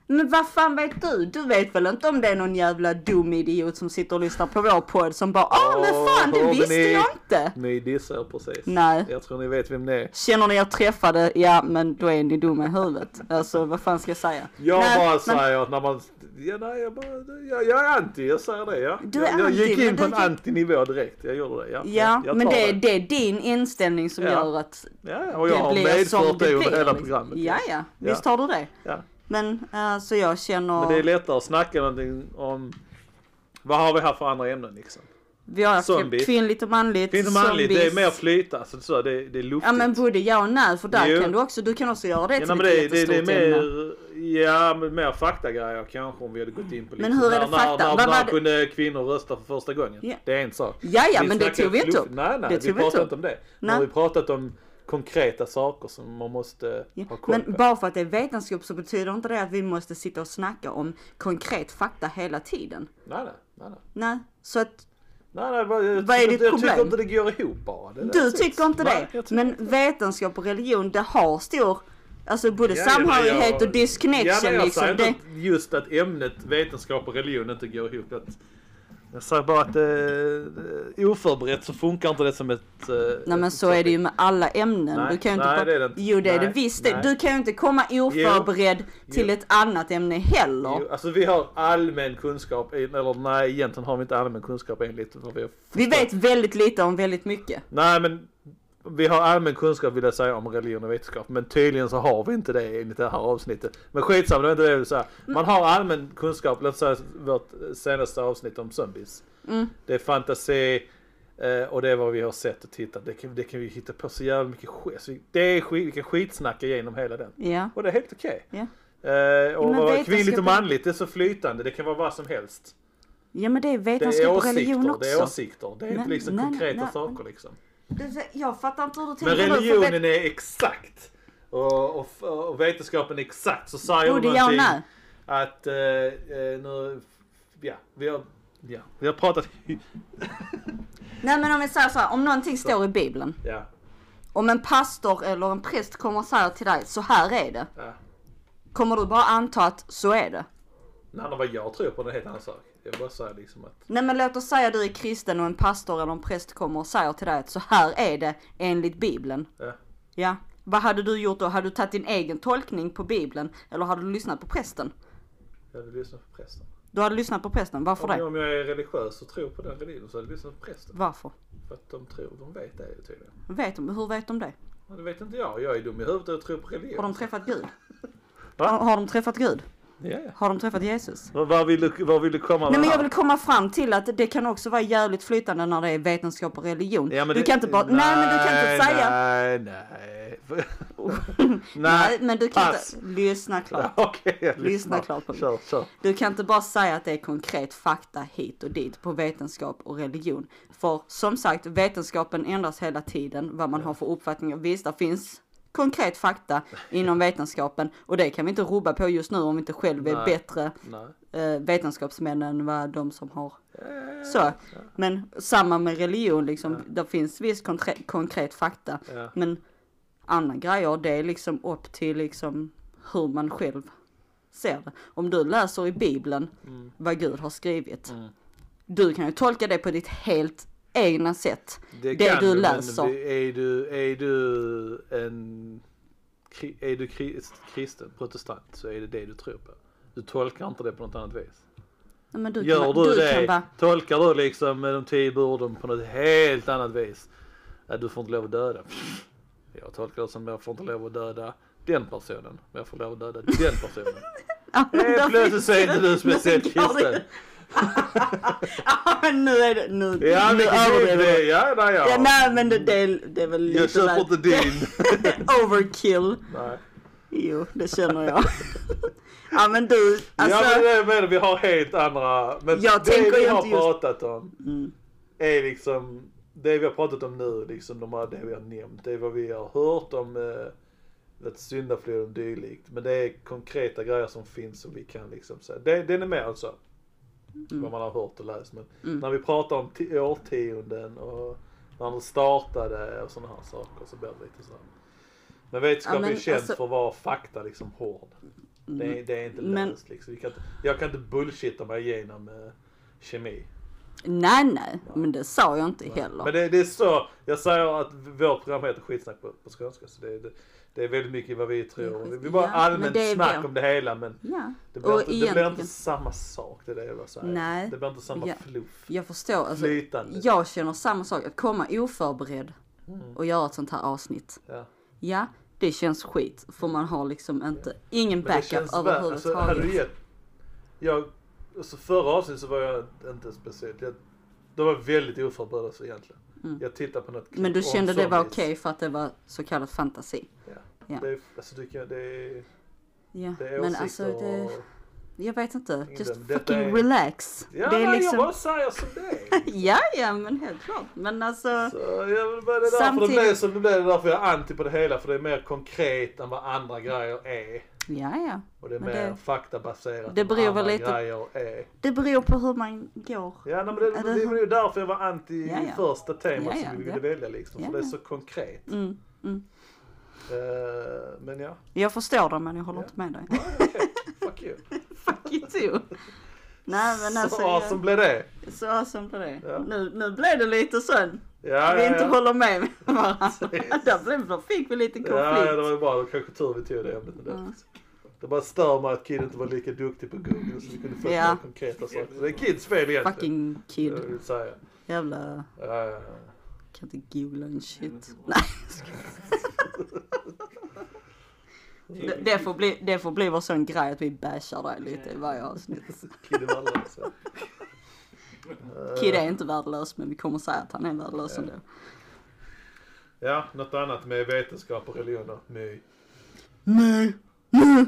[SPEAKER 2] Men vad fan vet du? Du vet väl inte om det är någon jävla dum idiot som sitter och lyssnar på vår podd som bara Åh men fan det
[SPEAKER 1] Åh,
[SPEAKER 2] visste
[SPEAKER 1] ni-
[SPEAKER 2] jag inte!
[SPEAKER 1] Ni dissar precis.
[SPEAKER 2] Nej.
[SPEAKER 1] Jag tror ni vet vem ni är.
[SPEAKER 2] Känner ni er träffade? Ja men då är ni dumma i huvudet. Alltså vad fan ska jag säga?
[SPEAKER 1] Jag
[SPEAKER 2] Nej,
[SPEAKER 1] bara
[SPEAKER 2] men-
[SPEAKER 1] säger att när man... Ja, nej, jag, bara, jag, jag är anti, jag säger det ja.
[SPEAKER 2] Du är
[SPEAKER 1] jag, jag
[SPEAKER 2] anti,
[SPEAKER 1] gick in
[SPEAKER 2] men
[SPEAKER 1] på en
[SPEAKER 2] du-
[SPEAKER 1] antinivå direkt, jag gjorde det. Ja,
[SPEAKER 2] Ja,
[SPEAKER 1] jag
[SPEAKER 2] men
[SPEAKER 1] tar
[SPEAKER 2] det, det är din inställning som
[SPEAKER 1] Ja.
[SPEAKER 2] gör att
[SPEAKER 1] Ja, och jag
[SPEAKER 2] det
[SPEAKER 1] har
[SPEAKER 2] blir
[SPEAKER 1] medfört
[SPEAKER 2] som
[SPEAKER 1] det
[SPEAKER 2] det
[SPEAKER 1] under
[SPEAKER 2] blir.
[SPEAKER 1] hela
[SPEAKER 2] liksom.
[SPEAKER 1] programmet.
[SPEAKER 2] Ja, ja, visst har du det.
[SPEAKER 1] Ja.
[SPEAKER 2] Men eh, så jag känner,
[SPEAKER 1] Men det är lättare att snacka någonting om... Vad har vi här för andra ämnen liksom?
[SPEAKER 2] vi har haft
[SPEAKER 1] zombie.
[SPEAKER 2] kvinnligt och manligt,
[SPEAKER 1] Finns det manligt? Det är
[SPEAKER 2] zombies.
[SPEAKER 1] mer flyta, så, så, det, det är luftigt.
[SPEAKER 2] Ja men både ja och nej för där
[SPEAKER 1] Jo.
[SPEAKER 2] kan du också, du kan också göra det
[SPEAKER 1] Ja,
[SPEAKER 2] till
[SPEAKER 1] nej, men
[SPEAKER 2] ett
[SPEAKER 1] det, det, det är
[SPEAKER 2] jättestort ämne.
[SPEAKER 1] mer, ja, men mer faktagrejer kanske om vi hade gått in på liksom,
[SPEAKER 2] hur är det
[SPEAKER 1] när,
[SPEAKER 2] fakta?
[SPEAKER 1] När,
[SPEAKER 2] Vad
[SPEAKER 1] när,
[SPEAKER 2] var
[SPEAKER 1] när
[SPEAKER 2] det-
[SPEAKER 1] kunde kvinnor rösta för första gången?
[SPEAKER 2] Ja.
[SPEAKER 1] Det är en sak.
[SPEAKER 2] Ja, ja, men det
[SPEAKER 1] snackar
[SPEAKER 2] tog vi inte
[SPEAKER 1] fluff-
[SPEAKER 2] upp.
[SPEAKER 1] Nej, nej,
[SPEAKER 2] Det
[SPEAKER 1] vi
[SPEAKER 2] tog vi inte
[SPEAKER 1] pratade
[SPEAKER 2] upp.
[SPEAKER 1] inte om det.
[SPEAKER 2] Nej.
[SPEAKER 1] Men vi pratat om konkreta saker som man måste ha koll
[SPEAKER 2] Men
[SPEAKER 1] på.
[SPEAKER 2] bara för att det är vetenskap så betyder inte det att vi måste sitta och snacka om konkret fakta hela tiden.
[SPEAKER 1] Nej, nej, nej. nej.
[SPEAKER 2] Nej, så att
[SPEAKER 1] Nej, nej, vad- jag,
[SPEAKER 2] Vad är
[SPEAKER 1] tycker
[SPEAKER 2] ditt
[SPEAKER 1] inte- jag tycker
[SPEAKER 2] problem?
[SPEAKER 1] inte det går ihop bara. Det är
[SPEAKER 2] du
[SPEAKER 1] det.
[SPEAKER 2] tycker inte
[SPEAKER 1] Nej,
[SPEAKER 2] det.
[SPEAKER 1] jag tycker
[SPEAKER 2] Men vetenskap och religion, det har stor, alltså både samhörighet och
[SPEAKER 1] Ja, men
[SPEAKER 2] disconnection
[SPEAKER 1] jag
[SPEAKER 2] liksom.
[SPEAKER 1] säger inte
[SPEAKER 2] Det,
[SPEAKER 1] att just att ämnet vetenskap och religion inte går ihop. Att, jag säger bara att eh, oförberett så funkar inte det som ett... Eh,
[SPEAKER 2] nej men
[SPEAKER 1] ett-
[SPEAKER 2] så är det ju med alla ämnen.
[SPEAKER 1] Nej,
[SPEAKER 2] du kan ju inte
[SPEAKER 1] nej,
[SPEAKER 2] bara-
[SPEAKER 1] det är det inte.
[SPEAKER 2] Jo det är det
[SPEAKER 1] Nej,
[SPEAKER 2] visst
[SPEAKER 1] nej.
[SPEAKER 2] det. Du kan ju inte komma oförberedd till
[SPEAKER 1] Jo.
[SPEAKER 2] ett annat ämne heller.
[SPEAKER 1] Jo, alltså vi har allmän kunskap, i- eller nej egentligen har vi inte allmän kunskap enligt vad vi har
[SPEAKER 2] Vi
[SPEAKER 1] förstått.
[SPEAKER 2] vet väldigt lite om väldigt mycket.
[SPEAKER 1] Nej men vi har allmän kunskap vill jag säga om religion och vetenskap men tydligen så har vi inte det enligt det här avsnittet. Men skitsamma, det var inte det jag ville säga. Man har allmän kunskap, låt säga vårt eh, senaste avsnitt om zombies.
[SPEAKER 2] Mm,
[SPEAKER 1] Det är fantasi eh, och det är vad vi har sett och tittat. Det kan, det kan vi hitta på så jävla mycket skit. Så vi- Det är skit, vi kan skitsnacka igenom hela den.
[SPEAKER 2] Ja.
[SPEAKER 1] Och det är helt okej.
[SPEAKER 2] Ja.
[SPEAKER 1] Eh, och
[SPEAKER 2] men
[SPEAKER 1] vad-
[SPEAKER 2] vetenskap-
[SPEAKER 1] kvinnligt och manligt, det är så flytande, det kan vara vad som helst.
[SPEAKER 2] ja men det är
[SPEAKER 1] Det är
[SPEAKER 2] vetenskap och religion
[SPEAKER 1] åsikter,
[SPEAKER 2] också.
[SPEAKER 1] det är åsikter. Det är
[SPEAKER 2] Nej,
[SPEAKER 1] inte liksom
[SPEAKER 2] nej, nej,
[SPEAKER 1] konkreta
[SPEAKER 2] nej.
[SPEAKER 1] saker liksom.
[SPEAKER 2] Du- Jag fattar inte hur du
[SPEAKER 1] Men
[SPEAKER 2] tänker nu, för
[SPEAKER 1] religionen är exakt. Och, och, och vetenskapen är exakt. Så säger
[SPEAKER 2] Både
[SPEAKER 1] de
[SPEAKER 2] ja och
[SPEAKER 1] någonting
[SPEAKER 2] nej.
[SPEAKER 1] att eh, eh, nu, ja, vi har, ja, vi har pratat,
[SPEAKER 2] Nej men om vi säger så här, om någonting står i bibeln.
[SPEAKER 1] ja,
[SPEAKER 2] Om en pastor eller en präst kommer och säger till dig, så här är det.
[SPEAKER 1] ja.
[SPEAKER 2] Kommer du bara anta att så är det?
[SPEAKER 1] Nej, men vad jag tror på det är en helt annan sak. Jag bara säger liksom att,
[SPEAKER 2] Nej men låt oss säga du är kristen och en pastor eller en präst kommer och säger till dig att så här är det enligt bibeln.
[SPEAKER 1] ja.
[SPEAKER 2] Ja. Vad hade du gjort då? Hade du tagit din egen tolkning på bibeln? Eller hade du lyssnat på prästen?
[SPEAKER 1] Jag hade lyssnat på prästen.
[SPEAKER 2] Du hade lyssnat på prästen, varför
[SPEAKER 1] Om,
[SPEAKER 2] det?
[SPEAKER 1] om jag är religiös och tror på den religionen så hade jag lyssnat på prästen.
[SPEAKER 2] Varför?
[SPEAKER 1] För att de tror, de vet det ju tydligen.
[SPEAKER 2] Vet de, hur vet de det?
[SPEAKER 1] Men det vet inte jag, jag är dum i huvudet och tror på religion.
[SPEAKER 2] Har de träffat Gud?
[SPEAKER 1] Va?
[SPEAKER 2] Har, har de träffat Gud?
[SPEAKER 1] Ja, ja.
[SPEAKER 2] Har de träffat Jesus?
[SPEAKER 1] Vad- Vad vill du, vad vill du komma med
[SPEAKER 2] Nej men jag
[SPEAKER 1] här?
[SPEAKER 2] vill komma fram till att det kan också vara jävligt flytande när det är vetenskap och religion.
[SPEAKER 1] Ja, men
[SPEAKER 2] du
[SPEAKER 1] det-
[SPEAKER 2] kan inte bara, nej, men du kan inte säga.
[SPEAKER 1] Nej,
[SPEAKER 2] <laughs>
[SPEAKER 1] nej.
[SPEAKER 2] Nej men du kan
[SPEAKER 1] pass. <laughs>
[SPEAKER 2] inte, lyssna klart.
[SPEAKER 1] Okej, jag
[SPEAKER 2] Lyssna
[SPEAKER 1] lyssnar.
[SPEAKER 2] klart på mig.
[SPEAKER 1] Kör, kör.
[SPEAKER 2] Du kan inte bara säga att det är konkret fakta hit och dit på vetenskap och religion. För som sagt, vetenskapen ändras hela tiden vad man har för uppfattningar. Visst, det finns konkret fakta inom vetenskapen och det kan vi inte rubba på just nu om vi inte själv är
[SPEAKER 1] Nej.
[SPEAKER 2] bättre
[SPEAKER 1] Nej.
[SPEAKER 2] eh, vetenskapsmän än vad de som har så. Men samma med religion, liksom, där finns viss konkret, konkret fakta.
[SPEAKER 1] Ja.
[SPEAKER 2] Men andra grejer, det är liksom upp till liksom hur man själv ser det. Om du läser i Bibeln
[SPEAKER 1] Mm.
[SPEAKER 2] vad Gud har skrivit. Du kan ju tolka det på ditt helt egna sätt. Det,
[SPEAKER 1] kan
[SPEAKER 2] du
[SPEAKER 1] men
[SPEAKER 2] läser.
[SPEAKER 1] det- Är du, är du en... kri- Är du krist, kristen, protestant, så är det det du tror på. Du tolkar inte det på något annat vis.
[SPEAKER 2] Nej, men du
[SPEAKER 1] Gör
[SPEAKER 2] kan, vara-
[SPEAKER 1] du,
[SPEAKER 2] du
[SPEAKER 1] det,
[SPEAKER 2] Kan vara,
[SPEAKER 1] tolkar du liksom med de tio borden på något helt annat vis. Att du får inte lov att döda. Jag tolkar det som att jag får inte lov att döda den personen. Men jag får lov att döda den personen.
[SPEAKER 2] Ja, <laughs> men
[SPEAKER 1] Helt
[SPEAKER 2] där
[SPEAKER 1] plötsligt så är
[SPEAKER 2] <laughs>
[SPEAKER 1] inte du
[SPEAKER 2] finns-
[SPEAKER 1] speciellt
[SPEAKER 2] nu går det-
[SPEAKER 1] kristen.
[SPEAKER 2] Ja, men nu är det, nu,
[SPEAKER 1] Ja,
[SPEAKER 2] nu
[SPEAKER 1] vilket är
[SPEAKER 2] överdriver
[SPEAKER 1] det?
[SPEAKER 2] du.
[SPEAKER 1] Ja, nej, ja.
[SPEAKER 2] Ja, nej men det, det, är, det är väl lite
[SPEAKER 1] jag köper
[SPEAKER 2] väl-
[SPEAKER 1] inte din.
[SPEAKER 2] <laughs> Overkill.
[SPEAKER 1] nej.
[SPEAKER 2] Jo, det känner jag. ja men du, alltså.
[SPEAKER 1] ja, men det är med, vi har helt andra. Men
[SPEAKER 2] Jag
[SPEAKER 1] det
[SPEAKER 2] tänker
[SPEAKER 1] vi
[SPEAKER 2] ju
[SPEAKER 1] har
[SPEAKER 2] inte just- Mm.
[SPEAKER 1] pratat om är liksom det vi har pratat om nu, liksom de här, det vi har nämnt, det är vad vi har hört om eh, att syndaflod och dylikt. Men det är konkreta grejer som finns som vi kan liksom säga. Det, den är med alltså.
[SPEAKER 2] Mm.
[SPEAKER 1] Vad man har hört och läst. Men när vi pratar om t- årtionden och när det startade och sådana här saker så blir det lite så här. Men vetenskapen
[SPEAKER 2] Ja, men
[SPEAKER 1] är känd
[SPEAKER 2] alltså-
[SPEAKER 1] för att vara fakta liksom hård. Det, är- det är inte
[SPEAKER 2] Mm. Men-
[SPEAKER 1] löst liksom. Vi kan inte, jag kan inte bullshitta mig igenom eh, kemi.
[SPEAKER 2] Nej, nej, men det sa jag inte heller.
[SPEAKER 1] Men det, det är så, jag säger att vårt program heter skitsnack på, på skånska. Så det, det, det är väldigt mycket vad vi
[SPEAKER 2] Det är
[SPEAKER 1] tror.
[SPEAKER 2] skit-
[SPEAKER 1] Vi bara
[SPEAKER 2] ja, men
[SPEAKER 1] allmänt
[SPEAKER 2] det är
[SPEAKER 1] snack
[SPEAKER 2] vår-
[SPEAKER 1] om det hela men
[SPEAKER 2] Ja,
[SPEAKER 1] det blir,
[SPEAKER 2] och
[SPEAKER 1] inte, det blir inte
[SPEAKER 2] egentligen,
[SPEAKER 1] samma sak. Det är det jag vill säga.
[SPEAKER 2] Nej.
[SPEAKER 1] Det blir inte samma
[SPEAKER 2] Ja.
[SPEAKER 1] fluff.
[SPEAKER 2] jag förstår. Alltså,
[SPEAKER 1] Flytande.
[SPEAKER 2] jag känner samma sak. Att komma oförberedd och göra ett sånt här avsnitt.
[SPEAKER 1] Mm. Ja.
[SPEAKER 2] Ja, det känns skit. För man har liksom inte, ingen
[SPEAKER 1] Men det
[SPEAKER 2] backup
[SPEAKER 1] känns väl, alltså, hade du
[SPEAKER 2] överhuvudtaget.
[SPEAKER 1] gett, jag, alltså förra avsnittet så var jag inte speciellt, jag, det var väldigt oförberedd alltså, egentligen. Jag tittade på något klipp
[SPEAKER 2] Mm. Men du
[SPEAKER 1] om
[SPEAKER 2] kände det var
[SPEAKER 1] zombies.
[SPEAKER 2] okej för att det var så kallad fantasi.
[SPEAKER 1] Ja.
[SPEAKER 2] Ja.
[SPEAKER 1] Det, är, alltså, det, kan, det, är,
[SPEAKER 2] Ja,
[SPEAKER 1] det är
[SPEAKER 2] men
[SPEAKER 1] åsikter
[SPEAKER 2] alltså det,
[SPEAKER 1] och...
[SPEAKER 2] jag vet inte. Just
[SPEAKER 1] Detta
[SPEAKER 2] fucking
[SPEAKER 1] är-
[SPEAKER 2] relax.
[SPEAKER 1] Ja,
[SPEAKER 2] det är
[SPEAKER 1] nej,
[SPEAKER 2] liksom...
[SPEAKER 1] jag bara säger som det är.
[SPEAKER 2] Ja, ja, men helt klart. Men alltså,
[SPEAKER 1] Så jag vill bara, det är därför
[SPEAKER 2] Samtidigt-
[SPEAKER 1] det blev som det blev, det är därför jag är anti på det hela, för det är mer konkret än vad andra grejer är.
[SPEAKER 2] ja, ja.
[SPEAKER 1] Och det är
[SPEAKER 2] Men
[SPEAKER 1] mer
[SPEAKER 2] det-
[SPEAKER 1] faktabaserat
[SPEAKER 2] det
[SPEAKER 1] än vad
[SPEAKER 2] beror väl
[SPEAKER 1] andra
[SPEAKER 2] lite-
[SPEAKER 1] grejer är.
[SPEAKER 2] Det beror på hur man går.
[SPEAKER 1] Ja, nej, men det,
[SPEAKER 2] Ja,
[SPEAKER 1] det,
[SPEAKER 2] det-
[SPEAKER 1] det var ju därför jag var anti
[SPEAKER 2] Ja, ja.
[SPEAKER 1] första temat
[SPEAKER 2] Ja, ja,
[SPEAKER 1] som vi
[SPEAKER 2] ja.
[SPEAKER 1] ville välja liksom.
[SPEAKER 2] Ja,
[SPEAKER 1] För det är
[SPEAKER 2] ja.
[SPEAKER 1] så konkret.
[SPEAKER 2] Mm, mm.
[SPEAKER 1] Eh, men
[SPEAKER 2] <laughs>
[SPEAKER 1] ja,
[SPEAKER 2] Jag förstår det, men jag håller
[SPEAKER 1] Ja.
[SPEAKER 2] inte
[SPEAKER 1] <laughs>
[SPEAKER 2] med dig.
[SPEAKER 1] okej. Fuck you.
[SPEAKER 2] Fuck you too. Nej, men alltså.
[SPEAKER 1] så awesome blev det.
[SPEAKER 2] jag, så awesome på det.
[SPEAKER 1] Ja.
[SPEAKER 2] Nu, nu blev det lite sån.
[SPEAKER 1] Ja,
[SPEAKER 2] vi
[SPEAKER 1] ja, <laughs>
[SPEAKER 2] inte
[SPEAKER 1] ja.
[SPEAKER 2] håller med varandra.
[SPEAKER 1] Precis.
[SPEAKER 2] Där blev, då fick vi lite konflikt.
[SPEAKER 1] Ja, ja, det var ju bra. Det var kanske tur vi tog det ämnet ändå.
[SPEAKER 2] Ja.
[SPEAKER 1] Det bara stör mig att Kid inte var lika duktig på Google så vi kunde få
[SPEAKER 2] Ja.
[SPEAKER 1] några konkreta saker. Det är Kids fel egentligen.
[SPEAKER 2] Fucking
[SPEAKER 1] Jag
[SPEAKER 2] kid.
[SPEAKER 1] vill säga. Eh,
[SPEAKER 2] Jävla,
[SPEAKER 1] Ja, ja,
[SPEAKER 2] kan inte googla en shit.
[SPEAKER 1] ja.
[SPEAKER 2] Det, det, får bli, det får bli vår sån grej att vi bashar dig lite i varje avsnitt.
[SPEAKER 1] Kid alltså. är värdelös. ja.
[SPEAKER 2] Kid är inte värdelös men vi kommer säga att han är värdelös ändå.
[SPEAKER 1] Ja, något annat med vetenskap och religion och my.
[SPEAKER 2] Nej! Nej!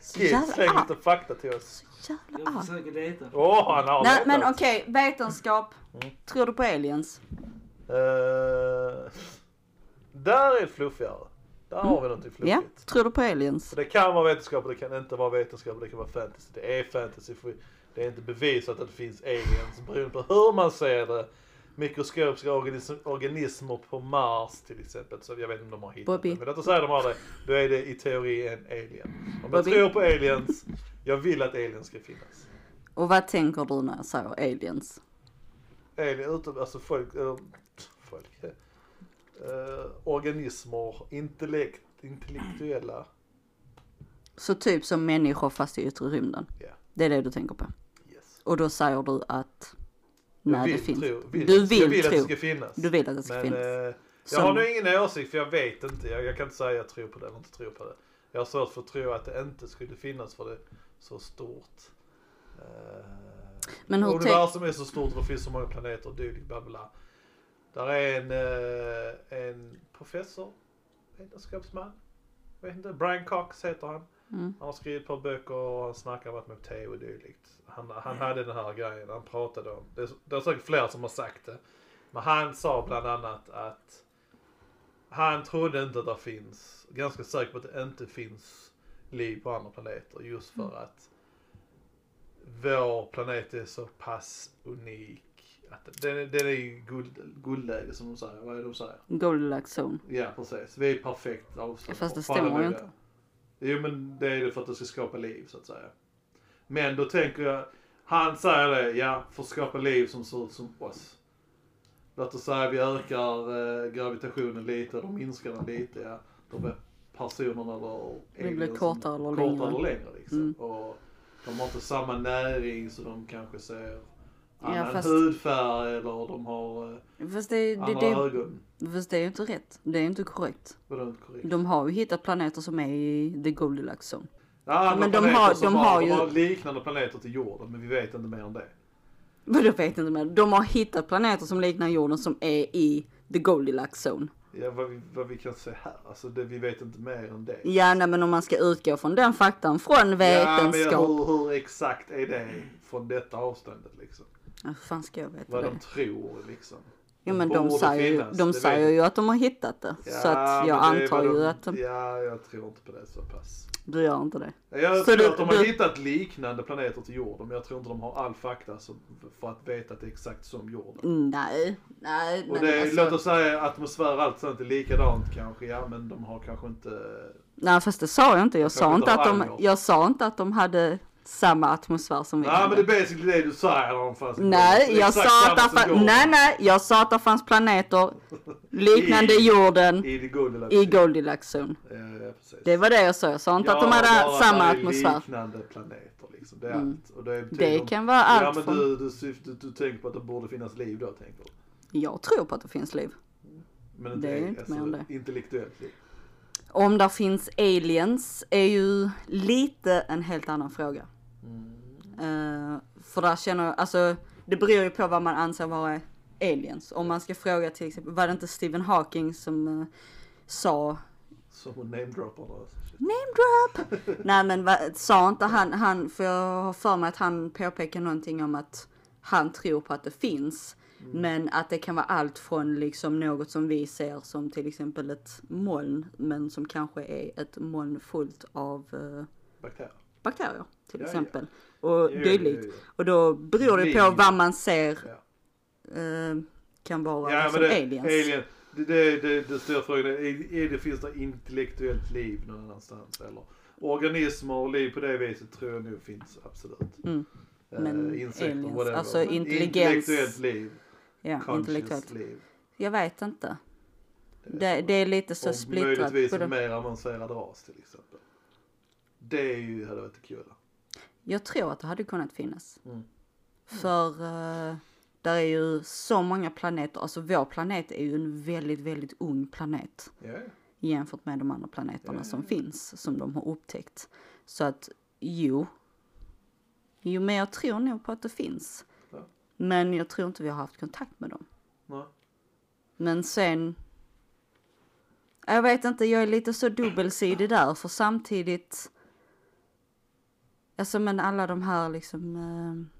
[SPEAKER 2] Så
[SPEAKER 1] Kids,
[SPEAKER 2] jävla
[SPEAKER 1] släng
[SPEAKER 2] arg.
[SPEAKER 1] lite fakta till oss.
[SPEAKER 2] Så jävla
[SPEAKER 3] Jag
[SPEAKER 2] arg.
[SPEAKER 3] försöker
[SPEAKER 1] <laughs>
[SPEAKER 3] leta.
[SPEAKER 1] Åh, han har
[SPEAKER 2] Nej
[SPEAKER 1] vetat.
[SPEAKER 2] men okej, vetenskap.
[SPEAKER 1] Mm.
[SPEAKER 2] Tror du på aliens?
[SPEAKER 1] Eh, där är det fluffigare. Där har vi någonting
[SPEAKER 2] Ja,
[SPEAKER 1] fluffigt.
[SPEAKER 2] tror du på aliens?
[SPEAKER 1] Så det kan vara vetenskap och det kan inte vara vetenskap och det kan vara fantasy. Det är fantasy för det är inte bevisat att det finns aliens beroende på hur man ser det. Mikroskopiska organism- organismer på Mars till exempel. Så jag vet inte om de har hittat
[SPEAKER 2] Bobby.
[SPEAKER 1] det. Men låt oss säga att de har det. Då är det i teori en alien. Om
[SPEAKER 2] Bobby.
[SPEAKER 1] jag tror på aliens, jag vill att aliens ska finnas.
[SPEAKER 2] Och vad tänker du när jag säger aliens?
[SPEAKER 1] Alien, utom, alltså folk, eh, folk eh, organismer, intellekt, intellektuella.
[SPEAKER 2] Så typ som människor fast i yttre rymden.
[SPEAKER 1] Ja.
[SPEAKER 2] Det är det du tänker på.
[SPEAKER 1] Yes.
[SPEAKER 2] Och då säger du att
[SPEAKER 1] Jag
[SPEAKER 2] nej det
[SPEAKER 1] vill
[SPEAKER 2] finns.
[SPEAKER 1] tro, vill,
[SPEAKER 2] Du
[SPEAKER 1] jag
[SPEAKER 2] vill,
[SPEAKER 1] vill att det
[SPEAKER 2] tro.
[SPEAKER 1] ska finnas.
[SPEAKER 2] Du vill att det ska
[SPEAKER 1] Men,
[SPEAKER 2] finnas.
[SPEAKER 1] eh, jag
[SPEAKER 2] Som-
[SPEAKER 1] har nu ingen åsikt för jag vet inte. Jag, jag kan inte säga att jag tror på det eller inte tror på det. Jag har svårt för att tro att det inte skulle finnas för det är så stort. Eh,
[SPEAKER 2] Men hur tänker
[SPEAKER 1] universum är så stort och det finns så många planeter och dylikt bla bla, bla. Där är en, eh, en professor, vetenskapsman. Jag vet inte, Brian Cox heter han.
[SPEAKER 2] Mm.
[SPEAKER 1] Han har skrivit på böcker och han snackar om att med te och dylikt. Han, han hade den här grejen han pratade om. Det är, det är säkert fler som har sagt det. Men han sa bland annat att han trodde inte att det finns, ganska säker på att det inte finns liv på andra planeter just för att vår planet är så pass unik. Att den, den är ju guld, guldläge som de säger. Vad är det de säger?
[SPEAKER 2] Goldilocks zone?
[SPEAKER 1] Ja precis, vi är perfekt avstånd.
[SPEAKER 2] Fast det
[SPEAKER 1] från alla
[SPEAKER 2] stämmer ju
[SPEAKER 1] möjliga.
[SPEAKER 2] inte.
[SPEAKER 1] Jo men det är det för att du ska skapa liv så att säga. Men då tänker jag, han säger det, ja för att skapa liv som ser ut som oss. Låt oss säga vi ökar eh, gravitationen lite eller minskar den lite, ja. Då blir personerna eller
[SPEAKER 2] Det blir
[SPEAKER 1] aliensen
[SPEAKER 2] kortare eller
[SPEAKER 1] kortare
[SPEAKER 2] längre.
[SPEAKER 1] eller längre liksom.
[SPEAKER 2] Mm.
[SPEAKER 1] Och de har inte samma näring så de kanske ser
[SPEAKER 2] Ja,
[SPEAKER 1] annan
[SPEAKER 2] fast-
[SPEAKER 1] hudfärg eller de har eh,
[SPEAKER 2] Fast det, det,
[SPEAKER 1] andra
[SPEAKER 2] det,
[SPEAKER 1] ögon.
[SPEAKER 2] fast det är ju inte rätt. Det är ju inte korrekt.
[SPEAKER 1] Vadå inte korrekt?
[SPEAKER 2] De har ju hittat planeter som är i the Goldilocks zone.
[SPEAKER 1] Ja,
[SPEAKER 2] men
[SPEAKER 1] de
[SPEAKER 2] de
[SPEAKER 1] har,
[SPEAKER 2] har-
[SPEAKER 1] som
[SPEAKER 2] de
[SPEAKER 1] har,
[SPEAKER 2] har
[SPEAKER 1] de
[SPEAKER 2] ju-
[SPEAKER 1] har liknande planeter till jorden men vi vet inte mer om det.
[SPEAKER 2] Men jag vet inte mer. De har hittat planeter som liknar jorden som är i the Goldilocks zone.
[SPEAKER 1] Ja, vad, vi, vad vi kan se här, alltså det, vi vet inte mer än det.
[SPEAKER 2] Ja, nej, men om man ska utgå från den faktan från
[SPEAKER 1] Ja, men
[SPEAKER 2] vetenskap.
[SPEAKER 1] hur, hur exakt är det från detta avståndet liksom?
[SPEAKER 2] Ja, hur fan ska jag veta
[SPEAKER 1] Vad
[SPEAKER 2] det?
[SPEAKER 1] de tror liksom.
[SPEAKER 2] Ja, men
[SPEAKER 1] Borde
[SPEAKER 2] de säger, ju,
[SPEAKER 1] finnas,
[SPEAKER 2] de
[SPEAKER 1] det
[SPEAKER 2] säger
[SPEAKER 1] vet
[SPEAKER 2] ju att de har hittat det.
[SPEAKER 1] jag.
[SPEAKER 2] så att jag
[SPEAKER 1] men det är
[SPEAKER 2] antar
[SPEAKER 1] vad
[SPEAKER 2] ju
[SPEAKER 1] de-
[SPEAKER 2] att de,
[SPEAKER 1] Ja, jag tror inte på det så pass.
[SPEAKER 2] du gör inte det.
[SPEAKER 1] Jag
[SPEAKER 2] Så
[SPEAKER 1] tror
[SPEAKER 2] du-
[SPEAKER 1] att de har
[SPEAKER 2] du-
[SPEAKER 1] hittat liknande planeter till jorden men jag tror inte de har all fakta som, för att veta att det är exakt som jorden.
[SPEAKER 2] Nej, nej.
[SPEAKER 1] Och
[SPEAKER 2] Men
[SPEAKER 1] det,
[SPEAKER 2] alltså,
[SPEAKER 1] låt oss säga atmosfär och allt sånt är likadant kanske, ja men de har kanske inte
[SPEAKER 2] Nej fast det sa jag inte. Jag, sa
[SPEAKER 1] kanske
[SPEAKER 2] inte,
[SPEAKER 1] inte
[SPEAKER 2] att
[SPEAKER 1] har
[SPEAKER 2] de,
[SPEAKER 1] Algot.
[SPEAKER 2] jag sa inte att de hade samma atmosfär som vi
[SPEAKER 1] Nej
[SPEAKER 2] hade.
[SPEAKER 1] men det är basically det du säger om fast
[SPEAKER 2] Nej,
[SPEAKER 1] det är
[SPEAKER 2] jag
[SPEAKER 1] exakt
[SPEAKER 2] sa, att
[SPEAKER 1] samma
[SPEAKER 2] där
[SPEAKER 1] som
[SPEAKER 2] fann,
[SPEAKER 1] Golden
[SPEAKER 2] nej, nej, jag sa att det fanns
[SPEAKER 1] <laughs>
[SPEAKER 2] planeter liknande
[SPEAKER 1] I-
[SPEAKER 2] jorden
[SPEAKER 1] I det Goldilocks.
[SPEAKER 2] i Goldilocks-zon.
[SPEAKER 1] Ja, ja, precis.
[SPEAKER 2] Det var det jag sa, jag sa inte
[SPEAKER 1] Ja,
[SPEAKER 2] att de
[SPEAKER 1] bara
[SPEAKER 2] hade samma
[SPEAKER 1] att det är
[SPEAKER 2] atmosfär.
[SPEAKER 1] liknande planeter liksom. Det är
[SPEAKER 2] Mm.
[SPEAKER 1] allt. Och det, betyder-
[SPEAKER 2] Det kan vara allt
[SPEAKER 1] Ja men
[SPEAKER 2] från...
[SPEAKER 1] du, du, syft- du, du tänker på att det borde finnas liv då tänker du?
[SPEAKER 2] Jag tror på att det finns liv.
[SPEAKER 1] Men inte, alltså,
[SPEAKER 2] Det är inte mer än det.
[SPEAKER 1] Intellektuellt liv.
[SPEAKER 2] Om där finns aliens är ju lite en helt annan fråga.
[SPEAKER 1] Mm.
[SPEAKER 2] Eh, för där känner jag, alltså det beror ju på vad man anser vara aliens. Om man ska fråga till exempel, var det inte Stephen Hawking som eh, sa
[SPEAKER 1] Som hon namedroppar då. alltså.
[SPEAKER 2] Name drop! <laughs> Nej men va, sa inte han, han, för jag har för mig att han påpekar någonting om att han tror på att det finns.
[SPEAKER 1] Mm.
[SPEAKER 2] Men att det kan vara allt från liksom något som vi ser som till exempel ett moln. Men som kanske är ett moln fullt av eh,
[SPEAKER 1] Bakterier.
[SPEAKER 2] bakterier till
[SPEAKER 1] Ja, ja.
[SPEAKER 2] exempel. Och
[SPEAKER 1] Ja, ja,
[SPEAKER 2] dylikt.
[SPEAKER 1] ja, ja.
[SPEAKER 2] Och då beror det på
[SPEAKER 1] Liv.
[SPEAKER 2] vad man ser
[SPEAKER 1] Ja.
[SPEAKER 2] eh, kan vara
[SPEAKER 1] Ja
[SPEAKER 2] som
[SPEAKER 1] men det,
[SPEAKER 2] aliens.
[SPEAKER 1] alien. Det, det, det, det stora frågan är, är, är det, finns det intellektuellt liv någon annanstans eller? Organismer och liv på det viset tror jag nog finns absolut.
[SPEAKER 2] Mm.
[SPEAKER 1] Eh,
[SPEAKER 2] Men
[SPEAKER 1] insekter,
[SPEAKER 2] aliens,
[SPEAKER 1] whatever.
[SPEAKER 2] alltså
[SPEAKER 1] Men
[SPEAKER 2] intelligens,
[SPEAKER 1] Intellektuellt liv.
[SPEAKER 2] ja,
[SPEAKER 1] Conscious
[SPEAKER 2] intellektuellt.
[SPEAKER 1] liv.
[SPEAKER 2] Jag vet inte.
[SPEAKER 1] vet
[SPEAKER 2] Det, det är lite så
[SPEAKER 1] och
[SPEAKER 2] splittrat.
[SPEAKER 1] möjligtvis
[SPEAKER 2] på det.
[SPEAKER 1] en mer avancerad ras till exempel. Det är ju, hade varit kul.
[SPEAKER 2] Jag tror att det hade kunnat finnas.
[SPEAKER 1] Mm.
[SPEAKER 2] För eh, där är ju så många planeter. Alltså vår planet är ju en väldigt, väldigt ung planet
[SPEAKER 1] Ja, ja.
[SPEAKER 2] jämfört med de andra planeterna
[SPEAKER 1] Ja,
[SPEAKER 2] som finns, som de har upptäckt. Så att jo, jo men jag tror nog på att det finns.
[SPEAKER 1] Ja.
[SPEAKER 2] Men jag tror inte vi har haft kontakt med dem.
[SPEAKER 1] Nej.
[SPEAKER 2] Men sen... Jag vet inte, jag är lite så dubbelsidig där för samtidigt... Alltså men alla de här liksom... Eh,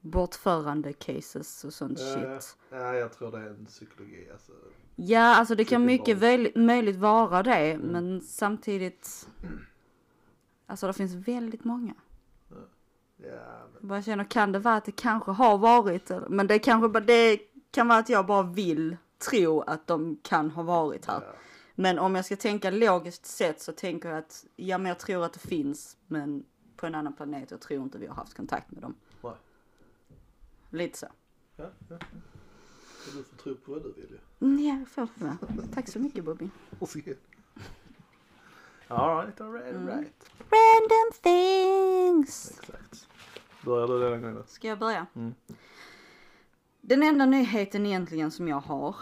[SPEAKER 2] bortförande cases och sånt
[SPEAKER 1] Ja, ja.
[SPEAKER 2] shit.
[SPEAKER 1] Nej, jag tror det är en psykologi alltså.
[SPEAKER 2] Ja, alltså det kan
[SPEAKER 1] Psykisk
[SPEAKER 2] mycket
[SPEAKER 1] våld.
[SPEAKER 2] väl, möjligt vara det,
[SPEAKER 1] Mm.
[SPEAKER 2] men samtidigt... Alltså det finns väldigt många.
[SPEAKER 1] Ja, men,
[SPEAKER 2] Jag bara känner, kan det vara att det kanske har varit, eller- men det kanske bara, det kan vara att jag bara vill tro att de kan ha varit här.
[SPEAKER 1] ja.
[SPEAKER 2] Men om jag ska tänka logiskt sett så tänker jag att ja, men jag tror att det finns, men på en annan planet. Jag tror inte vi har haft kontakt med dem.
[SPEAKER 1] Nej.
[SPEAKER 2] Lite så.
[SPEAKER 1] Ja, ja. Du får tro på vad du vill ju.
[SPEAKER 2] Mm, Ja, får jag med. Tack så mycket Bobby.
[SPEAKER 1] Varsågod. Alright, alright,
[SPEAKER 2] Mm.
[SPEAKER 1] alright.
[SPEAKER 2] Random things.
[SPEAKER 1] Exakt. Börjar du denna gången?
[SPEAKER 2] Ska jag börja?
[SPEAKER 1] Mm.
[SPEAKER 2] Den enda nyheten egentligen som jag har.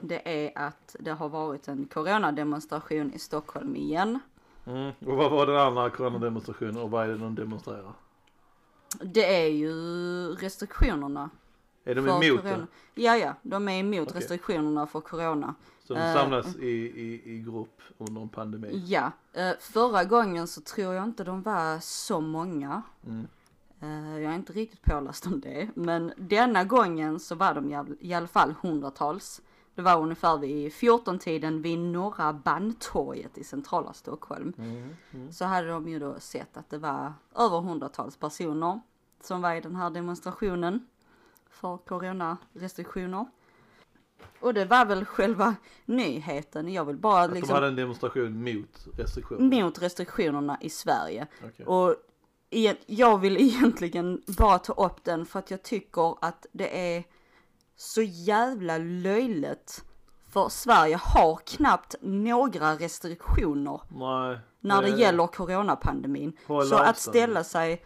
[SPEAKER 2] Det är att det har varit en coronademonstration i Stockholm igen.
[SPEAKER 1] Mm. Och vad var den andra coronademonstrationen och vad är det de demonstrerar?
[SPEAKER 2] Det är ju restriktionerna.
[SPEAKER 1] Är de
[SPEAKER 2] för
[SPEAKER 1] emot
[SPEAKER 2] corona.
[SPEAKER 1] det?
[SPEAKER 2] Ja, ja, de är emot
[SPEAKER 1] Okej.
[SPEAKER 2] restriktionerna för corona.
[SPEAKER 1] Så de
[SPEAKER 2] Eh,
[SPEAKER 1] samlas i, i, i grupp under en pandemi?
[SPEAKER 2] Ja, eh, förra gången så tror jag inte de var så många.
[SPEAKER 1] Mm.
[SPEAKER 2] Eh, Jag är inte riktigt påläst om det, men denna gången så var de jäv- i alla fall hundratals. Det var ungefär vid 14-tiden vid Norra Bandtorget i centrala Stockholm.
[SPEAKER 1] Mm.
[SPEAKER 2] Så hade de ju då sett att det var över hundratals personer som var i den här demonstrationen för coronarestriktioner. Och det var väl själva nyheten. Jag vill bara
[SPEAKER 1] Att
[SPEAKER 2] liksom...
[SPEAKER 1] de hade en demonstration mot restriktioner?
[SPEAKER 2] mot restriktionerna i Sverige.
[SPEAKER 1] Okej.
[SPEAKER 2] Och igen, jag vill <laughs> egentligen bara ta upp den för att jag tycker att det är så jävla löjligt. För Sverige har knappt några restriktioner
[SPEAKER 1] Nej.
[SPEAKER 2] när det
[SPEAKER 1] eh,
[SPEAKER 2] gäller coronapandemin.
[SPEAKER 1] Håll
[SPEAKER 2] Så att
[SPEAKER 1] avstånd.
[SPEAKER 2] ställa sig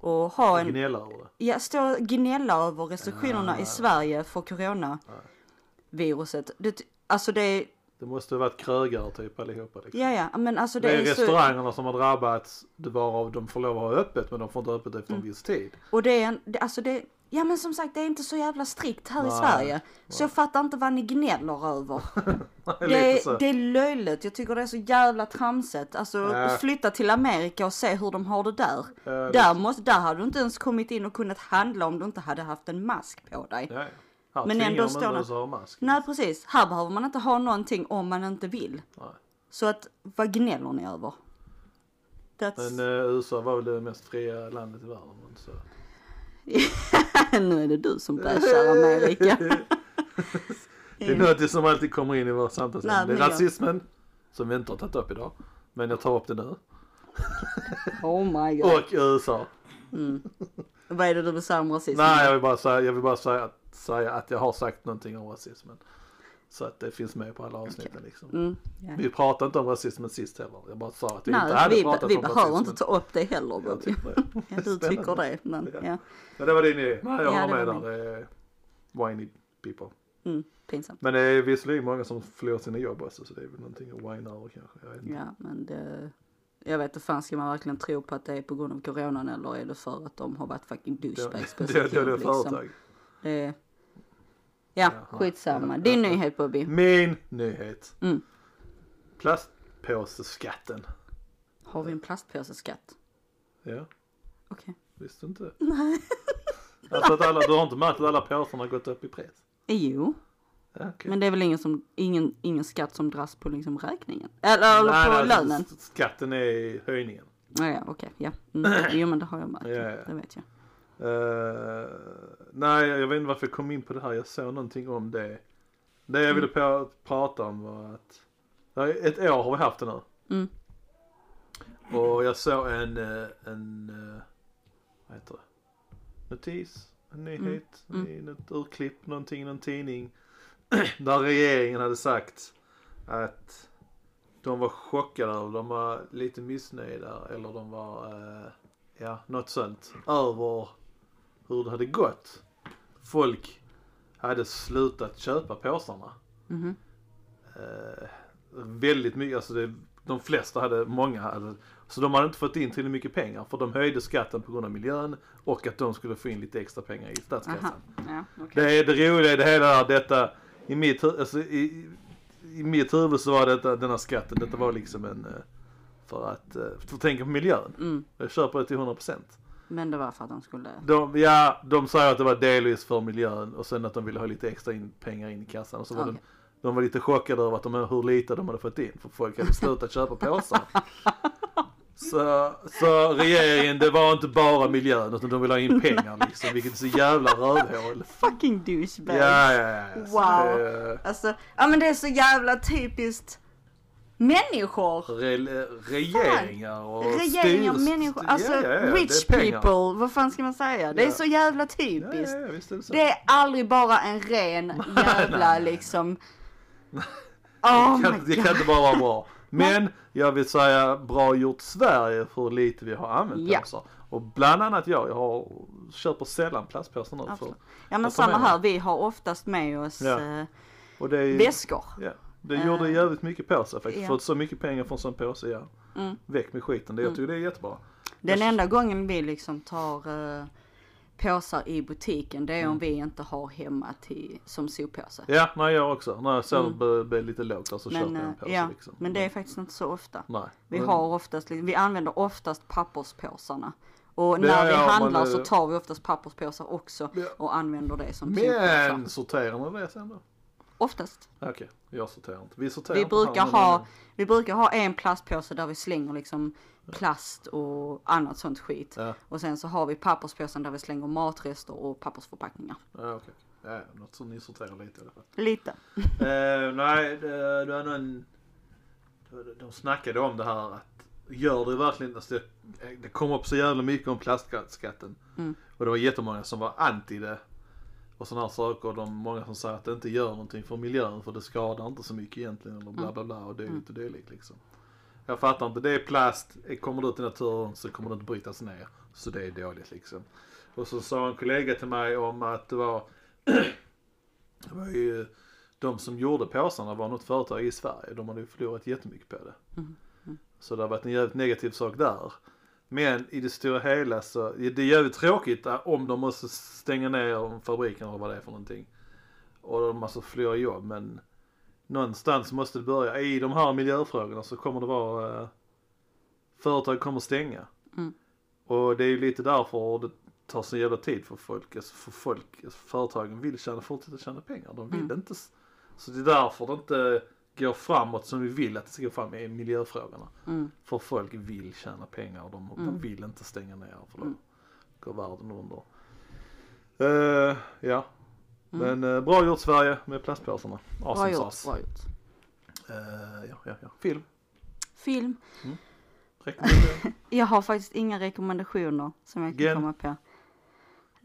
[SPEAKER 2] och ha en
[SPEAKER 1] Gnälla över det.
[SPEAKER 2] Ja, stå och gnälla över restriktionerna
[SPEAKER 1] Ah.
[SPEAKER 2] i Sverige för coronaviruset. Det, alltså det är,
[SPEAKER 1] Det måste ha varit krögare typ allihopa. Liksom.
[SPEAKER 2] ja ja, men alltså
[SPEAKER 1] Det är,
[SPEAKER 2] så...
[SPEAKER 1] restaurangerna som har drabbats det varav de får lov att ha öppet men de får inte ha öppet efter
[SPEAKER 2] Mm.
[SPEAKER 1] en viss tid. <laughs>
[SPEAKER 2] Och det är en, det, alltså det, ja men som sagt det är inte så jävla strikt här i
[SPEAKER 1] Nej,
[SPEAKER 2] Sverige. Så jag fattar inte vad ni gnäller över.
[SPEAKER 1] <laughs> Lite
[SPEAKER 2] Det
[SPEAKER 1] så.
[SPEAKER 2] är, det är löjligt, jag tycker det är så jävla tramsigt. Alltså
[SPEAKER 1] Ja.
[SPEAKER 2] flytta till Amerika och se hur de har det där.
[SPEAKER 1] Ja, det-
[SPEAKER 2] där, måste, där hade du inte ens kommit in och kunnat handla om du inte hade haft en mask på dig.
[SPEAKER 1] Ja, ja. Här
[SPEAKER 2] Men
[SPEAKER 1] tvingar
[SPEAKER 2] ändå
[SPEAKER 1] man
[SPEAKER 2] står
[SPEAKER 1] inte
[SPEAKER 2] det-
[SPEAKER 1] ens att ha mask.
[SPEAKER 2] Nej precis, här behöver man inte ha någonting om man inte vill.
[SPEAKER 1] Nej.
[SPEAKER 2] Så att vad gnäller ni över?
[SPEAKER 1] Men
[SPEAKER 2] <laughs> That's...
[SPEAKER 1] eh, USA var väl det mest fria landet i världen. men Så.
[SPEAKER 2] Eh. nu är det du som bashar
[SPEAKER 1] <laughs>
[SPEAKER 2] Amerika.
[SPEAKER 1] Det är något som alltid kommer in i vårt samtal.
[SPEAKER 2] Nej,
[SPEAKER 1] Det är
[SPEAKER 2] men jag-
[SPEAKER 1] rasismen, som vi inte har tagit upp idag. Men jag tar upp det nu.
[SPEAKER 2] Oh my god.
[SPEAKER 1] Och USA.
[SPEAKER 2] Vad är det du vill säga om rasism?
[SPEAKER 1] Nej, jag vill bara, säga, jag vill bara säga, att, säga att jag har sagt någonting om rasismen. Så att det finns med på alla avsnitten liksom.
[SPEAKER 2] Mm, ja.
[SPEAKER 1] Vi pratade inte om rasismen sist heller. Jag bara sa att vi inte
[SPEAKER 2] Nej,
[SPEAKER 1] hade
[SPEAKER 2] vi,
[SPEAKER 1] pratat
[SPEAKER 2] vi
[SPEAKER 1] om
[SPEAKER 2] behöver
[SPEAKER 1] rasismen.
[SPEAKER 2] inte ta upp det heller
[SPEAKER 1] Jag
[SPEAKER 2] Bobby.
[SPEAKER 1] tycker det.
[SPEAKER 2] Ja, du tycker det, men
[SPEAKER 1] typ. Ja.
[SPEAKER 2] ja.
[SPEAKER 1] Men det var din idé. Nej, jag
[SPEAKER 2] Ja,
[SPEAKER 1] håller
[SPEAKER 2] det
[SPEAKER 1] med
[SPEAKER 2] var
[SPEAKER 1] där. Det är whiny people.
[SPEAKER 2] Mm, pinsamt.
[SPEAKER 1] Men det är visserligen många som förlorar sina jobb också så det är väl någonting att whina över kanske. Jag vet inte.
[SPEAKER 2] Ja, men det... Jag vet inte fan, ska man verkligen tro på att det är på grund av coronan eller är det för att de har varit fucking douchebags på
[SPEAKER 1] Det
[SPEAKER 2] sitt
[SPEAKER 1] det är
[SPEAKER 2] jobb
[SPEAKER 1] det
[SPEAKER 2] liksom?
[SPEAKER 1] företag.
[SPEAKER 2] Det är... Ja,
[SPEAKER 1] Ja,
[SPEAKER 2] skitsamma.
[SPEAKER 1] ja,
[SPEAKER 2] Din
[SPEAKER 1] ja.
[SPEAKER 2] nyhet Bobby.
[SPEAKER 1] Min nyhet.
[SPEAKER 2] Mm.
[SPEAKER 1] Plastpåseskatten.
[SPEAKER 2] Har vi en plastpåseskatt?
[SPEAKER 1] Ja,
[SPEAKER 2] Okej.
[SPEAKER 1] visste du
[SPEAKER 2] <laughs>
[SPEAKER 1] inte? Nej. Alltså att alla, du har inte märkt att alla påsarna har gått upp i pris?
[SPEAKER 2] Eh, Jo,
[SPEAKER 1] Ja, okej.
[SPEAKER 2] men det är väl ingen, som, ingen, ingen skatt som dras på liksom räkningen? Eller, eller på
[SPEAKER 1] alltså,
[SPEAKER 2] lönen?
[SPEAKER 1] s- Skatten är höjningen.
[SPEAKER 2] Ja, ja, okej. Ja. Mm. Jo, men det har jag märkt.
[SPEAKER 1] Ja, ja.
[SPEAKER 2] Det vet jag.
[SPEAKER 1] Eh, nej, jag vet inte varför jag kom in på det här. Jag såg någonting om det. Det jag
[SPEAKER 2] Mm.
[SPEAKER 1] ville pra- prata om var att nej, ett år har vi haft det nu.
[SPEAKER 2] Mm.
[SPEAKER 1] Och jag såg en, eh, en eh, vad heter det? Notis, en nyhet,
[SPEAKER 2] Mm.
[SPEAKER 1] i något urklipp, någonting i någon tidning. <clears throat> Där regeringen hade sagt att de var chockade över, de var lite missnöjda eller de var, eh, ja, något sånt. Över hur det hade gått. Folk hade slutat köpa påsarna.
[SPEAKER 2] Mhm.
[SPEAKER 1] Eh, väldigt mycket, alltså det, de flesta hade, många hade, så de hade inte fått in tillräckligt mycket pengar för de höjde skatten på grund av miljön och att de skulle få in lite extra pengar i statskassan.
[SPEAKER 2] Aha. Ja, okej.
[SPEAKER 1] Det är det roliga i det hela är detta, i mitt, hu- alltså, i, i mitt huvud så var detta, denna skatten, detta var liksom en, eh, för att, eh, för att tänka på miljön.
[SPEAKER 2] Mm.
[SPEAKER 1] Jag köper det till 100%.
[SPEAKER 2] Men det var för att de skulle...
[SPEAKER 1] De, ja, de sa att det var delvis för miljön och sen att de ville ha lite extra in, pengar in i kassan. Och så var de,
[SPEAKER 2] Okej.
[SPEAKER 1] de var lite chockade över att de, hur lite de hade fått in för folk hade slutat köpa
[SPEAKER 2] <laughs>
[SPEAKER 1] påsar. Så, så regeringen, det var inte bara miljön utan de ville ha in pengar liksom, vilket är så jävla rövhål.
[SPEAKER 2] Fucking
[SPEAKER 1] Ja,
[SPEAKER 2] douchebags.
[SPEAKER 1] ja, ja. ja. Så
[SPEAKER 2] Wow.
[SPEAKER 1] det-
[SPEAKER 2] Alltså, ja men det är så jävla typiskt människor.
[SPEAKER 1] Re, regeringar och
[SPEAKER 2] Regeringar,
[SPEAKER 1] styrs-
[SPEAKER 2] människor, alltså
[SPEAKER 1] ja, ja, ja, det är
[SPEAKER 2] rich
[SPEAKER 1] pengar.
[SPEAKER 2] people, vad fan ska man säga? Det är
[SPEAKER 1] Ja.
[SPEAKER 2] så jävla
[SPEAKER 1] Ja,
[SPEAKER 2] typiskt.
[SPEAKER 1] ja, ja, visst är det så.
[SPEAKER 2] Det är aldrig bara en ren
[SPEAKER 1] <laughs>
[SPEAKER 2] jävla
[SPEAKER 1] nej,
[SPEAKER 2] liksom... Oh
[SPEAKER 1] kan,
[SPEAKER 2] my
[SPEAKER 1] <laughs> det
[SPEAKER 2] god.
[SPEAKER 1] kan inte bara vara
[SPEAKER 2] <laughs>
[SPEAKER 1] bra. Men jag vill säga bra gjort Sverige för hur lite vi har använt
[SPEAKER 2] Ja.
[SPEAKER 1] påsar. Och bland annat jag, jag har, köper sällan plastpåsar nu. För,
[SPEAKER 2] Absolut. Ja
[SPEAKER 1] Jag tar
[SPEAKER 2] men
[SPEAKER 1] med
[SPEAKER 2] samma
[SPEAKER 1] mig.
[SPEAKER 2] här, vi har oftast med oss
[SPEAKER 1] Ja.
[SPEAKER 2] eh,
[SPEAKER 1] och det är,
[SPEAKER 2] väskor.
[SPEAKER 1] ja, det gjorde
[SPEAKER 2] Eh,
[SPEAKER 1] jävligt mycket påsar faktiskt.
[SPEAKER 2] ja.
[SPEAKER 1] För att så mycket pengar från en sån påse, ja.
[SPEAKER 2] Mm.
[SPEAKER 1] Väck med skiten. Det, jag tycker det är jättebra.
[SPEAKER 2] Den
[SPEAKER 1] Jag-
[SPEAKER 2] enda gången vi liksom tar eh, påsar i butiken det är
[SPEAKER 1] Mm.
[SPEAKER 2] om vi inte har hemma till, som soppåse.
[SPEAKER 1] Ja, nej jag också. När jag såg det blev lite lågt där så köpte
[SPEAKER 2] Mm. Men,
[SPEAKER 1] jag
[SPEAKER 2] eh,
[SPEAKER 1] en påse
[SPEAKER 2] ja,
[SPEAKER 1] liksom. Mm.
[SPEAKER 2] men det är faktiskt inte så ofta.
[SPEAKER 1] Nej.
[SPEAKER 2] Vi,
[SPEAKER 1] Men-
[SPEAKER 2] har oftast, vi använder oftast papperspåsarna. Och
[SPEAKER 1] Det
[SPEAKER 2] när
[SPEAKER 1] är-
[SPEAKER 2] vi
[SPEAKER 1] ja, men
[SPEAKER 2] handlar
[SPEAKER 1] det-
[SPEAKER 2] så tar vi oftast papperspåsar också
[SPEAKER 1] Ja.
[SPEAKER 2] och använder det som soppåsar.
[SPEAKER 1] Men sorterar man det sen då?
[SPEAKER 2] Oftast.
[SPEAKER 1] Okej, jag sorterar inte. Vi sorterar
[SPEAKER 2] Vi
[SPEAKER 1] inte här,
[SPEAKER 2] brukar,
[SPEAKER 1] men-
[SPEAKER 2] ha, vi brukar ha en plastpåse där vi slänger liksom plast och annat sånt skit.
[SPEAKER 1] Ja,
[SPEAKER 2] Och sen så har vi papperspåsen där vi slänger matrester och pappersförpackningar.
[SPEAKER 1] ja okej. Ja, något som ni sorterar lite i alla fall.
[SPEAKER 2] Lite.
[SPEAKER 1] Eh, nej, det, det var någon... De snackade om det här att gör det verkligen... Alltså det, det kom upp så jävla mycket om plastskatten.
[SPEAKER 2] Mm.
[SPEAKER 1] Och det var jättemånga som var anti det. Och sådana här saker. De, många som säger att det inte gör någonting för miljön för det skadar inte så mycket egentligen. Eller bla bla bla och dylikt och dylikt liksom. Jag fattar inte. Det är plast. Kommer det ut i naturen så kommer det inte brytas ner. Så det är dåligt liksom. Och så sa en kollega till mig om att det var... <clears throat> det var ju de som gjorde påsarna var något företag i Sverige. De hade ju förlorat jättemycket på det. Så det har varit en jävligt negativ sak där. Men i det stora hela så, det är jävligt tråkigt eh, om de måste stänga ner fabriken eller vad det är för någonting. Och de måste förlora jobb men någonstans måste det börja. I de här miljöfrågorna så kommer det vara, eh, företag kommer stänga.
[SPEAKER 2] Mm.
[SPEAKER 1] Och det är ju lite därför det tar så jävla tid för folk. Alltså för folk, alltså företagen vill tjäna, fortsätta tjäna pengar. De vill inte. s- Så det är därför det inte går framåt som vi vill att det ska gå framåt i miljöfrågorna.
[SPEAKER 2] Mm.
[SPEAKER 1] För folk vill tjäna pengar och de, de vill inte stänga ner för då
[SPEAKER 2] Mm.
[SPEAKER 1] går världen under. Eh, ja, men eh, bra gjort Sverige med plastpåsarna.
[SPEAKER 2] Mm. Bra
[SPEAKER 1] Awesome
[SPEAKER 2] gjort,
[SPEAKER 1] sauce.
[SPEAKER 2] bra gjort.
[SPEAKER 1] Eh, ja, ja, ja. Film.
[SPEAKER 2] Film.
[SPEAKER 1] Rekommendation.
[SPEAKER 2] Jag har faktiskt inga rekommendationer som jag kan
[SPEAKER 1] Gen-
[SPEAKER 2] komma på.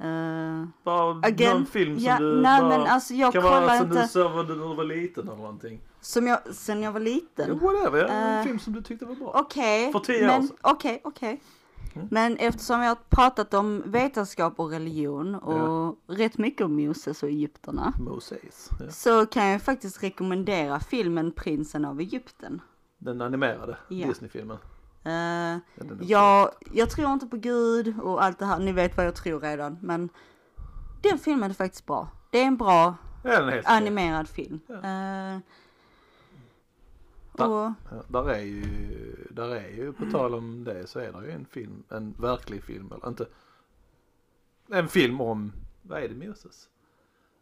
[SPEAKER 2] Eh,
[SPEAKER 1] Bara
[SPEAKER 2] Again.
[SPEAKER 1] någon film som
[SPEAKER 2] ja,
[SPEAKER 1] du
[SPEAKER 2] nej
[SPEAKER 1] bara...
[SPEAKER 2] men alltså jag
[SPEAKER 1] kan vara
[SPEAKER 2] kollar
[SPEAKER 1] som
[SPEAKER 2] inte.
[SPEAKER 1] du såg när du var liten eller någonting.
[SPEAKER 2] Som jag, sen jag var
[SPEAKER 1] Ja,
[SPEAKER 2] liten.
[SPEAKER 1] whatever, ja. en
[SPEAKER 2] Eh,
[SPEAKER 1] film som du tyckte var bra.
[SPEAKER 2] Okej.
[SPEAKER 1] För tio år
[SPEAKER 2] men-
[SPEAKER 1] sedan.
[SPEAKER 2] Okej, okej.
[SPEAKER 1] Mm.
[SPEAKER 2] Men eftersom vi har pratat om vetenskap och religion och rätt mycket om Moses och Egypterna.
[SPEAKER 1] Moses. Ja.
[SPEAKER 2] Så kan jag faktiskt rekommendera filmen Prinsen av Egypten.
[SPEAKER 1] Den animerade
[SPEAKER 2] Ja.
[SPEAKER 1] Disney-filmen.
[SPEAKER 2] Eh,
[SPEAKER 1] Ja, den är
[SPEAKER 2] jag, jag tror inte på Gud och allt det här, ni vet vad jag tror redan. Men den filmen är faktiskt bra. Det är en bra
[SPEAKER 1] bra. Ja, den är helt okej.
[SPEAKER 2] animerad film. Eh,
[SPEAKER 1] Va?
[SPEAKER 2] och,
[SPEAKER 1] Ja, där är ju, där är ju, på tal om det så är det ju en film, en verklig film eller inte. En film om, vad är det Moses?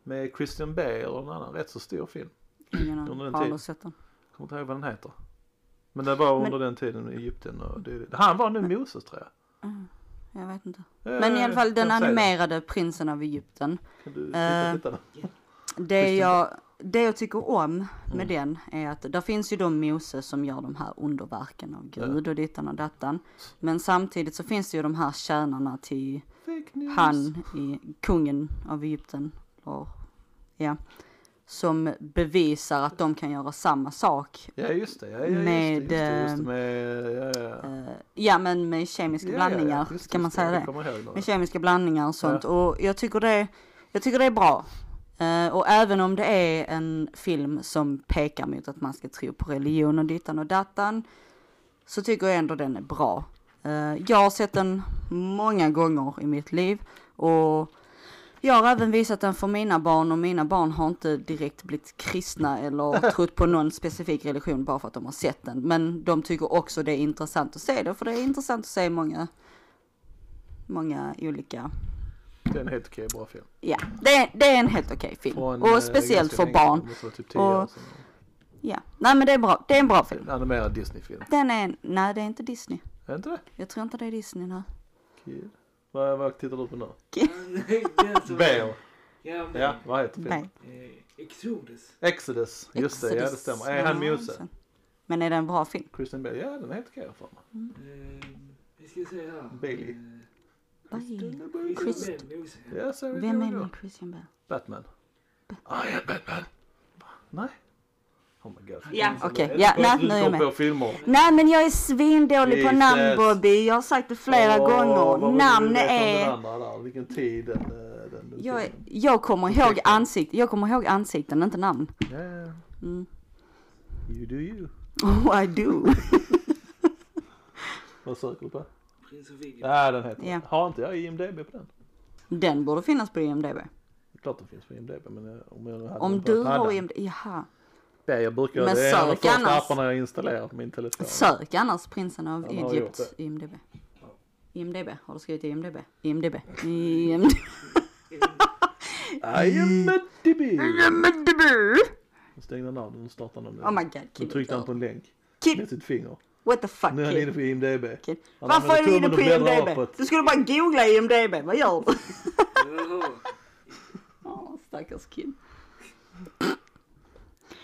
[SPEAKER 1] Med Christian Bale och en annan rätt så stor film.
[SPEAKER 2] ingen aning,
[SPEAKER 1] Under den
[SPEAKER 2] har aldrig
[SPEAKER 1] tiden.
[SPEAKER 2] sett den.
[SPEAKER 1] Kommer inte ihåg vad den heter. Men det var under den tiden i Egypten och det, Han var nu Moses tror jag.
[SPEAKER 2] Jag vet inte.
[SPEAKER 1] Eh,
[SPEAKER 2] Men i alla fall den
[SPEAKER 1] kan du säga
[SPEAKER 2] animerade Prinsen av Egypten.
[SPEAKER 1] det? Kan du titta,
[SPEAKER 2] eh,
[SPEAKER 1] titta den?
[SPEAKER 2] Det
[SPEAKER 1] Visst
[SPEAKER 2] jag, det jag tycker om
[SPEAKER 1] Mm.
[SPEAKER 2] med den är att det finns ju då Moses som gör de här underverken av Gud och dittan och dattan. Men samtidigt så finns det ju de här tjänarna till
[SPEAKER 1] Fake news.
[SPEAKER 2] han, i, kungen av Egypten. Och, ja, som bevisar att de kan göra samma sak.
[SPEAKER 1] Ja just det, ja, ja, just, det,
[SPEAKER 2] Med,
[SPEAKER 1] just det, just det
[SPEAKER 2] eh,
[SPEAKER 1] med, ja, ja. ja.
[SPEAKER 2] Eh, Ja men med kemiska
[SPEAKER 1] Ja, ja, ja,
[SPEAKER 2] blandningar,
[SPEAKER 1] just det,
[SPEAKER 2] kan man
[SPEAKER 1] just det,
[SPEAKER 2] säga det?
[SPEAKER 1] Jag kommer ihåg
[SPEAKER 2] med
[SPEAKER 1] det.
[SPEAKER 2] kemiska blandningar och sånt och jag tycker det, jag tycker det är bra. Eh, och även om det är en film som pekar mot att man ska tro på religion och dittan och dattan så tycker jag ändå den är bra. Eh, jag har sett den många gånger i mitt liv och jag har även visat den för mina barn och mina barn har inte direkt blivit kristna eller trott på någon specifik religion bara för att de har sett den. Men de tycker också det är intressant att se det för det är intressant att se många många olika.
[SPEAKER 1] Det är en helt okej bra film.
[SPEAKER 2] Ja, det är, det är en helt okej film.
[SPEAKER 1] Från, eh,
[SPEAKER 2] och
[SPEAKER 1] ganska
[SPEAKER 2] speciellt för
[SPEAKER 1] länge sedan,
[SPEAKER 2] barn.
[SPEAKER 1] det måste vara Typ 10
[SPEAKER 2] Och-
[SPEAKER 1] år sedan.
[SPEAKER 2] Ja, nej men det är bra. Det är en bra film.
[SPEAKER 1] En animerad Disney-film.
[SPEAKER 2] Den är, nej det är inte Disney.
[SPEAKER 1] Är det inte det?
[SPEAKER 2] Jag tror inte det är Disney nu.
[SPEAKER 1] Kul. Vad, vad tittar du på nu?
[SPEAKER 3] Bale. Ja, men,
[SPEAKER 1] Ja, vad heter filmen?
[SPEAKER 2] Nej.
[SPEAKER 3] Eh, Exodus.
[SPEAKER 1] Exodus. Just det, ja det
[SPEAKER 2] Exodus.
[SPEAKER 1] stämmer. Är han
[SPEAKER 2] Ja,
[SPEAKER 1] Muse?
[SPEAKER 2] sen. Men är det en bra film?
[SPEAKER 1] Christian Bale? Ja, den är helt okej för mig.
[SPEAKER 3] Eh, vi ska se här.
[SPEAKER 1] Bailey.
[SPEAKER 3] Eh,
[SPEAKER 2] Oj. Chris-
[SPEAKER 3] Christian Bale, Moses.
[SPEAKER 1] Ja, så är det
[SPEAKER 2] Vem
[SPEAKER 1] då
[SPEAKER 2] är
[SPEAKER 1] och då.
[SPEAKER 2] min Christian Bale?
[SPEAKER 1] Batman. Ah, ja, Batman. Va? Nej. Oh my god.
[SPEAKER 2] Ja,
[SPEAKER 1] Christian
[SPEAKER 2] okej.
[SPEAKER 1] Bale.
[SPEAKER 2] Ja, nej,
[SPEAKER 1] Du
[SPEAKER 2] nu är jag
[SPEAKER 1] går på filmer.
[SPEAKER 2] Nej men jag är svindålig på
[SPEAKER 1] Jesus.
[SPEAKER 2] namn Bobby. Jag har sagt det flera
[SPEAKER 1] Åh, vad var
[SPEAKER 2] gånger.
[SPEAKER 1] det du
[SPEAKER 2] Namn
[SPEAKER 1] vet om Den
[SPEAKER 2] är...
[SPEAKER 1] andra där? Vilken tid den... eh, den, den
[SPEAKER 2] Jag, är-
[SPEAKER 1] filmen.
[SPEAKER 2] jag kommer ihåg
[SPEAKER 1] Ursäkta.
[SPEAKER 2] ansikten. Jag kommer ihåg ansikten, inte namn. <laughs>
[SPEAKER 1] Ja, ja, ja.
[SPEAKER 2] Mm.
[SPEAKER 1] You do you.
[SPEAKER 2] Oh I do. <laughs>
[SPEAKER 1] Vad söker du på?
[SPEAKER 3] Prins of Egypt.
[SPEAKER 1] Ja, den heter
[SPEAKER 2] Ja.
[SPEAKER 1] Har inte jag IMDB på den?
[SPEAKER 2] Den borde finnas på IMDB.
[SPEAKER 1] Det är klart den finns på IMDB men eh, om jag hade
[SPEAKER 2] Om
[SPEAKER 1] den
[SPEAKER 2] du
[SPEAKER 1] först hade
[SPEAKER 2] har
[SPEAKER 1] den.
[SPEAKER 2] IMDB, jaha.
[SPEAKER 1] Ja, jag brukar,
[SPEAKER 2] Men
[SPEAKER 1] det är en av de
[SPEAKER 2] sök
[SPEAKER 1] första
[SPEAKER 2] annars.
[SPEAKER 1] apparna jag installerar på min telefon.
[SPEAKER 2] Sök annars prinsen av
[SPEAKER 1] Han har gjort
[SPEAKER 2] Egypt, IMDB. IMDB, har du skrivit IMDB? IMDB? IMDB?
[SPEAKER 1] IMDB! Nu stängde han av den och startade den.
[SPEAKER 2] Oh my god,
[SPEAKER 1] Då
[SPEAKER 2] kid.
[SPEAKER 1] tryckte han
[SPEAKER 2] dör.
[SPEAKER 1] på en länk
[SPEAKER 2] Kid,
[SPEAKER 1] med sitt finger.
[SPEAKER 2] what the fuck
[SPEAKER 1] Nu är han inne
[SPEAKER 2] kid?
[SPEAKER 1] på IMDB.
[SPEAKER 2] kid.
[SPEAKER 1] Han
[SPEAKER 2] Varför är
[SPEAKER 1] använder
[SPEAKER 2] du
[SPEAKER 1] tummen
[SPEAKER 2] inne på
[SPEAKER 1] och bläddrar
[SPEAKER 2] IMDB?
[SPEAKER 1] uppåt.
[SPEAKER 2] Du skulle bara googla IMDB, vad gör du? <laughs>
[SPEAKER 3] Jaha.
[SPEAKER 2] Åh, stackars kid.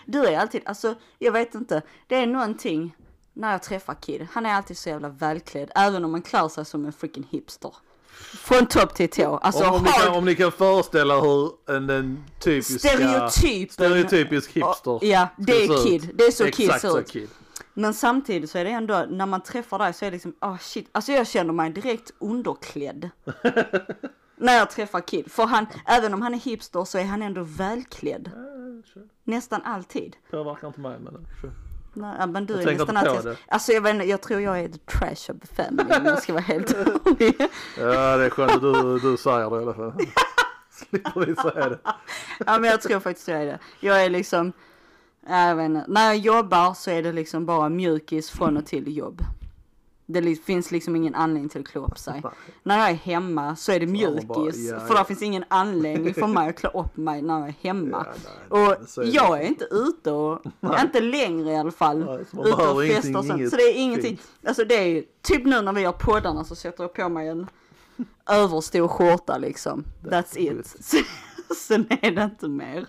[SPEAKER 2] Du är alltid, alltså jag vet inte, det är någonting när jag träffar Kid. Han är alltid så jävla välklädd, även om han klär sig som en freaking hipster. Från topp till tå, alltså
[SPEAKER 1] Om, om, ni
[SPEAKER 2] har-
[SPEAKER 1] kan, om ni kan föreställa hur en, en typisk...
[SPEAKER 2] Stereotypen.
[SPEAKER 1] Stereotypisk hipster.
[SPEAKER 2] Ja, det
[SPEAKER 1] ska
[SPEAKER 2] är
[SPEAKER 1] se ut.
[SPEAKER 2] kid. Det är så kid
[SPEAKER 1] Exakt
[SPEAKER 2] ser
[SPEAKER 1] så
[SPEAKER 2] ut.
[SPEAKER 1] kid.
[SPEAKER 2] Men samtidigt så är det ändå, när man träffar dig så är det liksom, ah shit. Alltså jag känner mig direkt
[SPEAKER 1] <laughs>
[SPEAKER 2] underklädd. när jag träffar kid. För han, även om han är hipster så är han ändå välklädd.
[SPEAKER 1] Ja, sure.
[SPEAKER 2] Nästan alltid.
[SPEAKER 1] Eh, Påverkar inte mig men... sure.
[SPEAKER 2] Nej, ja, men du är
[SPEAKER 1] tänker
[SPEAKER 2] nästan
[SPEAKER 1] inte på
[SPEAKER 2] alltid. Alltså jag vet inte, jag tror jag är the trash of the family om jag ska
[SPEAKER 1] <laughs>
[SPEAKER 2] vara helt ärlig.
[SPEAKER 1] Ja, det är skönt att du, du säger det i alla
[SPEAKER 2] <laughs>
[SPEAKER 1] fall. Slipper vi säga det.
[SPEAKER 2] Ja men jag tror faktiskt jag är det. Jag är liksom, jag vet inte. När jag jobbar så är det liksom bara mjukis från och till jobb. Det li- finns liksom ingen anledning till att klä upp sig. När jag är hemma så är det
[SPEAKER 1] man
[SPEAKER 2] mjukis.
[SPEAKER 1] bara, ja,
[SPEAKER 2] för
[SPEAKER 1] ja.
[SPEAKER 2] där finns ingen anledning för mig att klä upp mig när jag är hemma.
[SPEAKER 1] Ja, nej, men så
[SPEAKER 2] och
[SPEAKER 1] är det.
[SPEAKER 2] jag är inte ute och, inte längre i alla fall,
[SPEAKER 1] Nej, så man
[SPEAKER 2] ute och
[SPEAKER 1] behöver ingenting,
[SPEAKER 2] festar och sånt.
[SPEAKER 1] inget
[SPEAKER 2] Så det är ingenting. Alltså det är ju, typ nu när vi har poddarna så sätter jag på mig en <laughs> överstor skjorta liksom. That's, <laughs>
[SPEAKER 1] That's
[SPEAKER 2] it. Sen är det inte mer.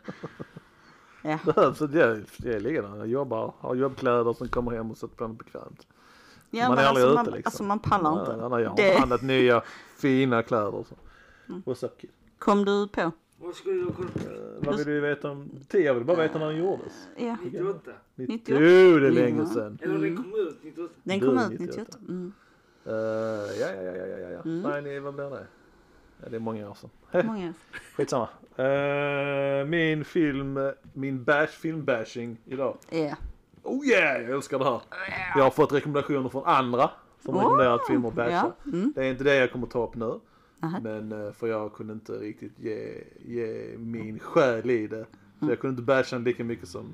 [SPEAKER 2] Ja.
[SPEAKER 1] behövs ett hjälp. Jag ligger där, jag jobbar, har jobbkläder som kommer hem och sätter på mig bekvämt.
[SPEAKER 2] Ja,
[SPEAKER 1] Man
[SPEAKER 2] men
[SPEAKER 1] är
[SPEAKER 2] alltså,
[SPEAKER 1] aldrig
[SPEAKER 2] man,
[SPEAKER 1] ute, liksom.
[SPEAKER 2] alltså man pallar inte.
[SPEAKER 1] Ja, ja, nej, jag har
[SPEAKER 2] Det- Mm.
[SPEAKER 1] handlat nya fina kläder. och Så. What's up kid?
[SPEAKER 2] Kom du på?
[SPEAKER 3] Vad skulle jag kolla på?
[SPEAKER 1] Eh,
[SPEAKER 2] Mm.
[SPEAKER 1] Vad vill du veta om Tia? Jag vill bara veta när den gjordes.
[SPEAKER 2] Ja.
[SPEAKER 3] 98?
[SPEAKER 1] 90.
[SPEAKER 2] 98.
[SPEAKER 1] Jo, det är länge
[SPEAKER 2] Ja.
[SPEAKER 1] sedan.
[SPEAKER 3] Eller den kom ut 98?
[SPEAKER 2] Den
[SPEAKER 1] Du,
[SPEAKER 2] kom ut
[SPEAKER 1] 98.
[SPEAKER 2] 98. Mm.
[SPEAKER 1] Eh, ja, ja, ja, ja, ja, ja. Nej, det, vad blir det? Ja, det är många år sedan.
[SPEAKER 2] Många.
[SPEAKER 1] Skitsamma. Eh, min film, min bash, filmbashing idag.
[SPEAKER 2] Ja.
[SPEAKER 1] Oh yeah, jag älskar det här. Jag har fått rekommendationer från andra som
[SPEAKER 2] Oh,
[SPEAKER 1] rekommenderat filmer att basha.
[SPEAKER 2] Ja. Mm.
[SPEAKER 1] Det är inte det jag kommer ta upp nu.
[SPEAKER 2] Aha.
[SPEAKER 1] Men eh, för jag kunde inte riktigt ge, ge min själ i det. Så jag kunde inte basha den lika mycket som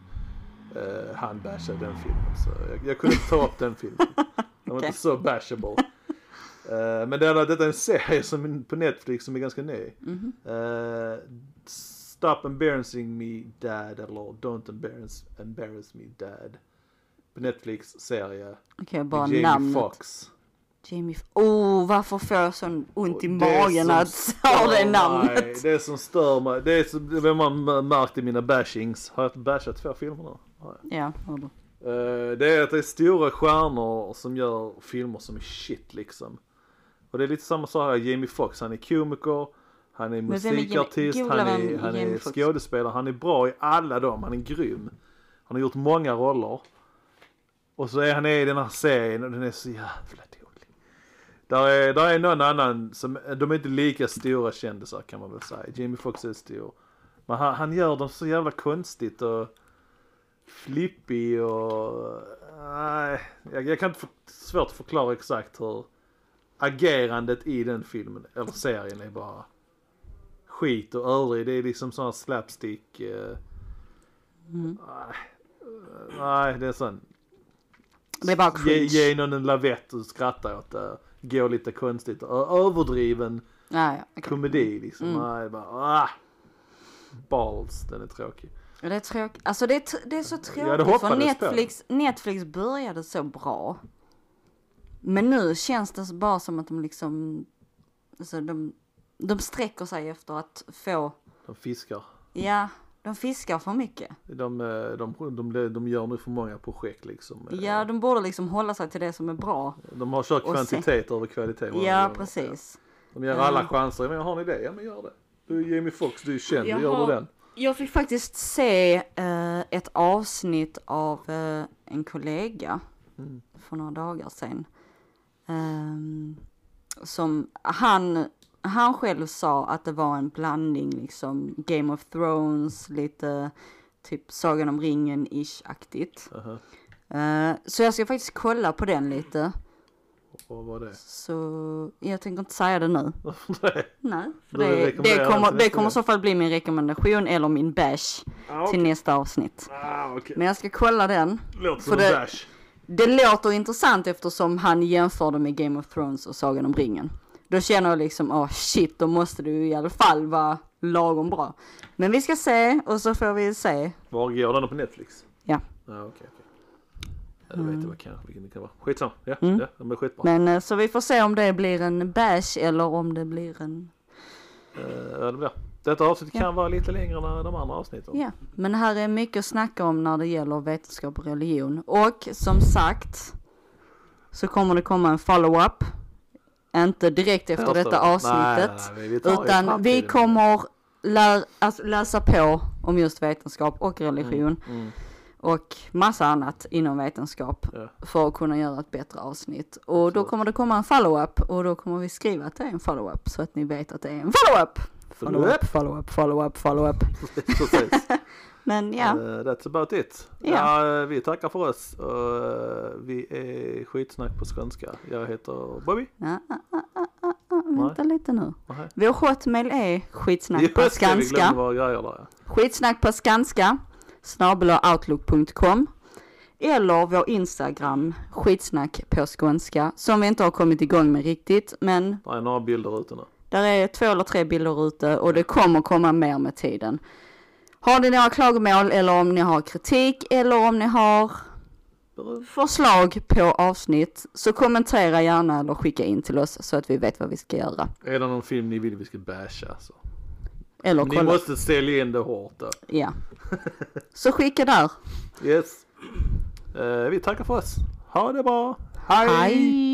[SPEAKER 1] eh, han bashade den filmen. Så jag, jag kunde inte ta upp den
[SPEAKER 2] <laughs>
[SPEAKER 1] filmen. Den var
[SPEAKER 2] Okej.
[SPEAKER 1] inte så bashable. Eh, men det är, detta är en serie som, på Netflix som är ganska ny.
[SPEAKER 2] Mhm.
[SPEAKER 1] Eh, Stop embarrassing me dad eller Don't embarrass, embarrass me dad. På Netflix serie.
[SPEAKER 2] Okej, bara
[SPEAKER 1] Jamie
[SPEAKER 2] namnet.
[SPEAKER 1] Foxx.
[SPEAKER 2] Jamie F- Oh, varför får jag sån ont i
[SPEAKER 1] Det
[SPEAKER 2] magen
[SPEAKER 1] som
[SPEAKER 2] att <laughs> säga det
[SPEAKER 1] stör Mig,
[SPEAKER 2] namnet?
[SPEAKER 1] det som stör mig, det är som det man märkt i mina bashings. Har jag bashat två filmer nu? Har jag.
[SPEAKER 2] Ja, hör du.
[SPEAKER 1] Eh, Det är att det är stora stjärnor som gör filmer som är shit liksom. Och det är lite samma sak här, Jamie Foxx, han är komiker, han är
[SPEAKER 2] Men vem är Jamie-
[SPEAKER 1] musikartist,
[SPEAKER 2] Gula
[SPEAKER 1] han är,
[SPEAKER 2] vän,
[SPEAKER 1] han
[SPEAKER 2] Jamie
[SPEAKER 1] är
[SPEAKER 2] Foxx?
[SPEAKER 1] skådespelare, han är bra i alla dem, han är grym. Han har gjort många roller. Och så är han i den här serien och den är så jävla dålig. Där är, där är någon annan som, de är inte lika stora kändisar kan man väl säga. Jamie Foxx är stor. Men han, han gör dem så jävla konstigt och flippig och... Nej, jag, jag kan inte för, svårt att förklara exakt hur agerandet i den filmen, eller serien, är bara skit och örig. Det är liksom sån här slapstick... eh,
[SPEAKER 2] Mm.
[SPEAKER 1] Nej, eh, nej, det är sån.
[SPEAKER 2] Det är bara
[SPEAKER 1] Ge,
[SPEAKER 2] cringe.
[SPEAKER 1] ge någon en lavett och skratta åt det. Gå lite konstigt. Ö- Överdriven
[SPEAKER 2] Ja, ja, okej.
[SPEAKER 1] komedi liksom.
[SPEAKER 2] Mm.
[SPEAKER 1] Nej, bara... Ah, balls, den är tråkig.
[SPEAKER 2] Ja, Det är tråkigt. Alltså det är, tr- det är så
[SPEAKER 1] det
[SPEAKER 2] tråkigt för
[SPEAKER 1] hoppades
[SPEAKER 2] Netflix, Netflix började så bra. Men nu känns det så bara som att de liksom, alltså de, de sträcker sig efter att få,
[SPEAKER 1] De fiskar.
[SPEAKER 2] ja, de fiskar för mycket.
[SPEAKER 1] De, eh, de, de, de gör nu för många projekt liksom. Eh,
[SPEAKER 2] Ja, de borde liksom hålla sig till det som är bra.
[SPEAKER 1] De har kört
[SPEAKER 2] Och
[SPEAKER 1] kvantitet över kvalitet. många
[SPEAKER 2] Ja,
[SPEAKER 1] gånger.
[SPEAKER 2] precis.
[SPEAKER 1] De ger alla chanser. Men har ni det? Ja, men gör det. Du är Jamie Foxx, du är känd,
[SPEAKER 2] Jag
[SPEAKER 1] gör
[SPEAKER 2] har-
[SPEAKER 1] du den?
[SPEAKER 2] Jag fick faktiskt se eh, ett avsnitt av eh, en kollega
[SPEAKER 1] Mm.
[SPEAKER 2] för några dagar sedan. Ehm, som han, han själv sa att det var en blandning liksom Game of Thrones, lite typ Sagan om ringen-ish-aktigt.
[SPEAKER 1] Aha.
[SPEAKER 2] Eh, så jag ska faktiskt kolla på den lite.
[SPEAKER 1] Och vad var det? <laughs>
[SPEAKER 2] Så jag tänker inte säga det nu.
[SPEAKER 1] Nej.
[SPEAKER 2] Nej, för
[SPEAKER 1] Då
[SPEAKER 2] det,
[SPEAKER 1] rekommenderar
[SPEAKER 2] det
[SPEAKER 1] jag den
[SPEAKER 2] kommer,
[SPEAKER 1] till
[SPEAKER 2] det
[SPEAKER 1] nästa
[SPEAKER 2] kommer i
[SPEAKER 1] gång.
[SPEAKER 2] så fall bli min rekommendation eller min bash
[SPEAKER 1] Ah,
[SPEAKER 2] till nästa avsnitt.
[SPEAKER 1] Ah, okej.
[SPEAKER 2] Men jag ska kolla den.
[SPEAKER 1] Låter
[SPEAKER 2] För
[SPEAKER 1] som
[SPEAKER 2] det-
[SPEAKER 1] en bash.
[SPEAKER 2] Det låter intressant eftersom han jämförde med Game of Thrones och Sagan om ringen. Då känner jag liksom, åh shit, då måste det ju i alla fall vara lagom bra. Men vi ska se och så får vi se.
[SPEAKER 1] Var går den på Netflix?
[SPEAKER 2] Ja. Mm.
[SPEAKER 1] Ja, okej. okej. Ja, du vet jag vad kan, vilken det kan vara. Skitsamma. Ja, ja, de är skitbra.
[SPEAKER 2] Men eh, så vi får se om det blir en bash eller om det blir en,
[SPEAKER 1] Eh, ja, det blir. Detta avsnitt kan vara lite längre än de andra avsnitten.
[SPEAKER 2] ja. Men här är mycket att snacka om när det gäller vetenskap och religion. Och som sagt så kommer det komma en follow-up. Inte direkt efter detta avsnittet.
[SPEAKER 1] Nej, nej, nej, vi tar ju
[SPEAKER 2] Utan vi
[SPEAKER 1] framtiden.
[SPEAKER 2] kommer lä- alltså läsa på om just vetenskap och religion
[SPEAKER 1] mm.
[SPEAKER 2] och massa annat inom vetenskap
[SPEAKER 1] Ja.
[SPEAKER 2] för att kunna göra ett bättre avsnitt. Och då kommer det komma en follow-up och då kommer vi skriva att det är en follow-up så att ni vet att det är en follow-up. Follow-up,
[SPEAKER 1] Follow-up.
[SPEAKER 2] follow-up, follow-up, follow-up.
[SPEAKER 1] <laughs> Precis.
[SPEAKER 2] Men ja,
[SPEAKER 1] Eh, that's about it.
[SPEAKER 2] Ja.
[SPEAKER 1] Ja, eh, vi tackar för oss. Och, eh, vi är skitsnack på skånska. Jag heter Bobby.
[SPEAKER 2] ja ah, ah, ah, ah, ah, vänta lite nu.
[SPEAKER 1] Nej.
[SPEAKER 2] Vår hotmail är skitsnack
[SPEAKER 1] Just
[SPEAKER 2] på
[SPEAKER 1] det, Vi
[SPEAKER 2] skanska.
[SPEAKER 1] glömde våra grejer där. ja.
[SPEAKER 2] Skitsnack på skanska, snabelaoutlook.com eller vår Instagram, skitsnack på skånska, som vi inte har kommit igång med riktigt, men
[SPEAKER 1] Det är några bilder ute nu.
[SPEAKER 2] där är två eller tre bilder ute och det kommer komma mer med tiden. Har ni några klagomål eller om ni har kritik eller om ni har förslag på avsnitt så kommentera gärna eller skicka in till oss så att vi vet vad vi ska göra.
[SPEAKER 1] Är det någon film ni vill vi ska basha så
[SPEAKER 2] Eller
[SPEAKER 1] Ni
[SPEAKER 2] kolla.
[SPEAKER 1] måste sälja in det hårt då.
[SPEAKER 2] Ja. Så skicka där.
[SPEAKER 1] Yes. Eh, vi tackar för oss. Ha det bra.
[SPEAKER 2] Hej!